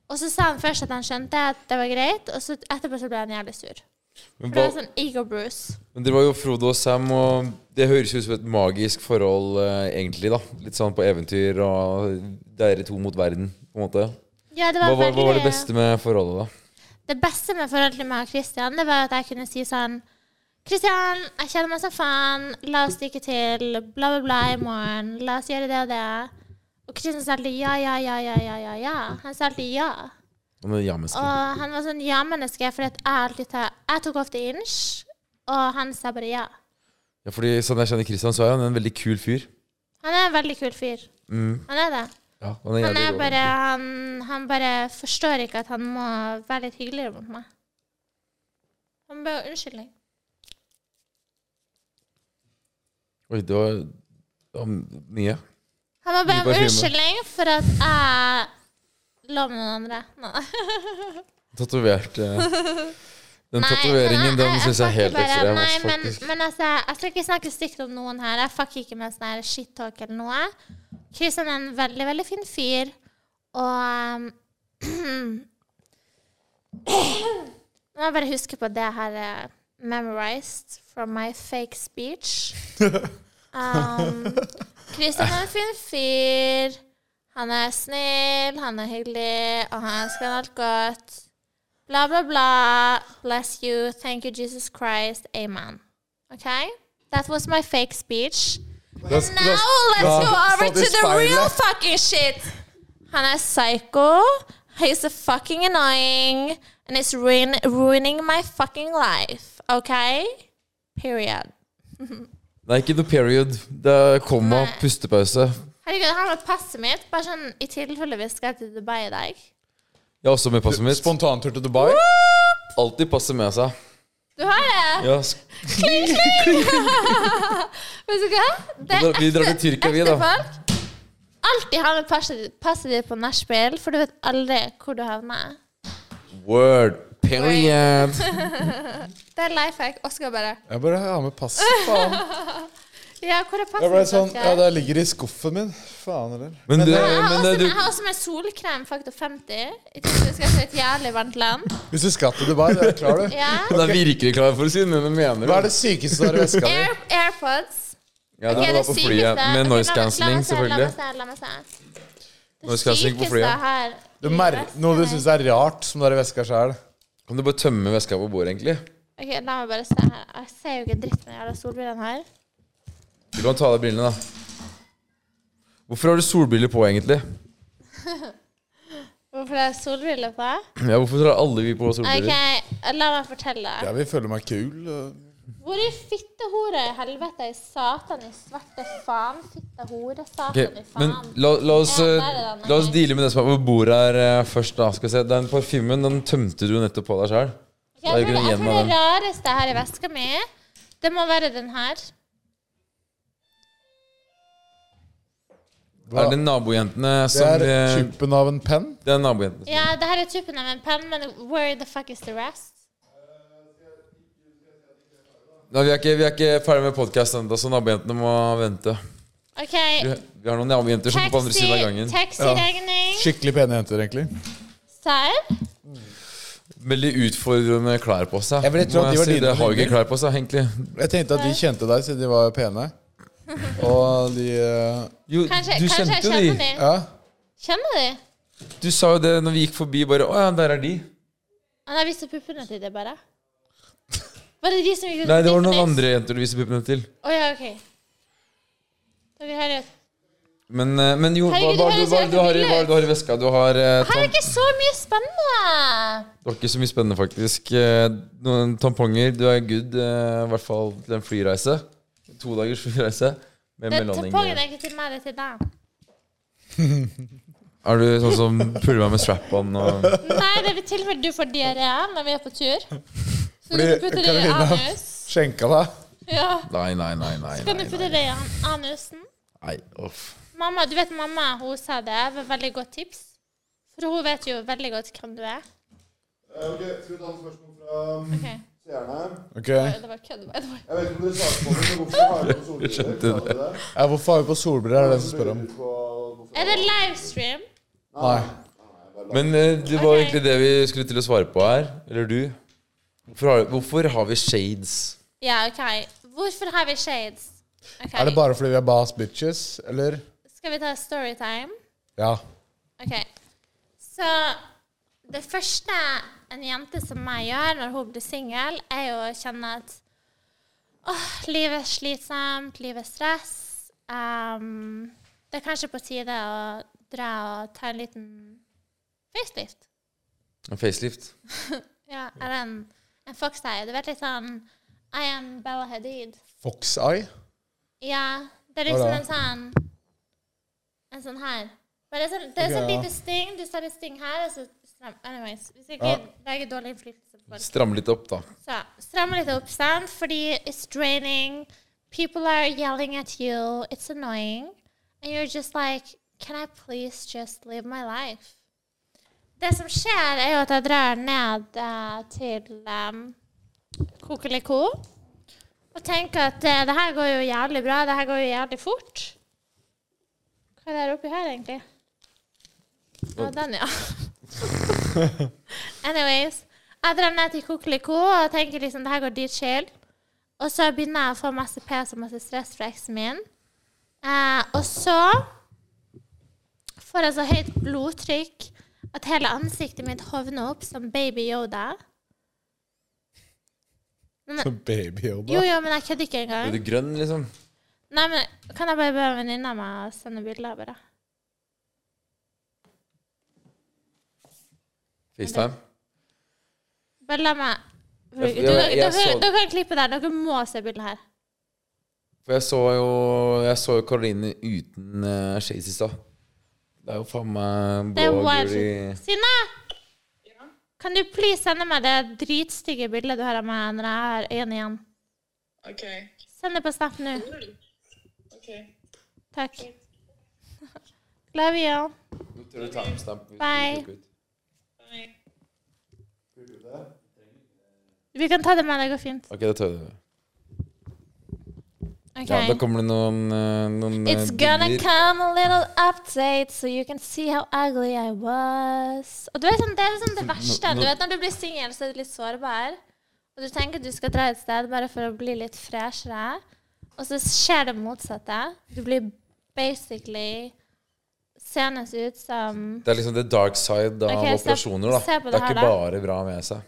S3: Og så sa han først at han skjønte at det var greit, og så etterpå så ble han jævlig sur. For
S4: Men,
S3: det
S4: hva,
S3: var sånn ego-bruce.
S4: men det var jo Frodo og Sam, og det høres jo ut som et magisk forhold, eh, egentlig, da. Litt sånn på eventyr og dere to mot verden, på en måte.
S3: Ja, det
S4: Hva,
S3: var
S4: var- hva var det
S3: veldig-
S4: beste med forholdet, da?
S3: Det beste med forholdet til meg og Kristian, det var at jeg kunne si sånn Kristian, jeg kjenner meg som faen. La oss stikke til. Bla, bla, bla i morgen. La oss gjøre det og det. Og Kristian sa alltid ja, ja, ja, ja, ja, ja. ja. Han sa alltid ja.
S4: Om det jamiske.
S3: Og han var sånn ja-menneske, for at jeg alltid tar Jeg tok ofte inch, og han sa bare ja.
S4: Ja, fordi Sånn jeg kjenner Christian, så er han en veldig kul fyr.
S3: Han er en veldig kul fyr. Han er det.
S4: Ja, han er
S3: Han,
S4: jævlig
S3: er
S4: rå.
S3: bare, han, han bare forstår ikke at han må være litt hyggeligere mot meg. Han ber om unnskyldning.
S4: Oi, det var, det var mye.
S3: Han må be
S4: Mye
S3: om
S4: parfyme.
S3: unnskyldning for at jeg lå med noen andre. Nei.
S4: Tatovert eh, Den
S3: Nei,
S4: tatoveringen,
S3: men jeg-
S4: den
S3: jeg-
S4: syns jeg er
S3: jeg
S4: helt
S3: snakker bare-
S4: ekstrem. ass,
S3: Nei, men,
S4: faktisk.
S3: men altså, jeg skal ikke snakke stygt om noen her. Jeg fucker ikke med sånn her shit-talk eller noe. Kristian er en veldig, veldig fin fyr, og um, Nå må jeg bare huske på det her eh, memorized from my fake speech. Um, Kristian er en fin fyr. Han er snill, han er hyggelig, og han ønsker han alt godt. Bla, bla, bla. Bless you. Thank you, Jesus Christ. Amen. Okay? That was my fake speech.
S4: Da-
S3: Now
S4: da-
S3: let's go
S1: Ja,
S3: over
S1: faen, det
S3: to the real
S1: speilet.
S3: fucking shit. Han er psycho. He's a fucking annoying. And it's ruin ruining my fucking life. Okay? Period.
S4: Nei, ikke the period. Det er komma,
S3: Nei.
S4: pustepause.
S3: Herregud, her var passet mitt. Bare sånn i tilfelle vi skal til Dubai i dag.
S4: Jeg har også med passet mitt.
S1: Spontantur til Dubai.
S4: Alltid passe med seg.
S3: Du har det?
S4: Ja, sk-
S3: Vet du hva? Det
S4: Da- vi drar til
S3: ekte-
S4: Tyrkia, vi,
S3: ekte
S4: da.
S3: folk. Alltid ha med passet, passet ditt på nachspiel, for du vet aldri hvor du havner.
S4: Word. Period.
S3: Det er life hack. Oskar bare
S1: Jeg bare har med passet, faen.
S3: Ja, hvor er passet
S1: Jeg ble
S3: ditt,
S1: sånn,
S3: Oskar?
S1: ja, det ligger i skuffen min. Faen heller.
S4: Men du,
S3: Jeg har,
S4: men
S3: også,
S4: eh, du
S3: jeg har også med solkrem faktor 50. I tilfelle vi skal til et jævlig varmt land.
S1: Hvis du skal til Dubai, det klarer du.
S3: Ja.
S4: Hun er virkelig klar for å si men hun mener
S1: Hva er det sykeste du har i veska di?
S3: Air, Airpods.
S4: Ja,
S3: Ok,
S4: det var
S3: det
S4: på flyet
S3: sykeste- Ok,
S4: med noise
S3: la meg- la meg
S4: cancelling,
S3: se,
S4: selvfølgelig.
S3: La meg se, la meg se.
S4: Noise
S3: Det
S4: cancelling på
S3: sykeste
S4: flyet.
S3: jeg har i
S1: Du mer
S3: veska
S1: noe du
S3: mi.
S1: syns er rart som du har i veska sjøl.
S4: Kan du bare tømme veska på bordet, egentlig?
S3: Ok, La meg bare se her. Jeg ser jo ikke dritt med de jævla solbrillene her.
S4: Du kan ta av deg brillene, da. Hvorfor har du solbriller på, egentlig?
S3: Hvorfor det er solbriller på?
S4: Ja, Hvorfor har alle vi på
S3: Ok,
S4: solbriller?
S3: La meg fortelle.
S1: Jeg vil føle meg kul.
S3: Hvor i fittehore i helvete i satan i svarte faen? Fittehore, satan
S4: Ok,
S3: i
S4: men
S3: faen.
S4: la, la, oss,
S3: Ja,
S4: eh,
S3: der er den.
S4: la oss deale med det som er på bordet her eh, først. da Skal vi se, Den parfymen den tømte du nettopp på deg sjøl.
S3: Ok,
S4: Da er
S3: jeg tror, det-
S4: det ikke noe
S3: jeg
S4: igjen
S3: tror
S4: av
S3: det rareste her i veska mi, det må være den her.
S4: Er det nabojentene
S1: Det
S4: som
S1: er
S4: eh,
S1: tuppen av en penn.
S4: Det er nabojentene.
S3: Ja, det her er tuppen av en penn, men where the fuck is the rest?
S4: Nei, vi, er ikke, vi er ikke ferdig med podkasten ennå, så nabojentene må vente.
S3: OK.
S4: Vi, vi har noen nabojenter som er på andre siden av
S3: Taxi,
S4: gangen.
S3: taxiregning.
S1: Skikkelig pene jenter, egentlig.
S3: Serr?
S4: Veldig utfordrende klær på seg.
S1: Jeg ville tro at
S4: Må
S1: de var
S4: si.
S1: dine
S4: Det har jo ikke
S1: venner.
S4: klær på seg, egentlig.
S1: Jeg tenkte at de kjente deg siden de var pene. Og de eh,
S4: Jo,
S3: Kanskje,
S4: du
S3: kanskje jeg
S4: kjente jo
S3: kjenner
S4: de.
S3: dem.
S1: Ja.
S3: Kjenner de?
S4: Du sa jo det når vi gikk forbi, bare Å ja, der er de.
S3: Han har vist puppene til deg, bare. Var det de som gikk ut
S4: Nei, det var
S3: med
S4: noen
S3: Disney?
S4: andre jenter du viste puppene til.
S3: Å ja, OK. Dere hører at-
S4: Men, eh, men jo, hva,
S3: Herregud, det
S4: hva, du,
S3: høres
S4: hva,
S3: helt
S4: du har, i- hva
S3: vilt ut.
S4: du har i veska? Du har eh,
S3: Her er
S4: tam
S3: ikke så mye spennende!
S4: Det var ikke så mye spennende, faktisk. Eh, Noen tamponger. Du er good, eh, i hvert fall til en flyreise. To dagers flyreise. Med
S3: Det
S4: mellomlanding.
S3: Tampongen er ikke til meg, det er til deg.
S4: Er du sånn som puller meg med strap-on og
S3: Nei, det er i tilfelle du får diaré når vi er på tur. Så du
S1: Fordi
S3: kan putte det i
S1: Karolina-
S3: anus.
S1: skjenka deg.
S3: Ja,
S4: Nei, nei, nei. nei,
S3: kan du
S4: nei,
S3: putte
S4: nei.
S3: det i an- anusen?
S4: nei. Uff.
S3: Mamma, du vet mamma, hun sa det var et veldig godt tips. For hun vet jo veldig godt hvem du er.
S6: Eh, Ok, skal vi ta noen spørsmål fra um,
S3: Ok,
S6: seerne?
S1: Ok.
S3: det var kødd. by the way.
S6: Jeg vet ikke om dere svarte på det, men hvorfor har dere på solbriller?
S4: skjønte
S6: Svarte dere det?
S1: Ja, hvorfor har vi på solbriller, er det den som spør om.
S6: Hvorfor-
S3: Er det livestream?
S1: Nei.
S4: Men eh, det var
S3: Ok.
S4: egentlig det vi skulle til å svare på her. Eller du. Hvorfor har, hvorfor har vi shades?
S3: Ja, OK. Hvorfor har vi shades? Ok,
S1: Er det bare fordi vi er bass bitches, eller?
S3: Skal vi ta storytime?
S1: Ja.
S3: OK. Så det første en jente som meg gjør når hun blir singel, er jo å kjenne at åh, livet er slitsomt, livet er stress. Ehm, det er kanskje på tide å dra og ta en liten facelift.
S4: En facelift?
S3: Ja, eller en, en foxeye. Du vet litt sånn I am Bella Hadid.
S1: Fox Eye?
S3: Ja, det
S1: Hva
S3: er liksom
S1: da?
S3: en sånn En sånn her. Bare sånn, det er sånn
S1: Ok, ja.
S3: lite sting. Du tar et sting her, og så stram, Anyways. Hvis ikke
S1: Ja.
S3: lager dårlig innflytelse på folk.
S4: Stramme litt opp, da.
S3: Så stramme litt opp, sant? Fordi it's draining. People are yelling at you. It's annoying. And you're just like Can I please just live my life? Det som skjer, er jo at jeg drar ned eh, til um, Kokeliko og tenker at eh, det her går jo jævlig bra. Det her går jo jævlig fort. Hva er det her oppi her, egentlig? Ja, den, ja. Anyways. Jeg drar ned til Kokeliko og tenker liksom det her går dritchill. Og så begynner jeg å få masse pes og masse stress fra eksen min. Eh, og så får jeg så høyt blodtrykk at hele ansiktet mitt hovner opp som baby Yoda.
S1: Så baby og
S3: Jo, jo, men jeg kødder ikke engang.
S4: Er du grønn, liksom?
S3: Nei, men kan jeg bare be venninna meg å sende bilder, bare?
S4: FaceTime?
S3: Bare la meg du,
S4: Jeg- jeg-
S3: dere- dere,
S4: jeg så-
S3: dere kan klippe der. Dere må se bildet her.
S4: For jeg så jo Jeg så jo Karoline uten uh, shades i stad. Det er jo faen meg
S3: Det er
S4: blå og
S3: wild.
S4: gul i
S3: Synne! Kan du please sende meg det dritstygge bildet du har av meg når jeg har øynene igjen?
S7: OK.
S3: Send det på Snap nå.
S7: ok.
S3: Takk. Love you.
S4: Du tør å ta med stamp hvis du
S3: Bye.
S4: tok ut.
S7: Bye.
S3: Vi kan ta det med. Det går fint.
S4: Ok, da tør du det. Ja, da
S3: Ok.
S4: kommer det noen, eh, noen eh,
S3: It's gonna
S4: bilder.
S3: come a little update, so you can see how ugly I was. Og du vet sånn, Det er liksom det verste. Du vet Når du blir singel, så er du litt sårbar. Og du tenker at du skal dra et sted bare for å bli litt freshere. Og så skjer det motsatte. Du blir basically seende ut som
S4: Det er liksom the dark side av
S3: Ok, se-
S4: operasjoner. da
S3: se på det
S4: Det er
S3: her,
S4: ikke
S3: da.
S4: bare bra med seg.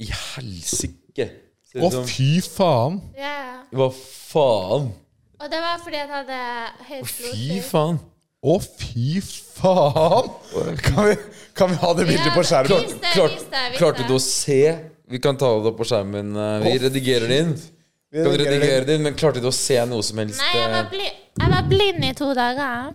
S4: I helsike! Ser
S1: Å,
S4: ut som-
S1: fy faen!
S3: Ja, ja.
S4: Hva faen?
S3: Og det var fordi jeg hadde høyt
S4: Fy
S3: blodtrykk.
S4: faen!
S1: Å, fy faen! Kan vi, kan vi ha det bildet på skjermen?
S3: Vis det,
S4: Klart-
S3: vis det, vis
S4: klarte
S3: det.
S4: du å se? Vi kan ta det opp på skjermen. eh, Vi
S1: Å,
S4: redigerer det inn.
S1: Vi
S4: Kan
S1: redigerer
S4: redigere det inn, men klarte du å se noe som helst?
S3: Nei, jeg var,
S4: eh,
S3: bli, jeg var blind i to dager.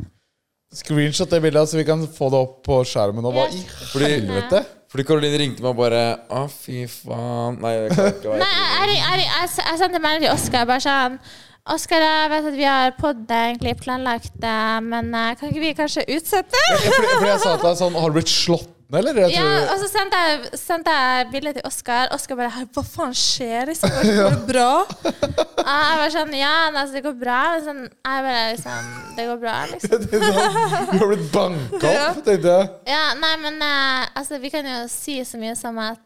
S1: Screenshot det bildet, så vi kan få det opp på skjermen. Og hva i
S4: Fordi,
S1: helvete?
S4: fordi Caroline ringte meg og bare Å, fy faen. Nei, jeg klarer ikke
S3: Nei,
S4: å være
S3: jeg, jeg, jeg, jeg, jeg sendte melding til Oskar bare sånn Oskar, jeg vet at vi har poddet egentlig planlagt det, men eh, kan ikke vi kanskje utsette?
S1: Ja, Fordi, fordi jeg sa til deg sånn Har du blitt slått ned, eller? Jeg
S3: Ja, altså-
S1: tror,
S3: og så sendte jeg, sendte jeg bilde til Oskar. Oskar bare «Hei, Hva faen skjer? Liksom, går det går det bra? Og jeg var sånn Ja, nei, altså, det går bra. Men sånn, jeg bare liksom Det går bra, liksom.
S1: sånn, Du har blitt banka opp, tenkte jeg.
S3: Ja, nei, men eh, altså, vi kan jo si så mye som at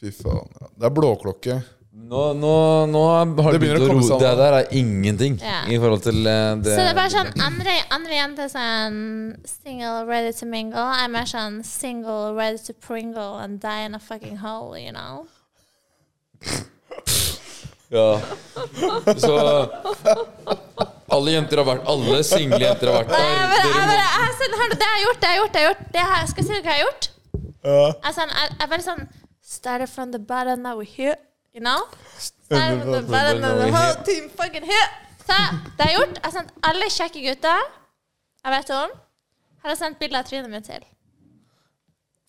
S1: Fy faen. ja. Det er blåklokke.
S4: Nå, nå, nå har
S1: Det
S4: det
S1: begynner
S4: begynt
S1: å
S4: å
S1: komme
S4: roe
S1: sammen.
S4: Det der er ingenting
S3: Ja.
S4: i forhold til eh, det.
S3: Så det er bare sånn andre, andre jenter sånn single, ready to mingle. Jeg er mer sånn single, ready to pringle and die in a fucking hole, you know.
S4: Ja. Så alle jenter har vært Alle single jenter har vært
S3: Jeg bare,
S4: der.
S3: jeg
S4: Dere
S3: bare, jeg, sånn, hør nå, det har jeg gjort, det har jeg gjort, det har jeg gjort. Det her, skal jeg si dere hva jeg har gjort? Jeg, er sånn, jeg, jeg bare sånn Started from the bottom, now we're here, you know. Started from the bottom, now the whole team fucking here. Så det har jeg gjort. Jeg har sendt alle kjekke gutter jeg vet om, har jeg sendt bilde av trynet mitt til.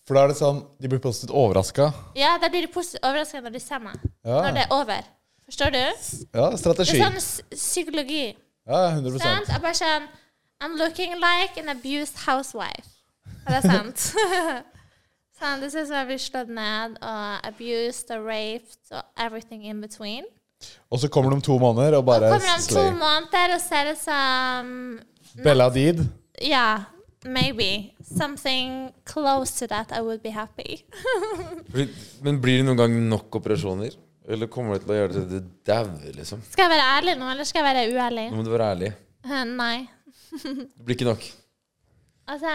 S1: For da er det sånn De blir positivt overraska.
S3: Ja, da blir de positivt overrasket når de ser meg.
S1: Ja.
S3: Når det er over. Forstår du?
S1: ja,
S3: Det
S1: strategi.
S3: er sånn s- psykologi.
S1: Ja, 100
S3: Sant? Jeg bare sånn I'm looking like an abused housewife. Er det sant? sånn, det ser ut som jeg blir slått ned og abused og raped og everything in between.
S1: Og så kommer de om to måneder og bare
S3: Kommer om to
S1: slay.
S3: måneder og ser det som
S1: Bella Deed.
S3: Ja, maybe. Something close to that I would be happy.
S4: blir- Men blir det noen gang nok operasjoner? Eller kommer det til å gjøre det til du dauer, liksom?
S3: Skal jeg være ærlig nå, eller skal jeg være uærlig?
S4: Nå må du være ærlig.
S3: Eh,
S1: Mm.
S3: Nei.
S4: Det blir ikke nok.
S3: Altså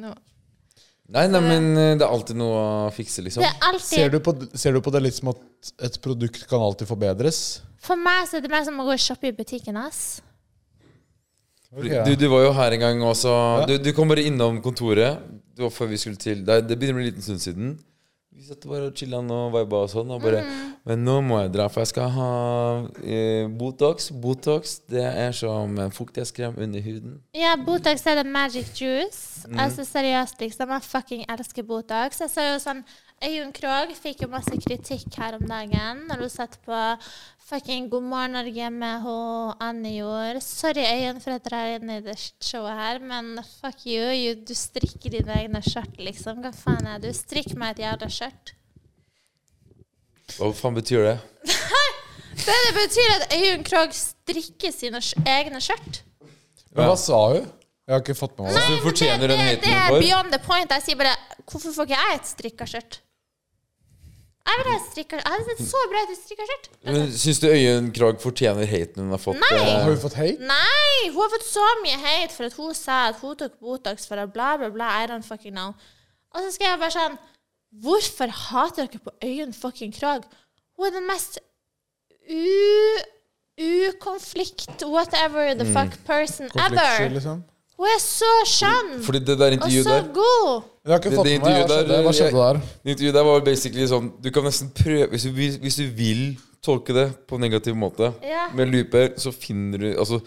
S3: Nå.
S4: Nei, nei, men eh, det er alltid noe å fikse, liksom.
S3: Det er alltid
S1: Ser du, på, ser du på det litt som at et produkt kan alltid forbedres?
S3: For meg så er det mer som å gå og shoppe i butikken, ass.
S4: Du, du var jo her en gang også. Du, du kom bare innom kontoret. Det var før vi skulle til Det, er- det begynner å bli en liten stund siden. Vi satt bare og chilla og viba og sånn. Og bare
S3: Mhm.
S4: Men nå må jeg dra, for jeg skal ha eh, Botox. Botox det er som en fuktighetskrem under huden.
S3: Ja, Botox er det magic juice.
S1: Mm.
S3: Altså seriøst, liksom. Jeg fucking elsker Botox. Jeg så jo sånn Øyunn Krogh fikk jo masse kritikk her om dagen når hun satt på fucking God morgen Norge med hun Anne gjorde. Sorry, Øyunn, for at dere er inne i det showet her, men fuck you. you du strikker dine egne skjørt, liksom. Hva faen er du? Strikk meg et jævla skjørt.
S4: Hva faen betyr det?
S3: Det det betyr at Øyunn Krogh strikker sine sk- egne skjørt.
S1: Men hva sa hun? Jeg har ikke fått med meg det.
S4: Altså, Du fortjener
S3: det,
S4: den
S3: det,
S4: haten
S3: det
S4: du
S3: er
S4: får.
S3: beyond the point. Jeg sier bare Hvorfor får ikke jeg et strikka skjørt? Jeg vil ha et strikka Jeg hadde sett så bra ut i et strikka skjørt.
S4: Men Syns du Øyunn Krogh fortjener haten hun har fått?
S3: Nei!
S4: eh,
S1: Har hun fått hate?
S3: Nei! Hun har fått så mye hate for at hun sa at hun tok Botox for å bla, bla, bla. I don't fucking know. Og så skal jeg bare sånn Hvorfor hater dere på Øyunn fucking Krog? Hun er den mest u... Ukonflikt, whatever the fuck person
S1: Mm. Konfliktsky,
S3: ever.
S1: liksom.
S3: Hun er så skjønn!
S4: Fordi det
S3: Og
S4: der intervjuet
S3: så
S4: der
S3: god!
S1: Jeg har ikke
S4: Det-
S1: fått
S4: det
S1: med meg hva
S4: intervjuet
S1: skjedde,
S4: der, eh,
S1: hva skjedde der.
S4: Det intervjuet der var basically sånn Du kan nesten prøve Hvis du vil, hvis du vil tolke det på en negativ måte
S3: Ja.
S4: med looper, så finner du Altså,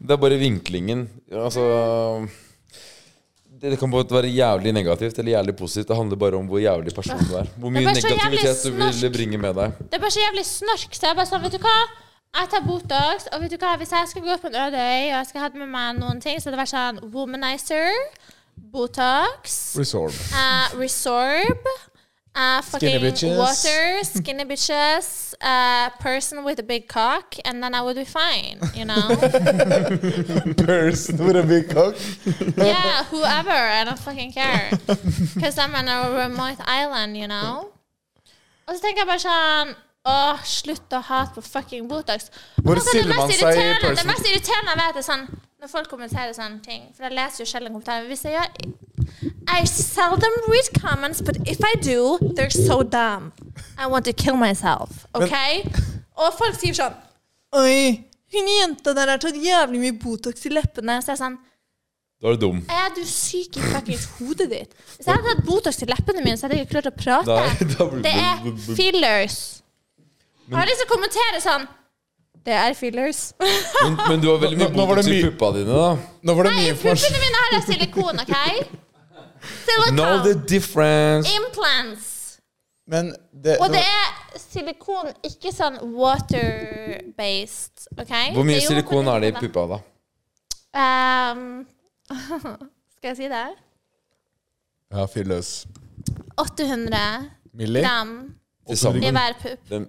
S4: det er bare vinklingen. Altså det, det kan både være jævlig negativt eller jævlig positivt. Det handler bare om hvor jævlig personen du er. Hvor
S3: er
S4: mye
S3: bare så jævlig
S4: negativitet du vil
S3: snork.
S4: bringe med deg.
S3: Det er bare så jævlig snork, så jeg bare sånn, vet du hva? Jeg tar Botox, og vet du hva? Hvis jeg skal gå på en øde øy, og jeg skal ha med meg noen ting, så hadde det vært sånn womanizer, Botox,
S1: Resorb.
S3: eh, Resorb, eh, fucking
S1: bitches.
S3: water, skinny bitches, eh, person with a big cock, and then I would be fine, you know?
S1: Person with a big cock.
S3: yeah, whoever, I don't fucking care. Because I'm on a remote island, you know? Og så tenker jeg bare sånn Åh, slutt å hate på fucking Botox.
S1: Hvor
S3: Noe av det
S1: stiller
S3: mest
S1: man seg i
S3: irriterende- Det
S1: person-
S3: mest irriterende jeg vet, er sånn når folk kommenterer sånne ting. For jeg leser jo sjelden kommentarer. Hvis jeg gjør I seldom read comments, but if I do, they're so dumb. I want to kill myself. OK? Og folk sier sånn Oi, hun jenta der har tatt jævlig mye Botox i leppene. Så jeg er sånn
S4: Da er du dum.
S3: er du syk i fuckings hodet ditt? Hvis jeg hadde hatt Botox i leppene mine, så hadde jeg ikke klart å prate.
S4: Da, da blir du
S3: Det er
S4: dum.
S3: fillers. Jeg har lyst til å kommentere sånn Det er fillers.
S4: Men, men du har veldig mye
S1: Nå- nå var det
S4: botox i
S1: mye-
S4: puppa dine, da.
S1: Nå var det
S3: Nei,
S1: mye
S3: i
S1: informasjon.
S3: puppene mine har jeg silikon, OK?
S4: Know the
S3: Silikon.
S4: difference.
S3: Implants.
S1: Men det,
S3: Og det er silikon, ikke sånn water-based, OK?
S4: Hvor mye silikon er det i puppa, da?
S3: Ehm, skal jeg si det?
S1: Ja, fyr løs.
S3: 800
S1: Millie?
S3: gram
S4: Til sammen.
S3: i hver pupp.
S4: Det,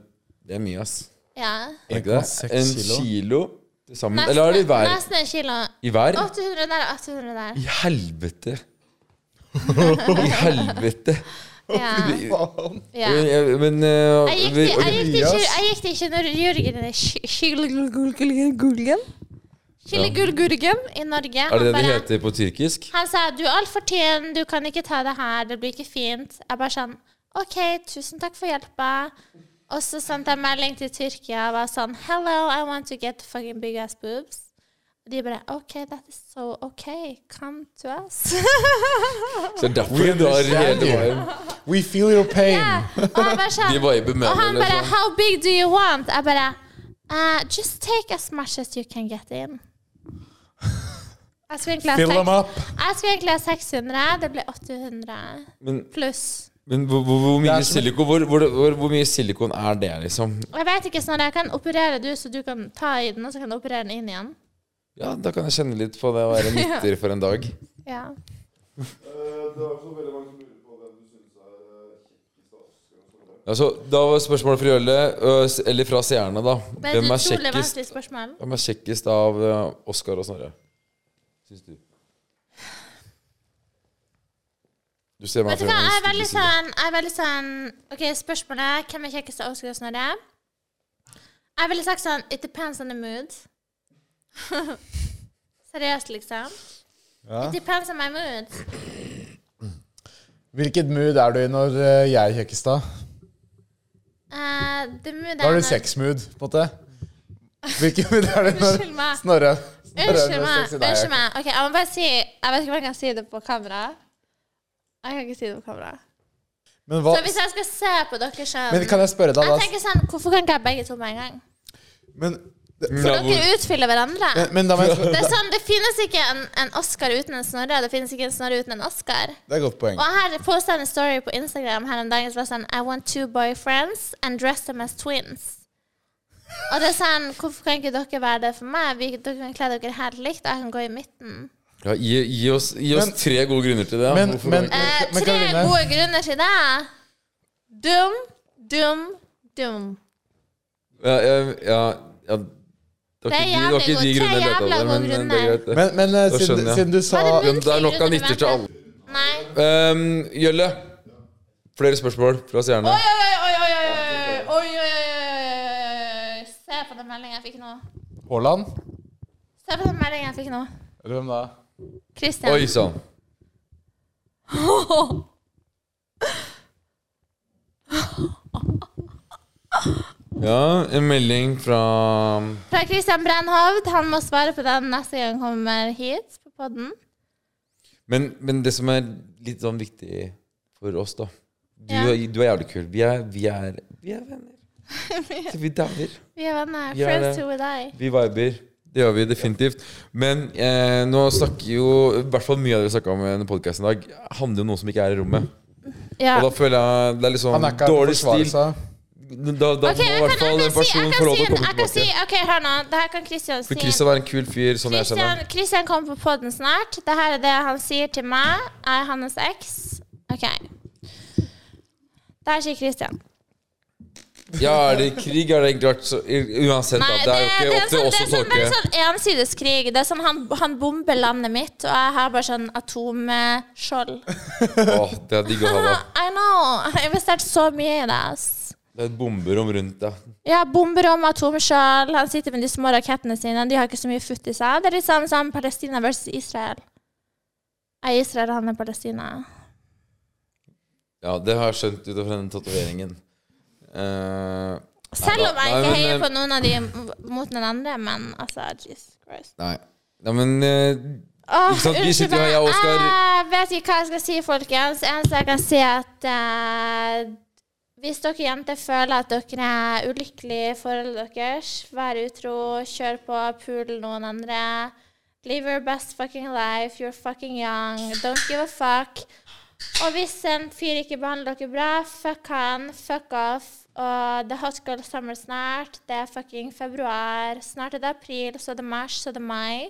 S4: det er mye, ass.
S3: Ja.
S4: Er det ikke det?
S1: 1,6
S4: En
S1: kilo.
S4: kilo til sammen? Eller er det i hver?
S3: Nesten en kilo.
S4: I hver?
S3: 800 der og 800 der.
S4: I helvete! I helvete!
S3: Ja. ja.
S4: Jeg- Men eh,
S3: Jeg gikk
S4: vi-
S3: til- jeg gikk
S4: ok,
S3: til kir- jeg gikk til kirurgen i Ky- Kylegulgulgen Kylegulgulgen i Norge.
S4: Er det det
S3: Han
S4: det
S3: bare-
S4: heter på tyrkisk?
S3: Han sa 'du er altfor tynn, du kan ikke ta det her, det blir ikke fint'. Jeg bare sånn 'OK, tusen takk for hjelpa'. Og så sendte jeg melding til Tyrkia og var sånn 'Hello, I want to get fucking big ass boobs'. Og de bare 'OK, that is so OK. Come to us'.
S4: Så det er derfor du har hele veien.
S1: We feel your pain.
S3: Ja, og jeg bare sånn
S4: De viber med
S3: Og han
S4: hverandre,
S3: bare
S4: liksom.
S3: 'How big do you want?' Jeg bare eh, 'Just take as much as you can get in'. Jeg skulle egentlig ha
S1: Fill them
S3: seks-
S1: up.
S3: jeg skulle egentlig ha 600. Det ble 800
S4: Men,
S3: pluss.
S4: men hvor, hvor, hvor, mye
S1: er som-
S4: silikon, hvor, hvor, hvor, hvor mye silikon er det, liksom?
S3: Jeg vet ikke, sånn, jeg kan operere du, så du kan ta i den, og så kan du operere den inn igjen.
S4: Ja, da kan jeg kjenne litt på det å være midter for en dag.
S3: Ja.
S6: Eh, Det er også veldig mange som lurer på hvem du synes er eh, kjekkest av oss.
S4: Altså, da var spørsmålet fra Jølle, ø, s- eller fra seerne, da.
S3: Men
S4: Hvem
S3: et
S4: er
S3: utrolig
S4: kjekkest,
S3: vanskelig spørsmål.
S4: hvem er kjekkest av ø, Oscar og Snorre? Syns du? Du ser meg
S3: Vet du hva, jeg er
S4: fra en
S3: veldig
S4: side.
S3: sånn, jeg er veldig sånn OK, spørsmålet er hvem er kjekkest av Oscar og Snorre? Jeg ville sagt sånn It depends on the mood. Seriøst, liksom.
S1: Ja.
S3: It depends on my mood.
S1: Hvilket mood er du i når eh, jeg er kjekkest, da?
S3: Eh, the mood
S1: Da
S3: er
S1: er du
S3: når-
S1: sex-mood, på en måte. Hvilket mood er du når
S3: Unnskyld meg.
S1: Snorre Snorre er
S3: Unnskyld
S1: når
S3: meg.
S1: sexy? Nei, jeg-
S3: Unnskyld meg. Ok, Jeg må bare si Jeg vet ikke om jeg kan si det på kamera. Jeg kan ikke si det på kamera.
S1: Men, hva,
S3: Så hvis jeg skal se på dere sånn
S1: men kan jeg spørre deg,
S3: Jeg
S1: da?
S3: tenker sånn, Hvorfor kan ikke jeg begge to på en gang?
S1: Men,
S4: Ja,
S3: For
S4: hvor-
S3: sånn- dere utfyller hverandre.
S1: men, men da må jeg
S3: Det
S1: spørre
S3: er sånn, det finnes ikke en, en Oscar uten en Snorre, og det finnes ikke en Snorre uten en Oscar.
S1: Det er et godt poeng.
S3: Og her postet jeg en story på Instagram her om dagen som var sånn I want two boyfriends and dress them as twins. Og det er sånn, hvorfor kan ikke dere være det for meg? Vi, dere kan kle dere helt likt, og jeg kan gå i midten.
S4: Ja, gi, gi oss, gi oss
S1: Men-
S4: tre gode grunner til det.
S1: Men-
S4: Hvorfor-
S1: men-
S3: Eh,
S1: Men
S3: tre
S1: Karoline-
S3: gode grunner til det. Dum, dum, dum.
S4: ja, ja, ja, ja, det
S3: Det er
S4: var ikke de, det var ikke
S3: jævlig
S4: de
S3: god-
S4: grunnene
S3: tre
S4: jeg lette
S3: jævla
S4: etter, men,
S3: gode
S4: men det
S3: grunner.
S4: er greit, det.
S1: Men, men eh,
S4: Da
S1: siden,
S4: skjønner jeg.
S1: siden du sa
S3: Var det
S4: Men det er nok av nytter til alle.
S3: Nei.
S4: Ehm, Jølle, flere spørsmål fra seerne.
S3: Oi, oi, oi, oi, oi, oi, oi, oi, oi, oi. Se på den meldingen jeg fikk nå.
S1: Haaland?
S3: Se på den meldingen jeg fikk nå.
S1: Eller hvem da?
S3: Christian.
S4: Oi sann. Ja, en melding fra
S3: Fra Christian Brennhovd. Han må svare på den neste gang han kommer hit på podden.
S4: men, men det som er litt sånn viktig for oss, da Du,
S3: Ja.
S4: er- du er jævlig kul. Vi er, vi er, vi er venner. Så vi dauer.
S3: Vi er venner.
S4: Vi er
S3: Friends
S4: det.
S3: to with I.
S4: Vi viber. Det gjør vi definitivt. Men eh, nå snakker jo I hvert fall mye av det vi snakka om i podkasten i dag, handler jo om noe som ikke er i rommet.
S3: Ja.
S4: Og da føler jeg det er litt sånn
S1: Han er ikke her for å
S4: dårlig
S1: forsvare
S4: stil.
S1: seg.
S4: Da, da
S3: Ok,
S4: må i
S3: jeg
S4: hvert
S3: kan, jeg kan
S4: fall den
S3: si, jeg
S4: personen
S3: kan
S4: få lov
S3: si,
S4: til å komme
S3: jeg kan si
S4: tilbake.
S3: Ok, hør nå. Det her kan Christian si.
S4: For Christian er en kul fyr, sånn jeg kjenner
S3: Christian,
S4: ham.
S3: Christian kommer på podden snart. Det her er det han sier til meg. Jeg er hans eks. Ok. Det her sier Christian.
S4: Ja, er det krig, har det egentlig vært så Uansett,
S3: Nei,
S4: da. Det er jo ikke opp
S3: sånn,
S4: til
S3: det er
S4: oss å
S3: sånn, veldig
S4: tolke.
S3: sånn ensideskrig. Det er sånn han, han bomber landet mitt, og jeg har bare sånn atomskjold. sånn-
S4: Åh, det er digg å ha, da.
S3: I know. Jeg har investert så mye i det. ass.
S4: Det er et bomberom rundt deg.
S3: Ja, bomber om atomskjold. Han sitter med de små rakettene sine. De har ikke så mye futt i seg. Det er litt sånn som Palestina versus Israel. Jeg er Israel, han er Palestina.
S4: Ja, det har jeg skjønt ut fra den tatoveringen. Eh,
S3: Selv om jeg
S4: Nei,
S3: ikke
S4: men,
S3: heier
S4: eh,
S3: på noen av de m- mot den andre, men altså Jesus Christ.
S4: nei. Nei, men eh,
S3: Åh,
S4: Ikke sant, vi
S3: unnskyld
S4: sitter jo her, jeg og
S3: meg.
S4: Oskar.
S3: Jeg vet ikke hva jeg skal si, folkens. Eneste jeg kan si, er at eh, hvis dere jenter føler at dere er ulykkelige i forholdet deres, vær utro, kjør på, pul noen andre. Live your best fucking life. You're fucking young. Don't give a fuck. Og hvis en fyr ikke behandler dere bra, fuck han, fuck off. Og the hot girl summer snart. Det er fucking februar. Snart er det april, så er det mars, så er det mai.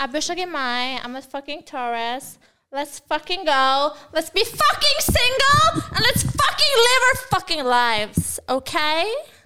S3: Jeg har bursdag i mai. I'm a fucking Taurus. Let's fucking go. Let's be fucking single! And let's fucking live our fucking lives. Okay?